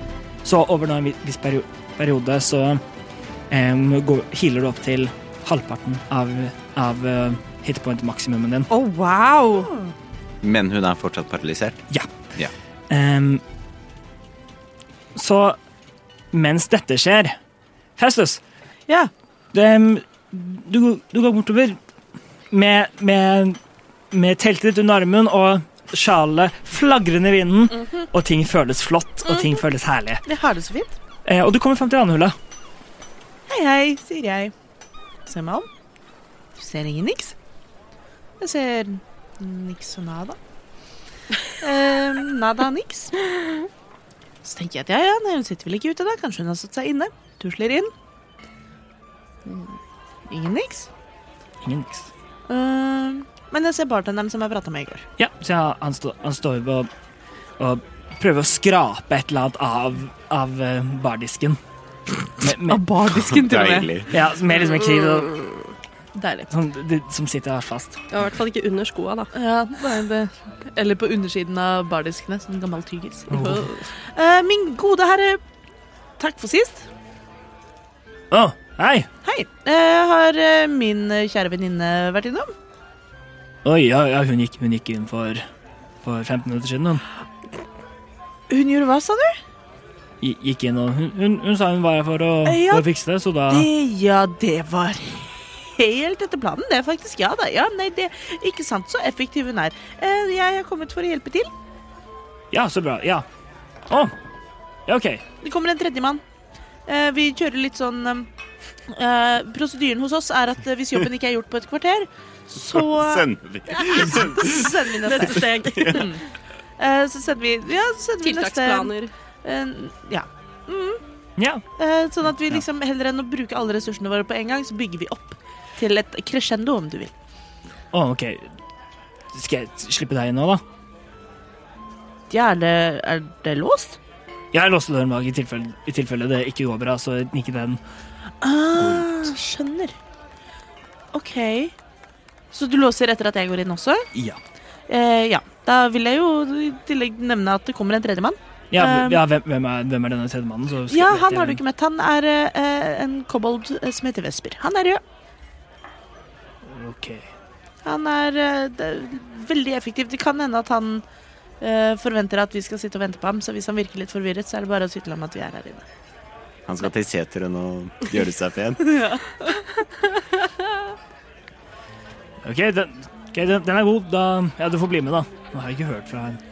Så over da en vi- viss perio- periode så em, går, healer du opp til halvparten av, av eh, hitpoint-maksimumen din. Oh, wow! Men hun er fortsatt paralysert. Em, så mens dette skjer Festus, Ja. dem- du, du går bortover med, med, med teltet ditt under armen og sjalet flagrende i vinden, og ting føles flott, og ting føles herlig. Jeg har det så fint. Eh, og du kommer frem til vannhullet. Hei, hei, sier jeg. Ser meg om. Ser ingen niks. Jeg ser niks og nada. Eh, nada niks. Så tenker jeg at ja, ja, nei, hun sitter vel ikke ute da. Kanskje hun har satt seg inne. Tusler inn. Mm, Ingen niks. Ingen niks. Eh, men jeg ser bartenderen som jeg prata med i går. Ja, så ja, han, stå, han står jo og, og prøver å skrape et eller annet av, av eh, bardisken. Med, med, bardisken, Deilig. ja, med liksom en kniv og, Deilig. sånn, det, som sitter hardt fast. Det var i hvert fall ikke under skoa, da. Ja, nei, det. Eller på undersiden av bardiskene, sånn gammel tyggis. Åh. Eh, min gode herre, takk for sist. Å, hei! Hei. Eh, har eh, min eh, kjære venninne vært innom? Oi, ja, ja hun, gikk, hun gikk inn for, for 15 minutter siden, hun. Hun gjorde hva, sa du? Gi- Gikk inn og hun, hun, hun sa hun var her for å, Eh, ja. for å fikse det, så da Det, ja, det var helt etter planen, det, faktisk. Ja da. Ja, nei, det Ikke sant, så effektiv hun er. Eh, jeg har kommet for å hjelpe til. Ja, så bra. Ja. Å. Ja, OK. Det kommer en tredjemann. Eh, vi kjører litt sånn eh, eh, Prosedyren hos oss er at eh, hvis jobben ikke er gjort på et kvarter, så Sender vi. sender vi neste. Neste steg. Eh, så setter vi, ja, så setter vi neste Tiltaksplaner. eh, Ja. Ja. Eh, sånn at vi liksom heller enn å bruke alle ressursene våre på en gang, så bygger vi opp til et crescendo, om du vil. Å, OK. Skal jeg slippe deg inn nå, da? Ja, er det, er det låst? Jeg låste døren bak i tilfelle, i tilfelle det ikke går bra, så nikket jeg den. Ah, skjønner. OK. Så du låser etter at jeg går inn også? Ja. Eh, ja. Da vil jeg jo i tillegg nevne at det kommer en tredjemann. Ja, Um, ja hvem, hvem, er, hvem er denne tredjemannen? så skal- Ja, vet han jeg har hvem. du ikke møtt. Han er eh, en kobold eh, som heter Vesper. Han er rød. Ok. Han er eh, det er veldig effektiv. Det kan hende at han eh, forventer at vi skal sitte og vente på ham, så hvis han virker litt forvirret, så er det bare å si til ham at vi er her inne. Han skal til seteren og gjøre seg pen. Ok, den, ok, den, den er god. Da, ja, du får bli med, da. Nå har jeg ikke hørt fra henne.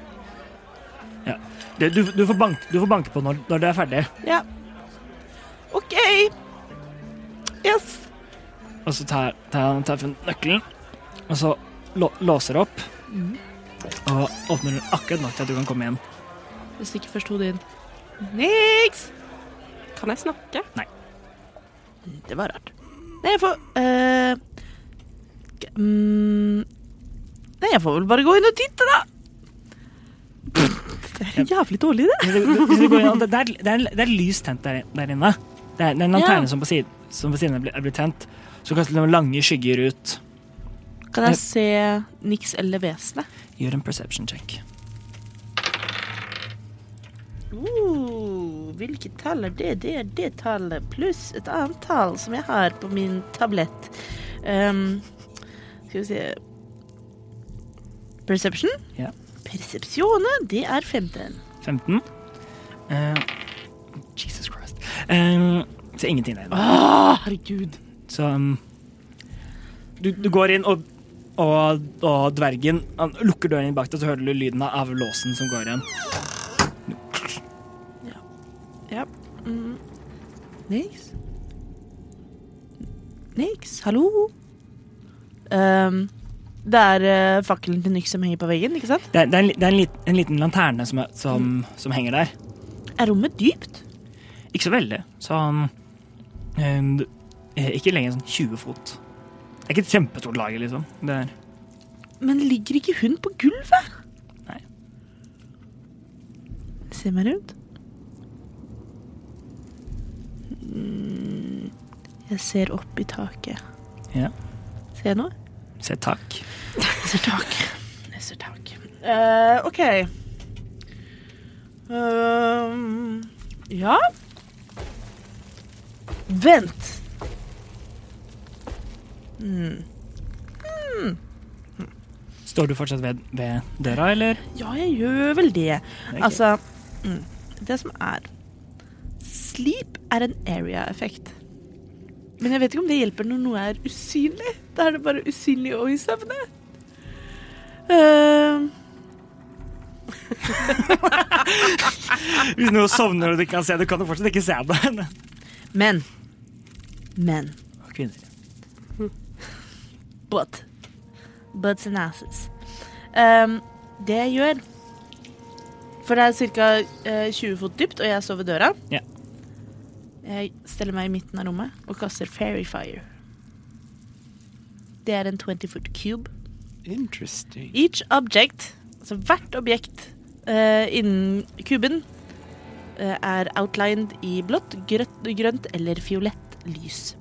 Ja. Du, du, du, får bank, du får banke på når, når det er ferdig. Ja. OK. Yes. Og så tar, tar han tar frem nøkkelen, og så lå, låser opp. Mm. Og åpner den akkurat nok til at du kan komme igjen. Du stikker først hodet inn. Niks. Kan jeg snakke? Det var rart. Nei, jeg får eh, g- mm, Nei, jeg får vel bare gå inn og titte, da. Det er jævlig dårlig, det. Hvis du- du- hvis du går inn- Det det er, det er, det er lys tent der, der inne. Det er, det er en lanterne Ja. som på siden, som på siden er, blitt, er blitt tent. Så kaster noen lange skygger ut. Kan jeg se Nix eller vesenet? Gjør en perception check. Uh, hvilket tall er det? Det er det tallet pluss et annet tall som jeg har på min tablett. Ehm, skal vi se Perception? Ja. Persepsjone, det er 15. 15. Eh, Jesus Christ. Eh, så ingenting der. herregud. Så um, du, du går inn, og, og, og dvergen han lukker døren inn bak deg, så hører du lyden av låsen som går igjen. Ja. Mm. Niks? Niks, hallo? Ehm, det er eh, fakkelen til Nyx som henger på veggen, ikke sant? Det er, det er, en, li- det er en, lit, en liten lanterne som, er- som, som henger der. Er rommet dypt? Ikke så veldig. Sånn um, du- eh, Ikke lenger enn sånn 20 fot. Det er ikke et kjempestort lager, liksom. Det er, Men ligger ikke hun på gulvet? Nei. Se meg rundt. Mm, Jeg ser opp i taket. Ja. Ser jeg noe? se, takk. Jeg ser tak. Jeg ser tak. Eh, OK. Ehm, ja Vent. Står du fortsatt ved, ved døra, eller? Ja, jeg gjør vel det. Ok. Altså mm, Det som er Sleep er en area-effekt. Men jeg vet ikke om det hjelper når noe er usynlig. Da er det bare usynlig og i søvne. Ehm, Hvis noe sovner og du ikke kan se det, kan du fortsatt ikke se det. men Men Kvinner. But Butts and asses. Ehm, det jeg gjør For det er ca. 20 fot dypt, og jeg står ved døra. Ja. Jeg steller meg i midten av rommet og kaster fairy fire. Det er en 20 foot cube. Interesting. Each object, altså hvert objekt eh, innen kuben, eh, er outlined i blått, grønt, grønt eller fiolett lys.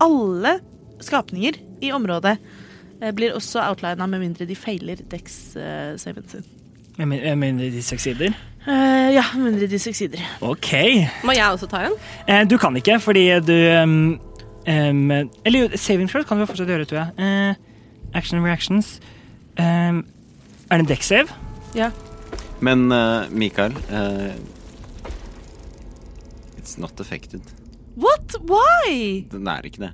Alle skapninger i området eh, blir også outlina med mindre de feiler Dex-saven sin. Med min- med mindre de seks sider. Eh, ja, med mindre de suksider. OK. Må jeg også ta en? Eh, Du kan ikke, fordi du ehm, ehm, Eller jo, saving throw kan du fortsatt gjøre, tror jeg. Eh, action and reactions. Ehm, er det en deck save? Men eh, Mikael eh, It's not affected. What? Why? Den er ikke det.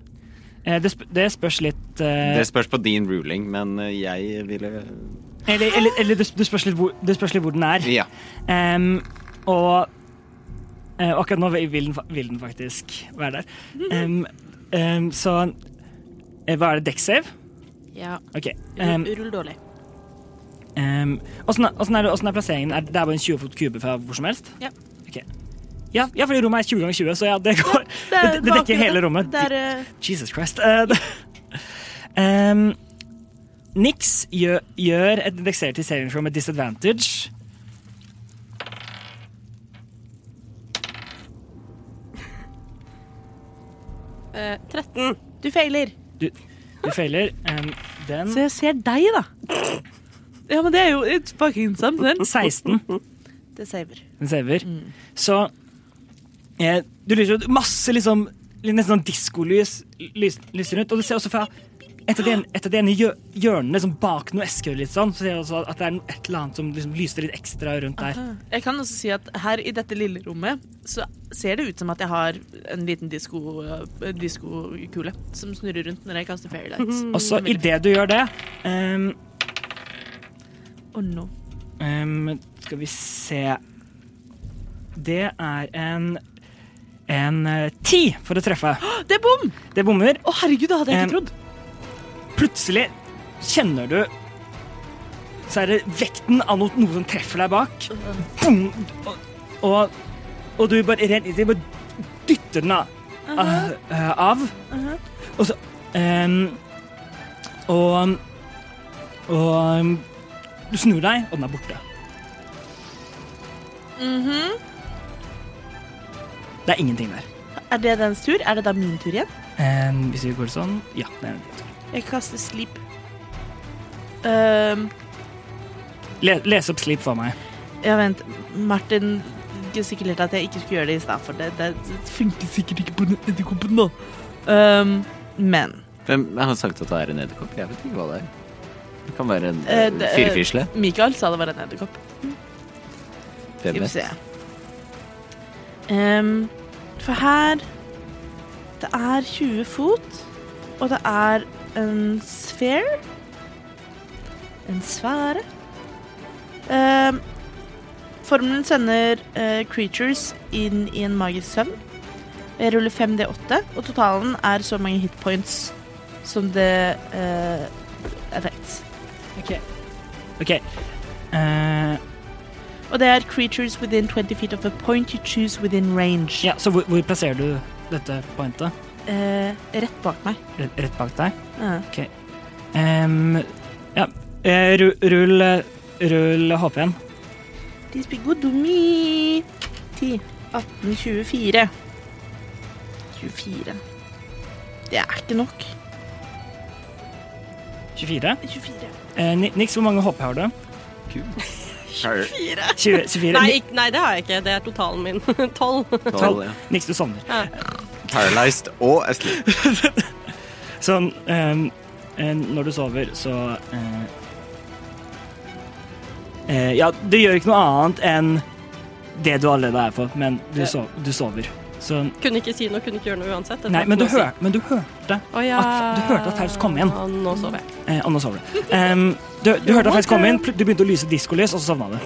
Eh, det, sp det spørs litt eh, Det spørs på din ruling, men eh, jeg ville Eller, eller, eller det, sp det, spørs litt hvor, det spørs litt hvor den er. Ja. Ehm, og eh, akkurat nå vil den, fa- vil den faktisk være der. Ehm, ehm, så eh, Hva er det? Deck save? Ja, OK. um, ehm, rull dårlig. Ehm, Åssen er, åssen er, det- åssen er plasseringen? Er, det er bare en 20 fot kube fra hvor som helst? Ja. Ok. Ja, ja, fordi rommet er 20 ganger 20, så ja, det går. Det, det, det dekker hele rommet. Det er, eh, Jesus Christ. Eh, det- Ehm, Nix gjør, gjør et dexterity saving throw med disadvantage. Eh, 13. du feiler. Du feiler. Ehm, den Så jeg ser deg, da. Ja, men det er jo It's fucking something. 16. Det saver. Mm. Den saver. Så eh, du lyser ut masse liksom Nesten sånn diskolys lys, lyser ut. Og du ser også fra et av de, en- et av de ene hjø- hjørnene liksom bak noen eskehull, litt sånn, så ser du også at det er no- et eller annet som liksom lyser litt ekstra rundt der. Ah. Jeg kan også si at her i dette lille rommet så ser det ut som at jeg har en liten disko- eh, diskokule som snurrer rundt når jeg kaster fairy lights. Og så idet du gjør det ehm, Oh no. ehm, Skal vi se Det er en en eh, ti for å treffe. Det er bom! Det bommer. Å herregud, det hadde jeg ikke Em, trodd. Eh, Plutselig kjenner du Så er det vekten av noe, noe som treffer deg bak. Boom! Og, og, og du bare rent inn i det, bare dytter den av. eh, av. Og så em, Og Og em, du snur deg, og den er borte. Mhm. Det er ingenting der. Er det dens tur? Er det da min tur igjen? Em, hvis vi går sånn Ja, det er en tur. Jeg kaster sleep. Ehm, Le, les opp slip for meg. ja, vent. Martin gestikulerte at jeg ikke skulle gjøre det i stad, for det, det funker sikkert ikke på den edderkoppen nå. Ehm, men Hvem jeg har sagt at det er en edderkopp? Jeg vet ikke hva det er. Det kan være en Eh, eh, det- firfisle. Mikael sa det var en edderkopp. Hvem vet? Skal vi se. Ehm, for her Det er 20 fot, og det er en sphere. En sfære. Ehm, formelen sender eh, creatures inn i en magisk søvn. Jeg ruller 5D8, og totalen er så mange hitpoints som det uh, effects. OK. Eh, Og det er creatures within 20 feet of a point you choose within range. Ja, så hvor, hvor plasserer du dette pointet? Eh, rett bak meg. Rett, rett bak deg? Ja. Ehm, ja, eh, ru- rull, eh, rull HP igjen. This big good to me. 10, 18, 24. 24. Det er ikke nok. 24. 24. Eh, Ni- Nix, hvor mange HP har du? Her, 20, 24. Nei, Ni- ikk- nei, det har jeg ikke. Det er totalen min. 12. tolv, ja. Nix, du sovner. Paralyzed og asleep. Sånn ehm, eh, Når du sover, så eh, eh, Ja, du gjør ikke noe annet enn det du allerede er for, men du, sov, du sover. Så, Kunne ikke si noe, kunne ikke gjøre noe uansett. Dette nei, var men du, ikke noe å hør, men du hørte si. Å, ja. at- du hørte at Faust kom igjen. Ja, nå sover jeg. Eh, og nå sover du. Ehm, du, du hørte at Faust kom inn, pl- du begynte å lyse diskolys, og så sovna du.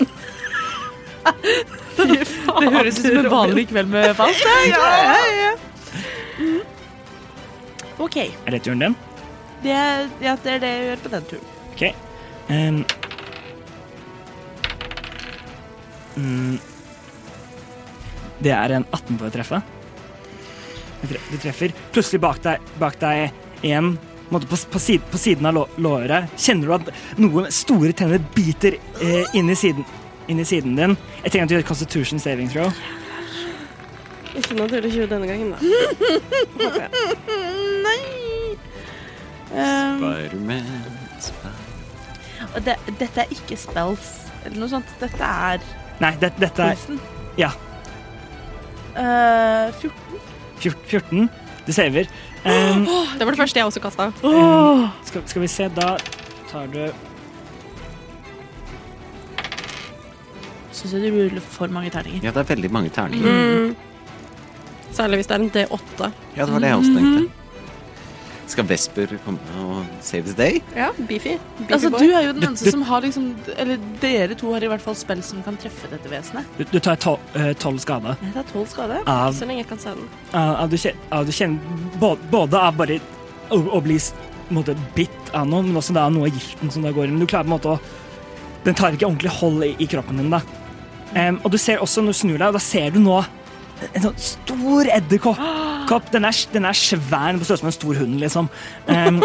Det høres ut som en vanlig kveld med fast. Ja, ja, ja. Mm. OK. Er det turen din? Det er, ja, det er det jeg gjør på den turen. OK. Ehm. mm. Det er en 18 for å treffe. Du tre- Du treffer. Plutselig bak deg, bak deg igjen, på, en måte på, s- på, siden, på siden av lå- låret, kjenner du at noen store tenner biter eh, inn, i siden, inn i siden din. Jeg trenger at du gjør Constitution saving throw. Ikke naturlig 20 denne gangen, da. Håper jeg. Um, Spiderman. og det, dette er ikke spells eller noe sånt. Dette er Nei, det, dette er Wilson. Ja. Eh, 14. fjort- 14. Du saver. Ehm, Det var det første jeg også kasta. Um, skal, skal vi se, da tar du Syns jeg du ruller for mange terninger. Ja, det er veldig mange terninger. Mm. Særlig hvis det er en D8. Ja, det var det jeg også tenkte. Skal Vesper komme og save the day? Ja, beefy. beefy Altså, boy. du er jo den Du- eneste du- som har liksom Eller dere to har i hvert fall spill som kan treffe dette vesenet. Du, du tar eh, tolv skade Jeg tar tolv skade. av, Så lenge jeg kan se den. av, av, du, kjen- av du kjenner både, både av bare å, å bli s- på en måte, bitt av noe, men også da av noe av giften som da går inn. Men du klarer på en måte å Den tar ikke ordentlig hold i, i kroppen din, da. Em, og du ser også når du snur deg, og da ser du nå en sånn stor edderkopp. Kopp. Den, er, s- den er svær, den er på størrelse med en stor hund, liksom. Em,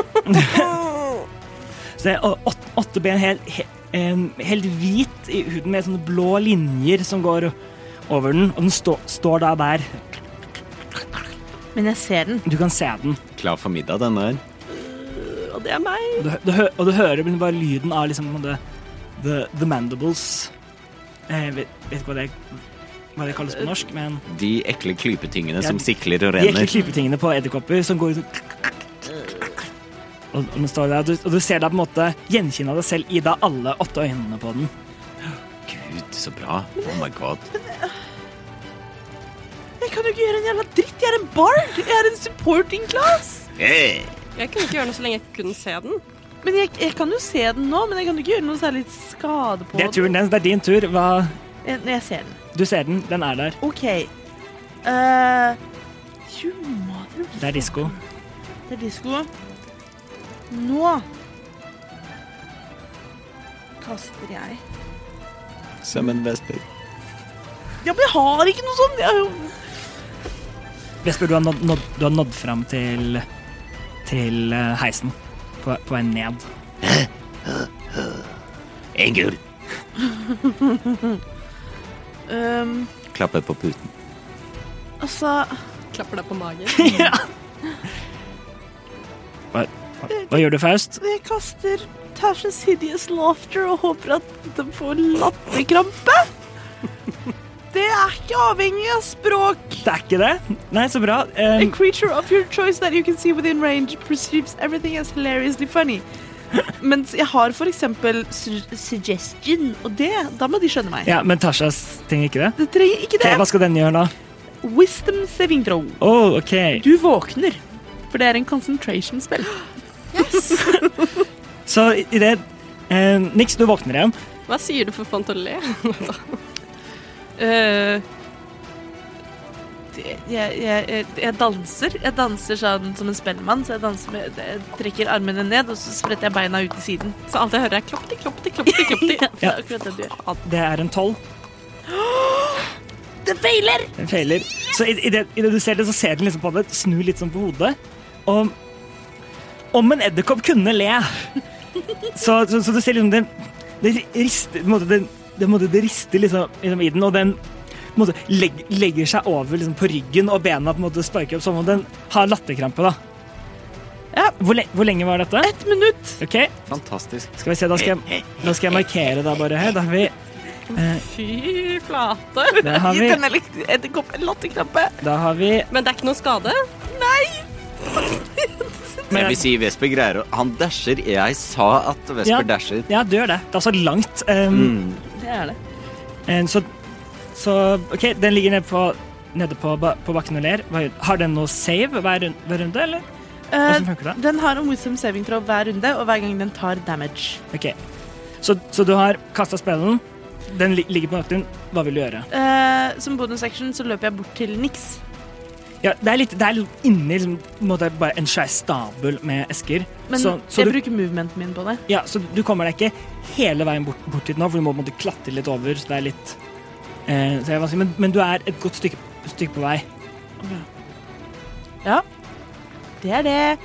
så det er å- åt, åtte ben, helt, he, em, helt hvit i huden med sånne blå linjer som går over den, og den stå, står da der. Men jeg ser den. Du kan se den. Klar for middag, denne her. Og det er meg. Og du, hø- du, hø- og du hører bare lyden av liksom the, the, the mandibles. Eh, vet, vet ikke hva det, hva det kalles på norsk, men De ekle klypetingene Ja, som de- sikler og De ekle renner. klypetingene på edderkopper som går ut og og den står der, og du, og du ser deg på en måte gjenkjenne deg selv i da alle åtte øynene på den. Gud, så bra. Oh my god. Jeg kan jo ikke gjøre en jævla dritt. Jeg er en bard. Jeg er en supporting class. Hey! Jeg kunne ikke gjøre noe så lenge jeg kunne se den. Men jeg, jeg kan jo se den nå, men jeg kan jo ikke gjøre noe særlig skade på Det er turen dens, det er din tur. Hva, Jeg, jeg ser den. du ser den, den er der. OK. Eh, you mother... Det er disko. Det er disko. Nå kaster jeg Som en vesper. Ja, men jeg har ikke noe sånn! Jeg har jo Vesper, du har nådd, nådd, du har nådd fram til, til eh, heisen på, på vei ned. En gull. Øhm, Klapper på puten. ehm, Altså Klapper deg på magen. Hva gjør du, Faust? Jeg kaster Tasha's Hideous Laughter og håper at de får latterkrampe. Det er ikke avhengig av språk. Det er ikke det? Nei, så bra. A Eh, creature of your choice that you can see within range perceives everything as hilariously funny. Mens jeg har for eksempel su suggestion, og det, da må de skjønne meg. ja, men Tashas ting ikke det? Det trenger ikke Ok, det. hva skal den gjøre da? Wisdom saving throw. Å, OK. Du våkner, for det er en concentration-spill. Så i i det eh, Nix, du våkner igjen. Hva sier du for fant å le? Eh, det- jeg, jeg, jeg, jeg danser. Jeg danser sånn som en spellemann. Så jeg, danser med, jeg trekker armene ned, og så spretter jeg beina ut til siden. Så alt jeg hører er kloppti, kloppti, kloppti, kloppti. Det er akkurat det du gjør. Det er en tolv. Det feiler! Den feiler. Så i, i, det, i det du ser det, så ser den liksom på deg, snu litt sånn på hodet. Og om en edderkopp kunne le Så, så, så du ser liksom den Det rister på en måte, den, det, på en måte, det rister liksom, liksom i den, og den på en måte, legg, legger seg over liksom, på ryggen, og bena på en måte sparker opp som om den har latterkrampe. da. Ja. Hvor, le, hvor lenge var dette? Ett minutt! Ok, Fantastisk. skal vi se, Da skal jeg, da skal jeg markere deg bare her. Da har vi Fy flate. Der har Gi vi, den elekt- edderkoppen en latterkrampe. der har vi Men det er ikke noe skade. Jeg vil si Vesper greier å Han dasher. Jeg sa at Vesper Ja. dasher. Ja, du gjør det. Det er så langt. Um, Mm. Det er det. um, så, så OK, den ligger nede på, nede på, ba- på bakken og ler. Hva gjør- Har den noe save hver, run- hver runde, eller? Hvordan funker det? Eh, den har en wisdom saving throw hver runde, og hver gang den tar damage. OK. Så, så du har kasta spellen. Den li ligger på nakken. Hva vil du gjøre? Eh, som bonus action så løper jeg bort til Nix. Ja, det er litt, det er litt inni liksom, på en måte bare en svær stabel med esker. Men så, så, jeg du, bruker movementen min på det. ja, så du kommer deg ikke hele veien bort, bort dit nå, for du må på en måte klatre litt over. Så det er litt eh, så det er vanskelig. Men, men du er et godt stykke, stykke på vei. Det er det.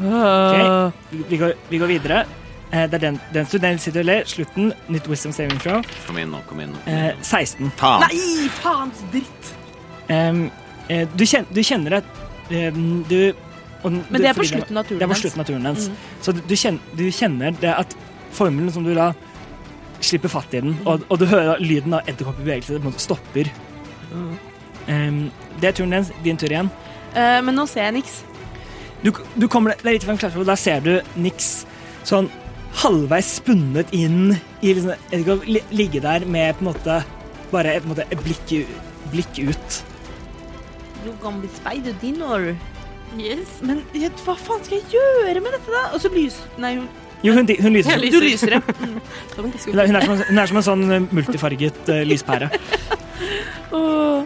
Eh, Ok, vi- vi, går, vi går videre. Eh, det er den, den studenten sitter og ler. Slutten, nytt Wisdom Saving Throw. Kom igjen nå, kom igjen nå. kom Eh, igjen nå. 16. Faen! Nei, faens dritt! Em, eh, du, kjen, du kjenner at em, du og den- Men du- det er på fordi slutten av turen Det er på hans. Mm. slutten av turen hans. Så du, du, kjenner, du kjenner det at formelen som du da slipper fatt i Mm. den, og, og du hører lyden av edderkopp i bevegelse, det på en måte stopper. Mm. Em, det er turen dens. Din tur igjen. Eh, men nå ser jeg niks. Du, du kommer deg- det er litt fram klart, og Der ser du Nix sånn halvveis spunnet inn i liksom, jeg vet ikke, li- Ligge der med på en måte bare et, på en måte, et blikk, u- blikk ut. You're gonna be spider dinner. Men jeg, hva faen skal jeg gjøre med dette, da? Og så lys... Nei, hun, Jo, hun, hun lyser. du lyser, ja. Som en disko. Hun er, hun, er som, en- hun er som en sånn eh, multifarget eh, lyspære. Åh,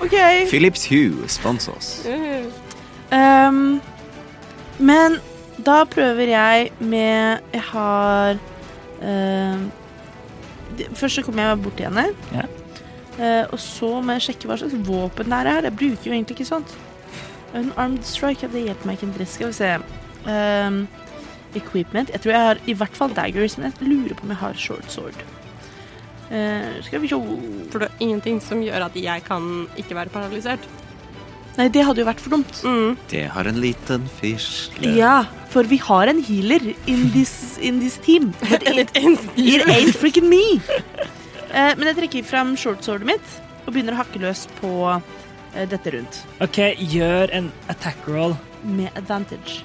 OK. Philips Hue, spons oss. Ehm, men da prøver jeg med Jeg har ehm, d- Først så kommer jeg bort til henne. Ja. Eh, og så må jeg sjekke hva slags våpen det her er. Jeg bruker jo egentlig ikke sånt. En armed strike, ja, det hjelper meg ikke en dritt. Skal vi se. Ehm, equipment. Jeg tror jeg har i hvert fall daggers, men jeg lurer på om jeg har short sword. Eh, skal vi se For det er ingenting som gjør at jeg kan ikke være paralysert. Nei, det hadde jo vært for dumt. Mm. Det har en liten fisle. Ja, for vi har en healer in this, in this team. But it, it ain't freaking me. Eh, men jeg trekker fram shortsordet mitt og begynner å hakke løs på eh, dette rundt. OK, gjør en attack roll. Med advantage.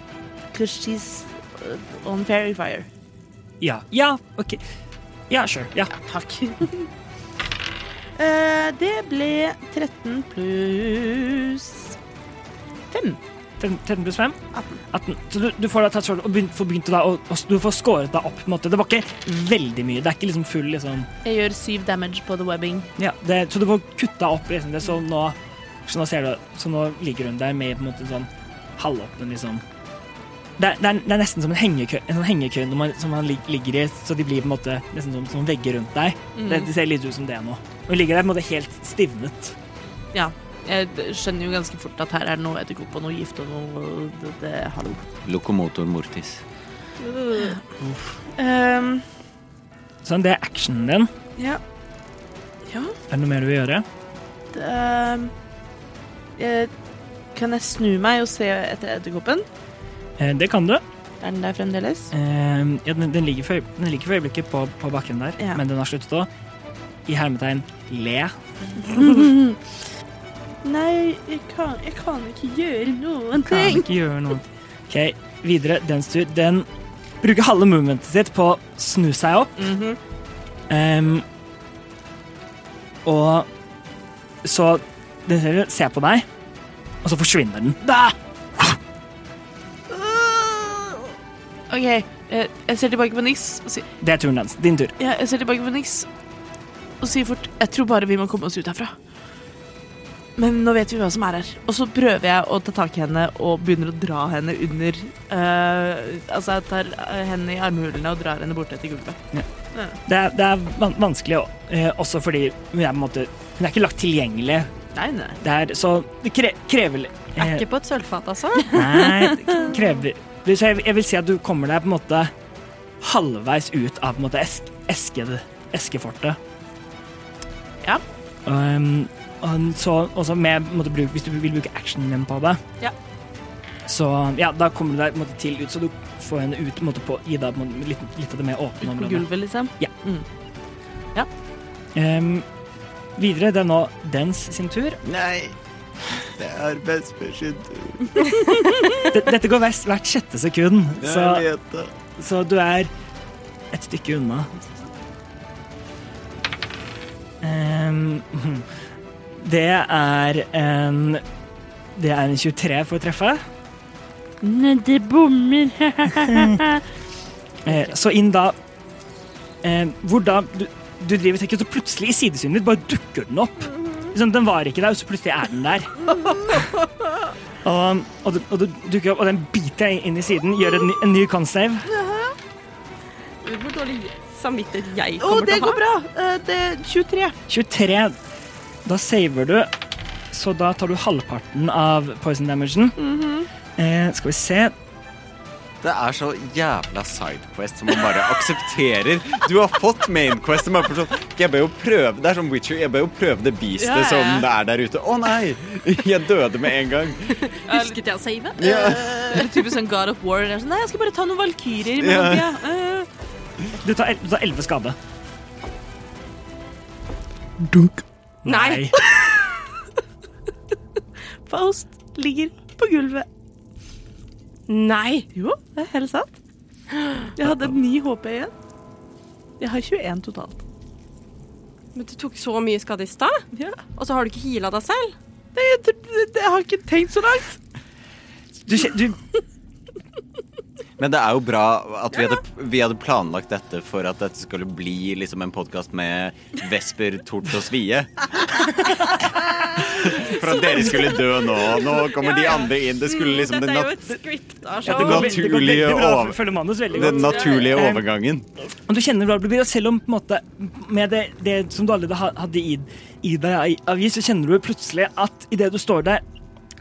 Because she's uh, on fairy fire. Ja. Ja, OK. Ja, sure. Ja. Takk. Eh, det ble 13 pluss 5. 13 13 pluss 5? 18. Så du, du får da tatt skjorten og begyn- får begynt å da, og, og, du får skåret deg opp. på en måte. Det var ikke veldig mye. Det er ikke liksom full liksom. Jeg gjør 7 damage på the webbing. Ja, det, Så du får kutta opp. Liksom, det, så, nå, så, nå ser du, så nå ligger hun der med på en måte sånn halvåpen liksom. Det, er- det, er, det er nesten som en hengekø, en sånn hengekø når man, som man lig, ligger i, så de blir på en måte nesten som, som vegger rundt deg. Det, det ser litt ut som det nå. Hun ligger der på en måte helt stivnet. Jeg d- skjønner jo ganske fort at her er det noe edderkopp og noe gift og noe det, det, Hallo. Lokomotor mortis. Ehm, Sånn, det er actionen din. Ja. Ja. Er det noe mer du vil gjøre? d- ehm, eh, kan jeg snu meg og se etter edderkoppen? Eh, det kan du. Er den der fremdeles? Eh, ja, den, den, ligger for, øye- den ligger for øyeblikket på, på bakken der, Ja. men den har sluttet å i hermetegn le. Nei, jeg kan, jeg kan ikke gjøre noen Kan ting. ikke gjøre noe. Ok, videre. Dens tur. Den bruker halve movementet sitt på å snu seg opp. Mhm. Em, og så den ser, ser på deg, og så forsvinner den. OK, eh, jeg ser tilbake på Nix og sier Det er turen dens. Din tur. ja, Jeg ser tilbake på Nix og sier fort Jeg tror bare vi må komme oss ut herfra. Men nå vet vi hva som er her. Og så prøver jeg å ta tak i henne og begynner å dra henne under eh, Altså, jeg tar eh, henne i armhulene og drar henne bort etter gulvet. Det er, det er van vanskelig, å- eh, også fordi hun er, på en måte, hun er ikke lagt tilgjengelig. Nei, nei. Det er, så det kre krever litt. eh, Ikke på et sølvfat, altså. Nei, det krever Så jeg, jeg vil si at du kommer deg på en måte halvveis ut av på en måte esk, eske, eskefortet. Ja. Um, og så også med på en måte, bruk, Hvis du vil bruke actionen din på det, Ja. så ja, da kommer du deg på en måte til ut, så du får henne ut på en måte, på, gi deg på en måte, litt, litt av det mer åpne På området. gulvet, liksom. Um, videre, det er nå dens sin tur. Nei, det er Vesper sin tur. D dette går hvert, hvert sjette sekund, så, Jeg vet det. så du er et stykke unna. Ehm, hm. det er en Det er en 23 for å treffe. Nei, det bommer. Eh, så inn da eh, Hvor da du, du driver tenker, så plutselig i sidesynet ditt bare dukker den opp. Liksom, den var ikke der, og så plutselig er den der. og, og, du, og du dukker opp, og den biter deg inn i siden, gjør en ny, en ny consave. Hvor dårlig samvittighet jeg Å, kommer det til å går ha. bra! Eh, det er 23. 23. Da saver du, så da tar du halvparten av poison damagen. eh, skal vi se. Det er så jævla sidequest som man bare aksepterer. Du har fått mainquest som er på sånn Jeg bør jo prøve Det er som Witcher. Jeg bør jo prøve det beastet Ja, ja, ja. som det er der ute. Å nei! Jeg døde med en gang. Husket jeg å save? Ja. Det er typisk sånn God of War. Det er sånn, Nei, jeg skal bare ta noen valkyrjer. Ja. men ja, eh, Du tar el- du tar 11 skade. Dunk. Nei. Faust ligger på gulvet. Nei! Jo, det er helt sant. Jeg hadde 9 HP igjen. Jeg har 21 totalt. Men du tok så mye skade i stad, Ja. og så har du ikke heala deg selv. Nei, jeg, tr- det- jeg har ikke tenkt så langt. Du, kje- du Men det er jo bra at vi hadde, vi hadde planlagt dette for at dette skulle bli liksom en podkast med Vesper, Tort og Svie. For at dere skulle dø nå. Nå kommer de andre inn. Det skulle liksom Dette den, er jo nat et scripta Det show. går, ve- det går naturlige veldig bra. over- Følger manus veldig den godt. naturlige Ja. overgangen. Og du kjenner hva det blir, og selv om på en måte, med det, det som du allerede ha- hadde i, i deg av is, så kjenner du plutselig at idet du står der,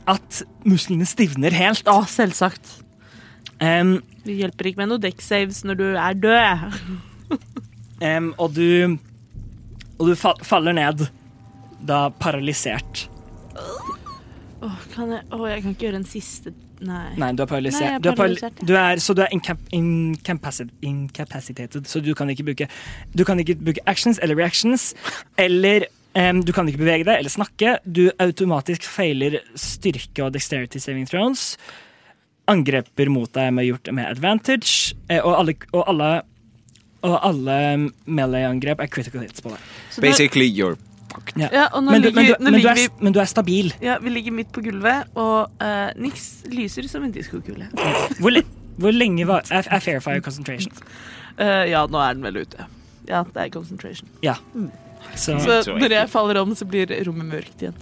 at musklene stivner helt. Å, selvsagt. Em, Det hjelper ikke med noe deck saves når du er død. em, og du Og du fa faller ned, da paralysert. Åh, kan jeg, åh, jeg kan ikke gjøre en siste Nei. Nei, du er paralysert. Nei, jeg er du er paral- paralysert, ja. du er, så du er incap- incapacit- incapacitated, så du kan ikke bruke Du kan ikke bruke actions eller reactions, eller em, du kan ikke bevege deg eller snakke. Du automatisk feiler styrke og dexterity saving thrones. Angreper mot deg med gjort med advantage, eh, og alle, og alle og alle melee-angrep er critical hits på deg. Så det- Basically you're ja, og nå Men du, men, du, ligger, nå men, du ligger er, vi men du er stabil. ja, Vi ligger midt på gulvet, og eh, Nix lyser som en diskokule. Hvor, le, hvor lenge var, er, er fair fire concentration? Eh, ja, nå er den vel ute. Ja, det er concentration. Så, Så når jeg faller om, så blir rommet mørkt igjen.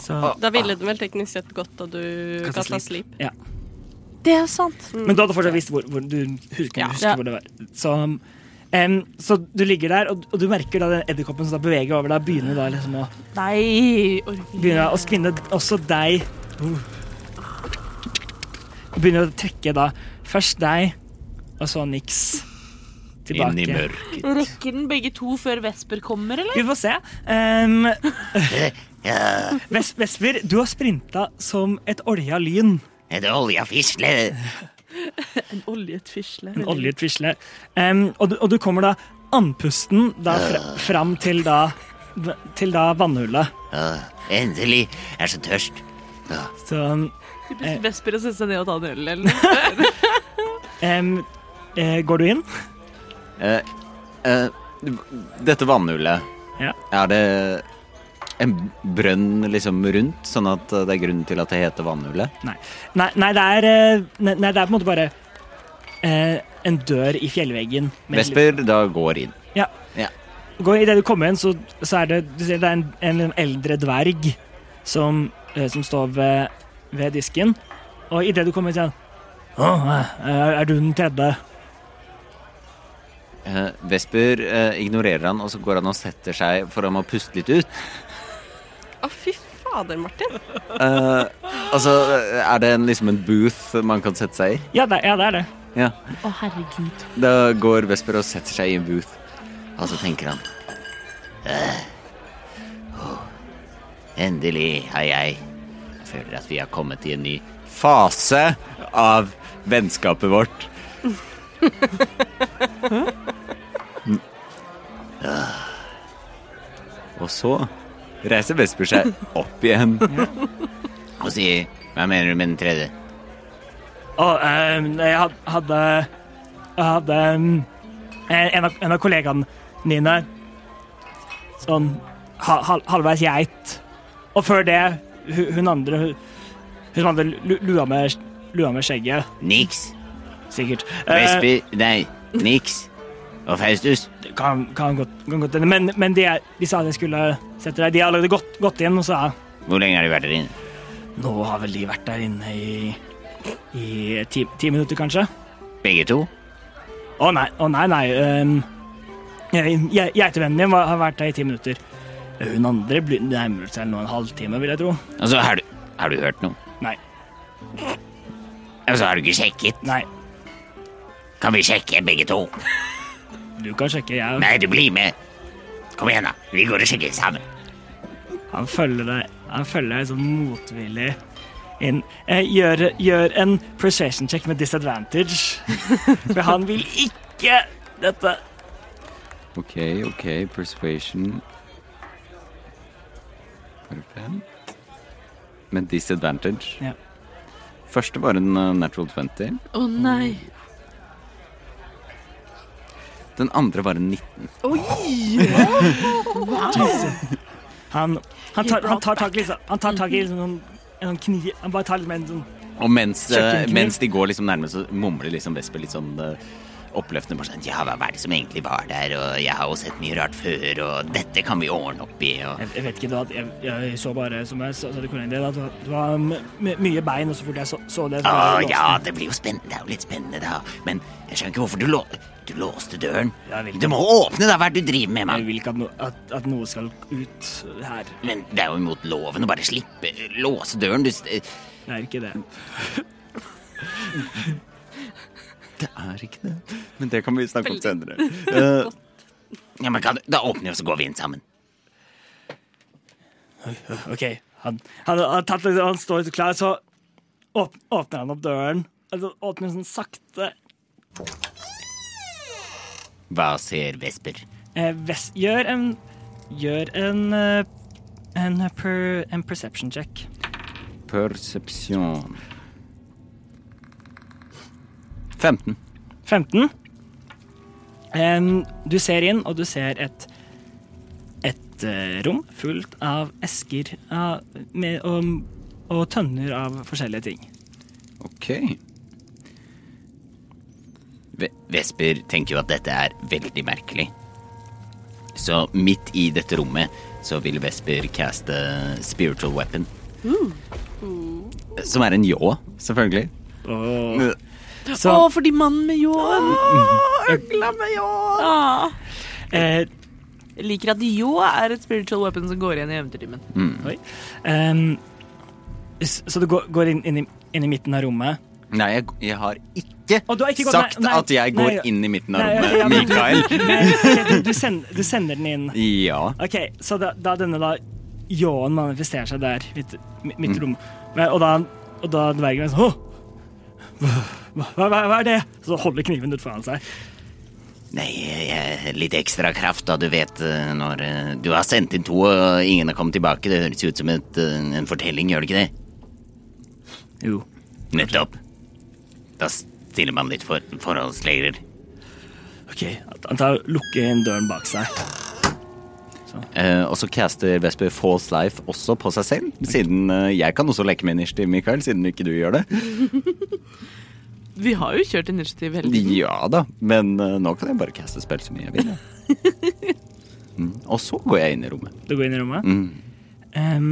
så Da ville den vel teknisk sett godt da du Kastet kasta sleep. sleep. Det er sant. Men du hadde fortsatt visst hvor, hvor du husker, kunne huske Mm. Ja. hvor det var. Så, em, så du ligger der, og, og du merker da den edderkoppen som da beveger over deg, begynner da liksom å, Nei, orker ikke. begynner å skvinne også deg. Uh. Begynner å trekke da først deg, og så Nix tilbake. Inn i mørket. Rekker den begge to før Vesper kommer, eller? Vi får se. Em, Ja, Ves Vesper, du har sprinta som et olja lyn. en oljefisle. En oljet fisle. En oljet fisle. Em, og, du, og du kommer da andpusten da fra, fram til da, til da vannhullet. Åh, Endelig. Jeg er så tørst. Så Typisk Vesper å sette seg ned og ta en øl, eller? em, eh, går du inn? Eh, eh, Dette vannhullet, Ja. er det en brønn liksom rundt, sånn at det er grunnen til at det heter vannhullet? Nei, nei, det, er, eh, nei, nei det er på en måte bare eh, en dør i fjellveggen. med- Vesper da går inn. Går, I det du kommer inn, så, så er det, du ser, det er en, en eldre dverg som, eh, som står ved, ved disken. Og idet du kommer inn, sier han Å, eh, er, er du den tredje? Eh, Vesper eh, ignorerer han, og så går han og setter seg for han må puste litt ut. Å, fy fader, Martin. Eh, altså, er det en, liksom en booth man kan sette seg i? Ja, det, ja, det er det. Ja. Å, herregud. Da går Vesper og setter seg i en booth, og så tenker han «Eh, Endelig har jeg Jeg føler at vi har kommet i en ny Fase av vennskapet vårt. Mm. Og så reiser Vesper seg opp igjen. Og si Hva mener du med den tredje? Og ehm, jeg had- hadde Jeg hadde ehm, en, av, en av kollegaene mine sånn ha, hal- halvveis geit. Og før det hun, hun andre Hun, hun andre lu- lua med, lua med skjegget, Niks. sikkert. Eh, Vesper Nei, niks. Og Faustus. kan, kan godt, kan godt hende. Men, men de, er- de sa at jeg skulle sette deg De har allerede gått, gått inn og sa Hvor lenge har de vært der inne? Nå har vel de vært der inne i, i ti, ti minutter, kanskje? Begge to? Å nei, å nei, nei. ehm, jeg- jeg- Geitevennen din var- har vært der i ti minutter. Hun andre blir- nærmer seg nå en halvtime, vil jeg tro. Altså, har du, har du hørt noe? Nei. Altså, har du ikke sjekket? Nei, Kan vi sjekke begge to? du kan sjekke. Jeg, Nei, du blir med. Kom igjen, da. Vi går og sjekker sammen. han følger deg Han følger deg sånn motvillig inn. Eh, gjør, gjør en persuasion check med disadvantage. For han vil ikke dette. OK, OK, persuasion Bare fem. Med disadvantage. Ja. Første var en eh, natural 20. Å nei. Den andre var en 19. Han, han tar, han tar tak i liksom, han tar tak i liksom, en, en kniv Han bare tar liksom en sånn Og mens, eh, Kjøkkenkniv. mens de går liksom nærmest, så mumler liksom Vesper litt sånn eh, oppløftende bare sånn Ja, hva er det som egentlig var der, og jeg har jo sett mye rart før, og dette kan vi ordne opp i, og Jeg, jeg vet ikke, det var, at jeg, jeg så bare, som jeg sa sa til Cornelia, det var- det var m- mye bein, og så fort jeg så, så det, så Å, låste jeg. Ah, ja, det blir jo spennende. Det er jo litt spennende, da. Men jeg skjønner ikke hvorfor du, lå du låste døren. Jeg vil ikke. Du må åpne, da! Hva er det du driver med, Jeg mann? vil ikke at, no, at, at noe skal ut her. Men det er jo imot loven å bare slippe låse døren. Du s- eh, Det Det er ikke det. er ikke Men det kan vi snakke om senere. Ja, men kan, du- Da åpner vi, og så går vi inn sammen. OK. Han, han, har tatt, det- han står klar, så åp, åpner han opp døren. Altså, åpner sånn sakte. Hva ser Vesper? Eh, ves, gjør en Gjør en eh, en, per, en perception check. Persepsjon. 15. 15. Em, du ser inn, og du ser et et eh, rom fullt av esker av, med, og, og tønner av forskjellige ting. Ok. Ve Vesper tenker jo at dette er veldig merkelig. Så midt i dette rommet så vil Vesper caste spiritual weapon. Som er en ljå, selvfølgelig. Åh. Så Å, fordi mannen med ljåen! Øgla med ljåen! eh, Jeg liker at ljå er et spiritual weapon som går igjen i eventyrtimen. Oi. Em, s- så du går, går inn, inn, i, inn i midten av rommet. Nei, jeg, jeg har ikke Og du har ikke gått- sagt nei, nei, at jeg går nei, inn i midten av nei, rommet, ja, men du- Mikael. Nei, ok, du, du, send, du sender den inn. Ja. Ok, Så da, da denne da ljåen manifesterer seg der, midt, midt i rommet, Men- og da, og da dvergen er sånn «Åh, hva, hva, hva hva er det? Så holder kniven ut foran seg. Nei, jeg, litt ekstra kraft, da. Du vet eh, når eh, Du har sendt inn to, og ingen har kommet tilbake. Det høres ut som et, eh, en fortelling, gjør det ikke det? Jo. Nettopp. Da stiller man litt for forholdsregler. Ok, Han tar lukker igjen døren bak seg. Eh, og så caster Vesper False Life også på seg selv, siden eh, jeg kan også leke med initiativ, Mikael, siden ikke du gjør det. Vi har jo kjørt initiativ hele tiden. Ja da, men eh, nå kan jeg bare caste spill så mye jeg vil. jeg. Mm. Og så går jeg inn i rommet. Du går inn i rommet? Em,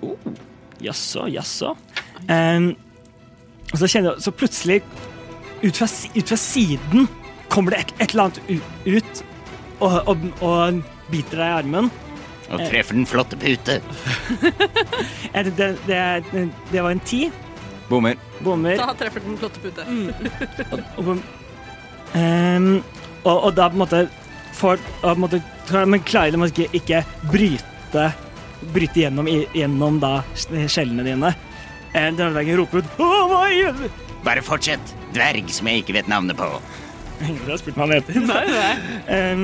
oh, Jaså, jaså. Em, og så kjenner jeg Så plutselig, ut fra, si- ut fra siden, kommer det et, et eller annet u- ut og, og, og biter deg i armen. Eh. Og treffer den flotte pute. Eh, Det, det, det, det var en ti. Bommer. Bommer. Mm. Da treffer den flotte pute. Og, på- Ehm, og, og da på en måte får og på en måte, klar- Men klarer de ikke, ikke bryte Bryte gjennom, i, gjennom da skjellene dine. Eh, Dørveggen roper ut Åh, hva gjør du? Bare fortsett. Dverg som jeg ikke vet navnet på. Ingen har spurt meg om det heter. Ehm,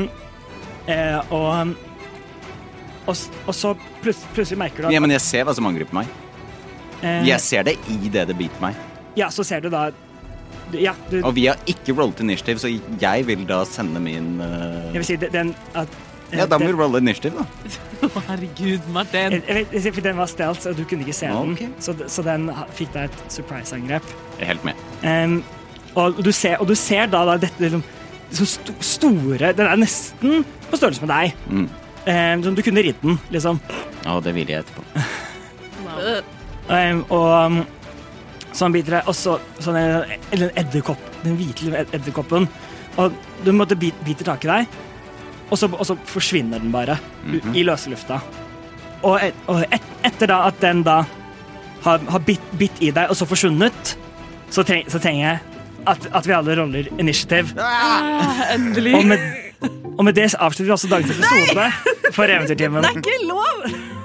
eh, og, og, s- og så plut, plutselig merker du at Ja, men jeg ser hva som angriper meg. eh, Jeg ser det i det det biter meg. Ja, så ser du da Ja, du Og vi har ikke rollet initiativ, så jeg vil da sende min eh, Jeg vil si det- den at eh, Ja, da må den- vi rolle initiativ, da. Herregud, Martin. Jeg- jeg vet- jeg sier, for Den var stealth, så du kunne ikke se den. Ok. Så, d- så den ha- fikk deg et surprise-angrep. Jeg er helt med. Em, og, du ser, og du ser da, da dette liksom, så sto, store Den er nesten på størrelse med deg. Mm. Em, som du kunne ridd den, liksom. Å, det vil jeg etterpå. Em, og um, så han biter deg også sånn en, eller en edderkopp. Den hvite lille ed- edderkoppen. Og du måtte bit, biter tak i deg, og så, og så forsvinner den bare u- i løse lufta. Og, et, og et, etter da at den da har, har bitt, bitt i deg og så forsvunnet, så, treng, så trenger jeg at, at vi alle roller initiativ. endelig. Og med, og med det avslutter vi også dagens episode for Eventyrtimen. Ikke lov!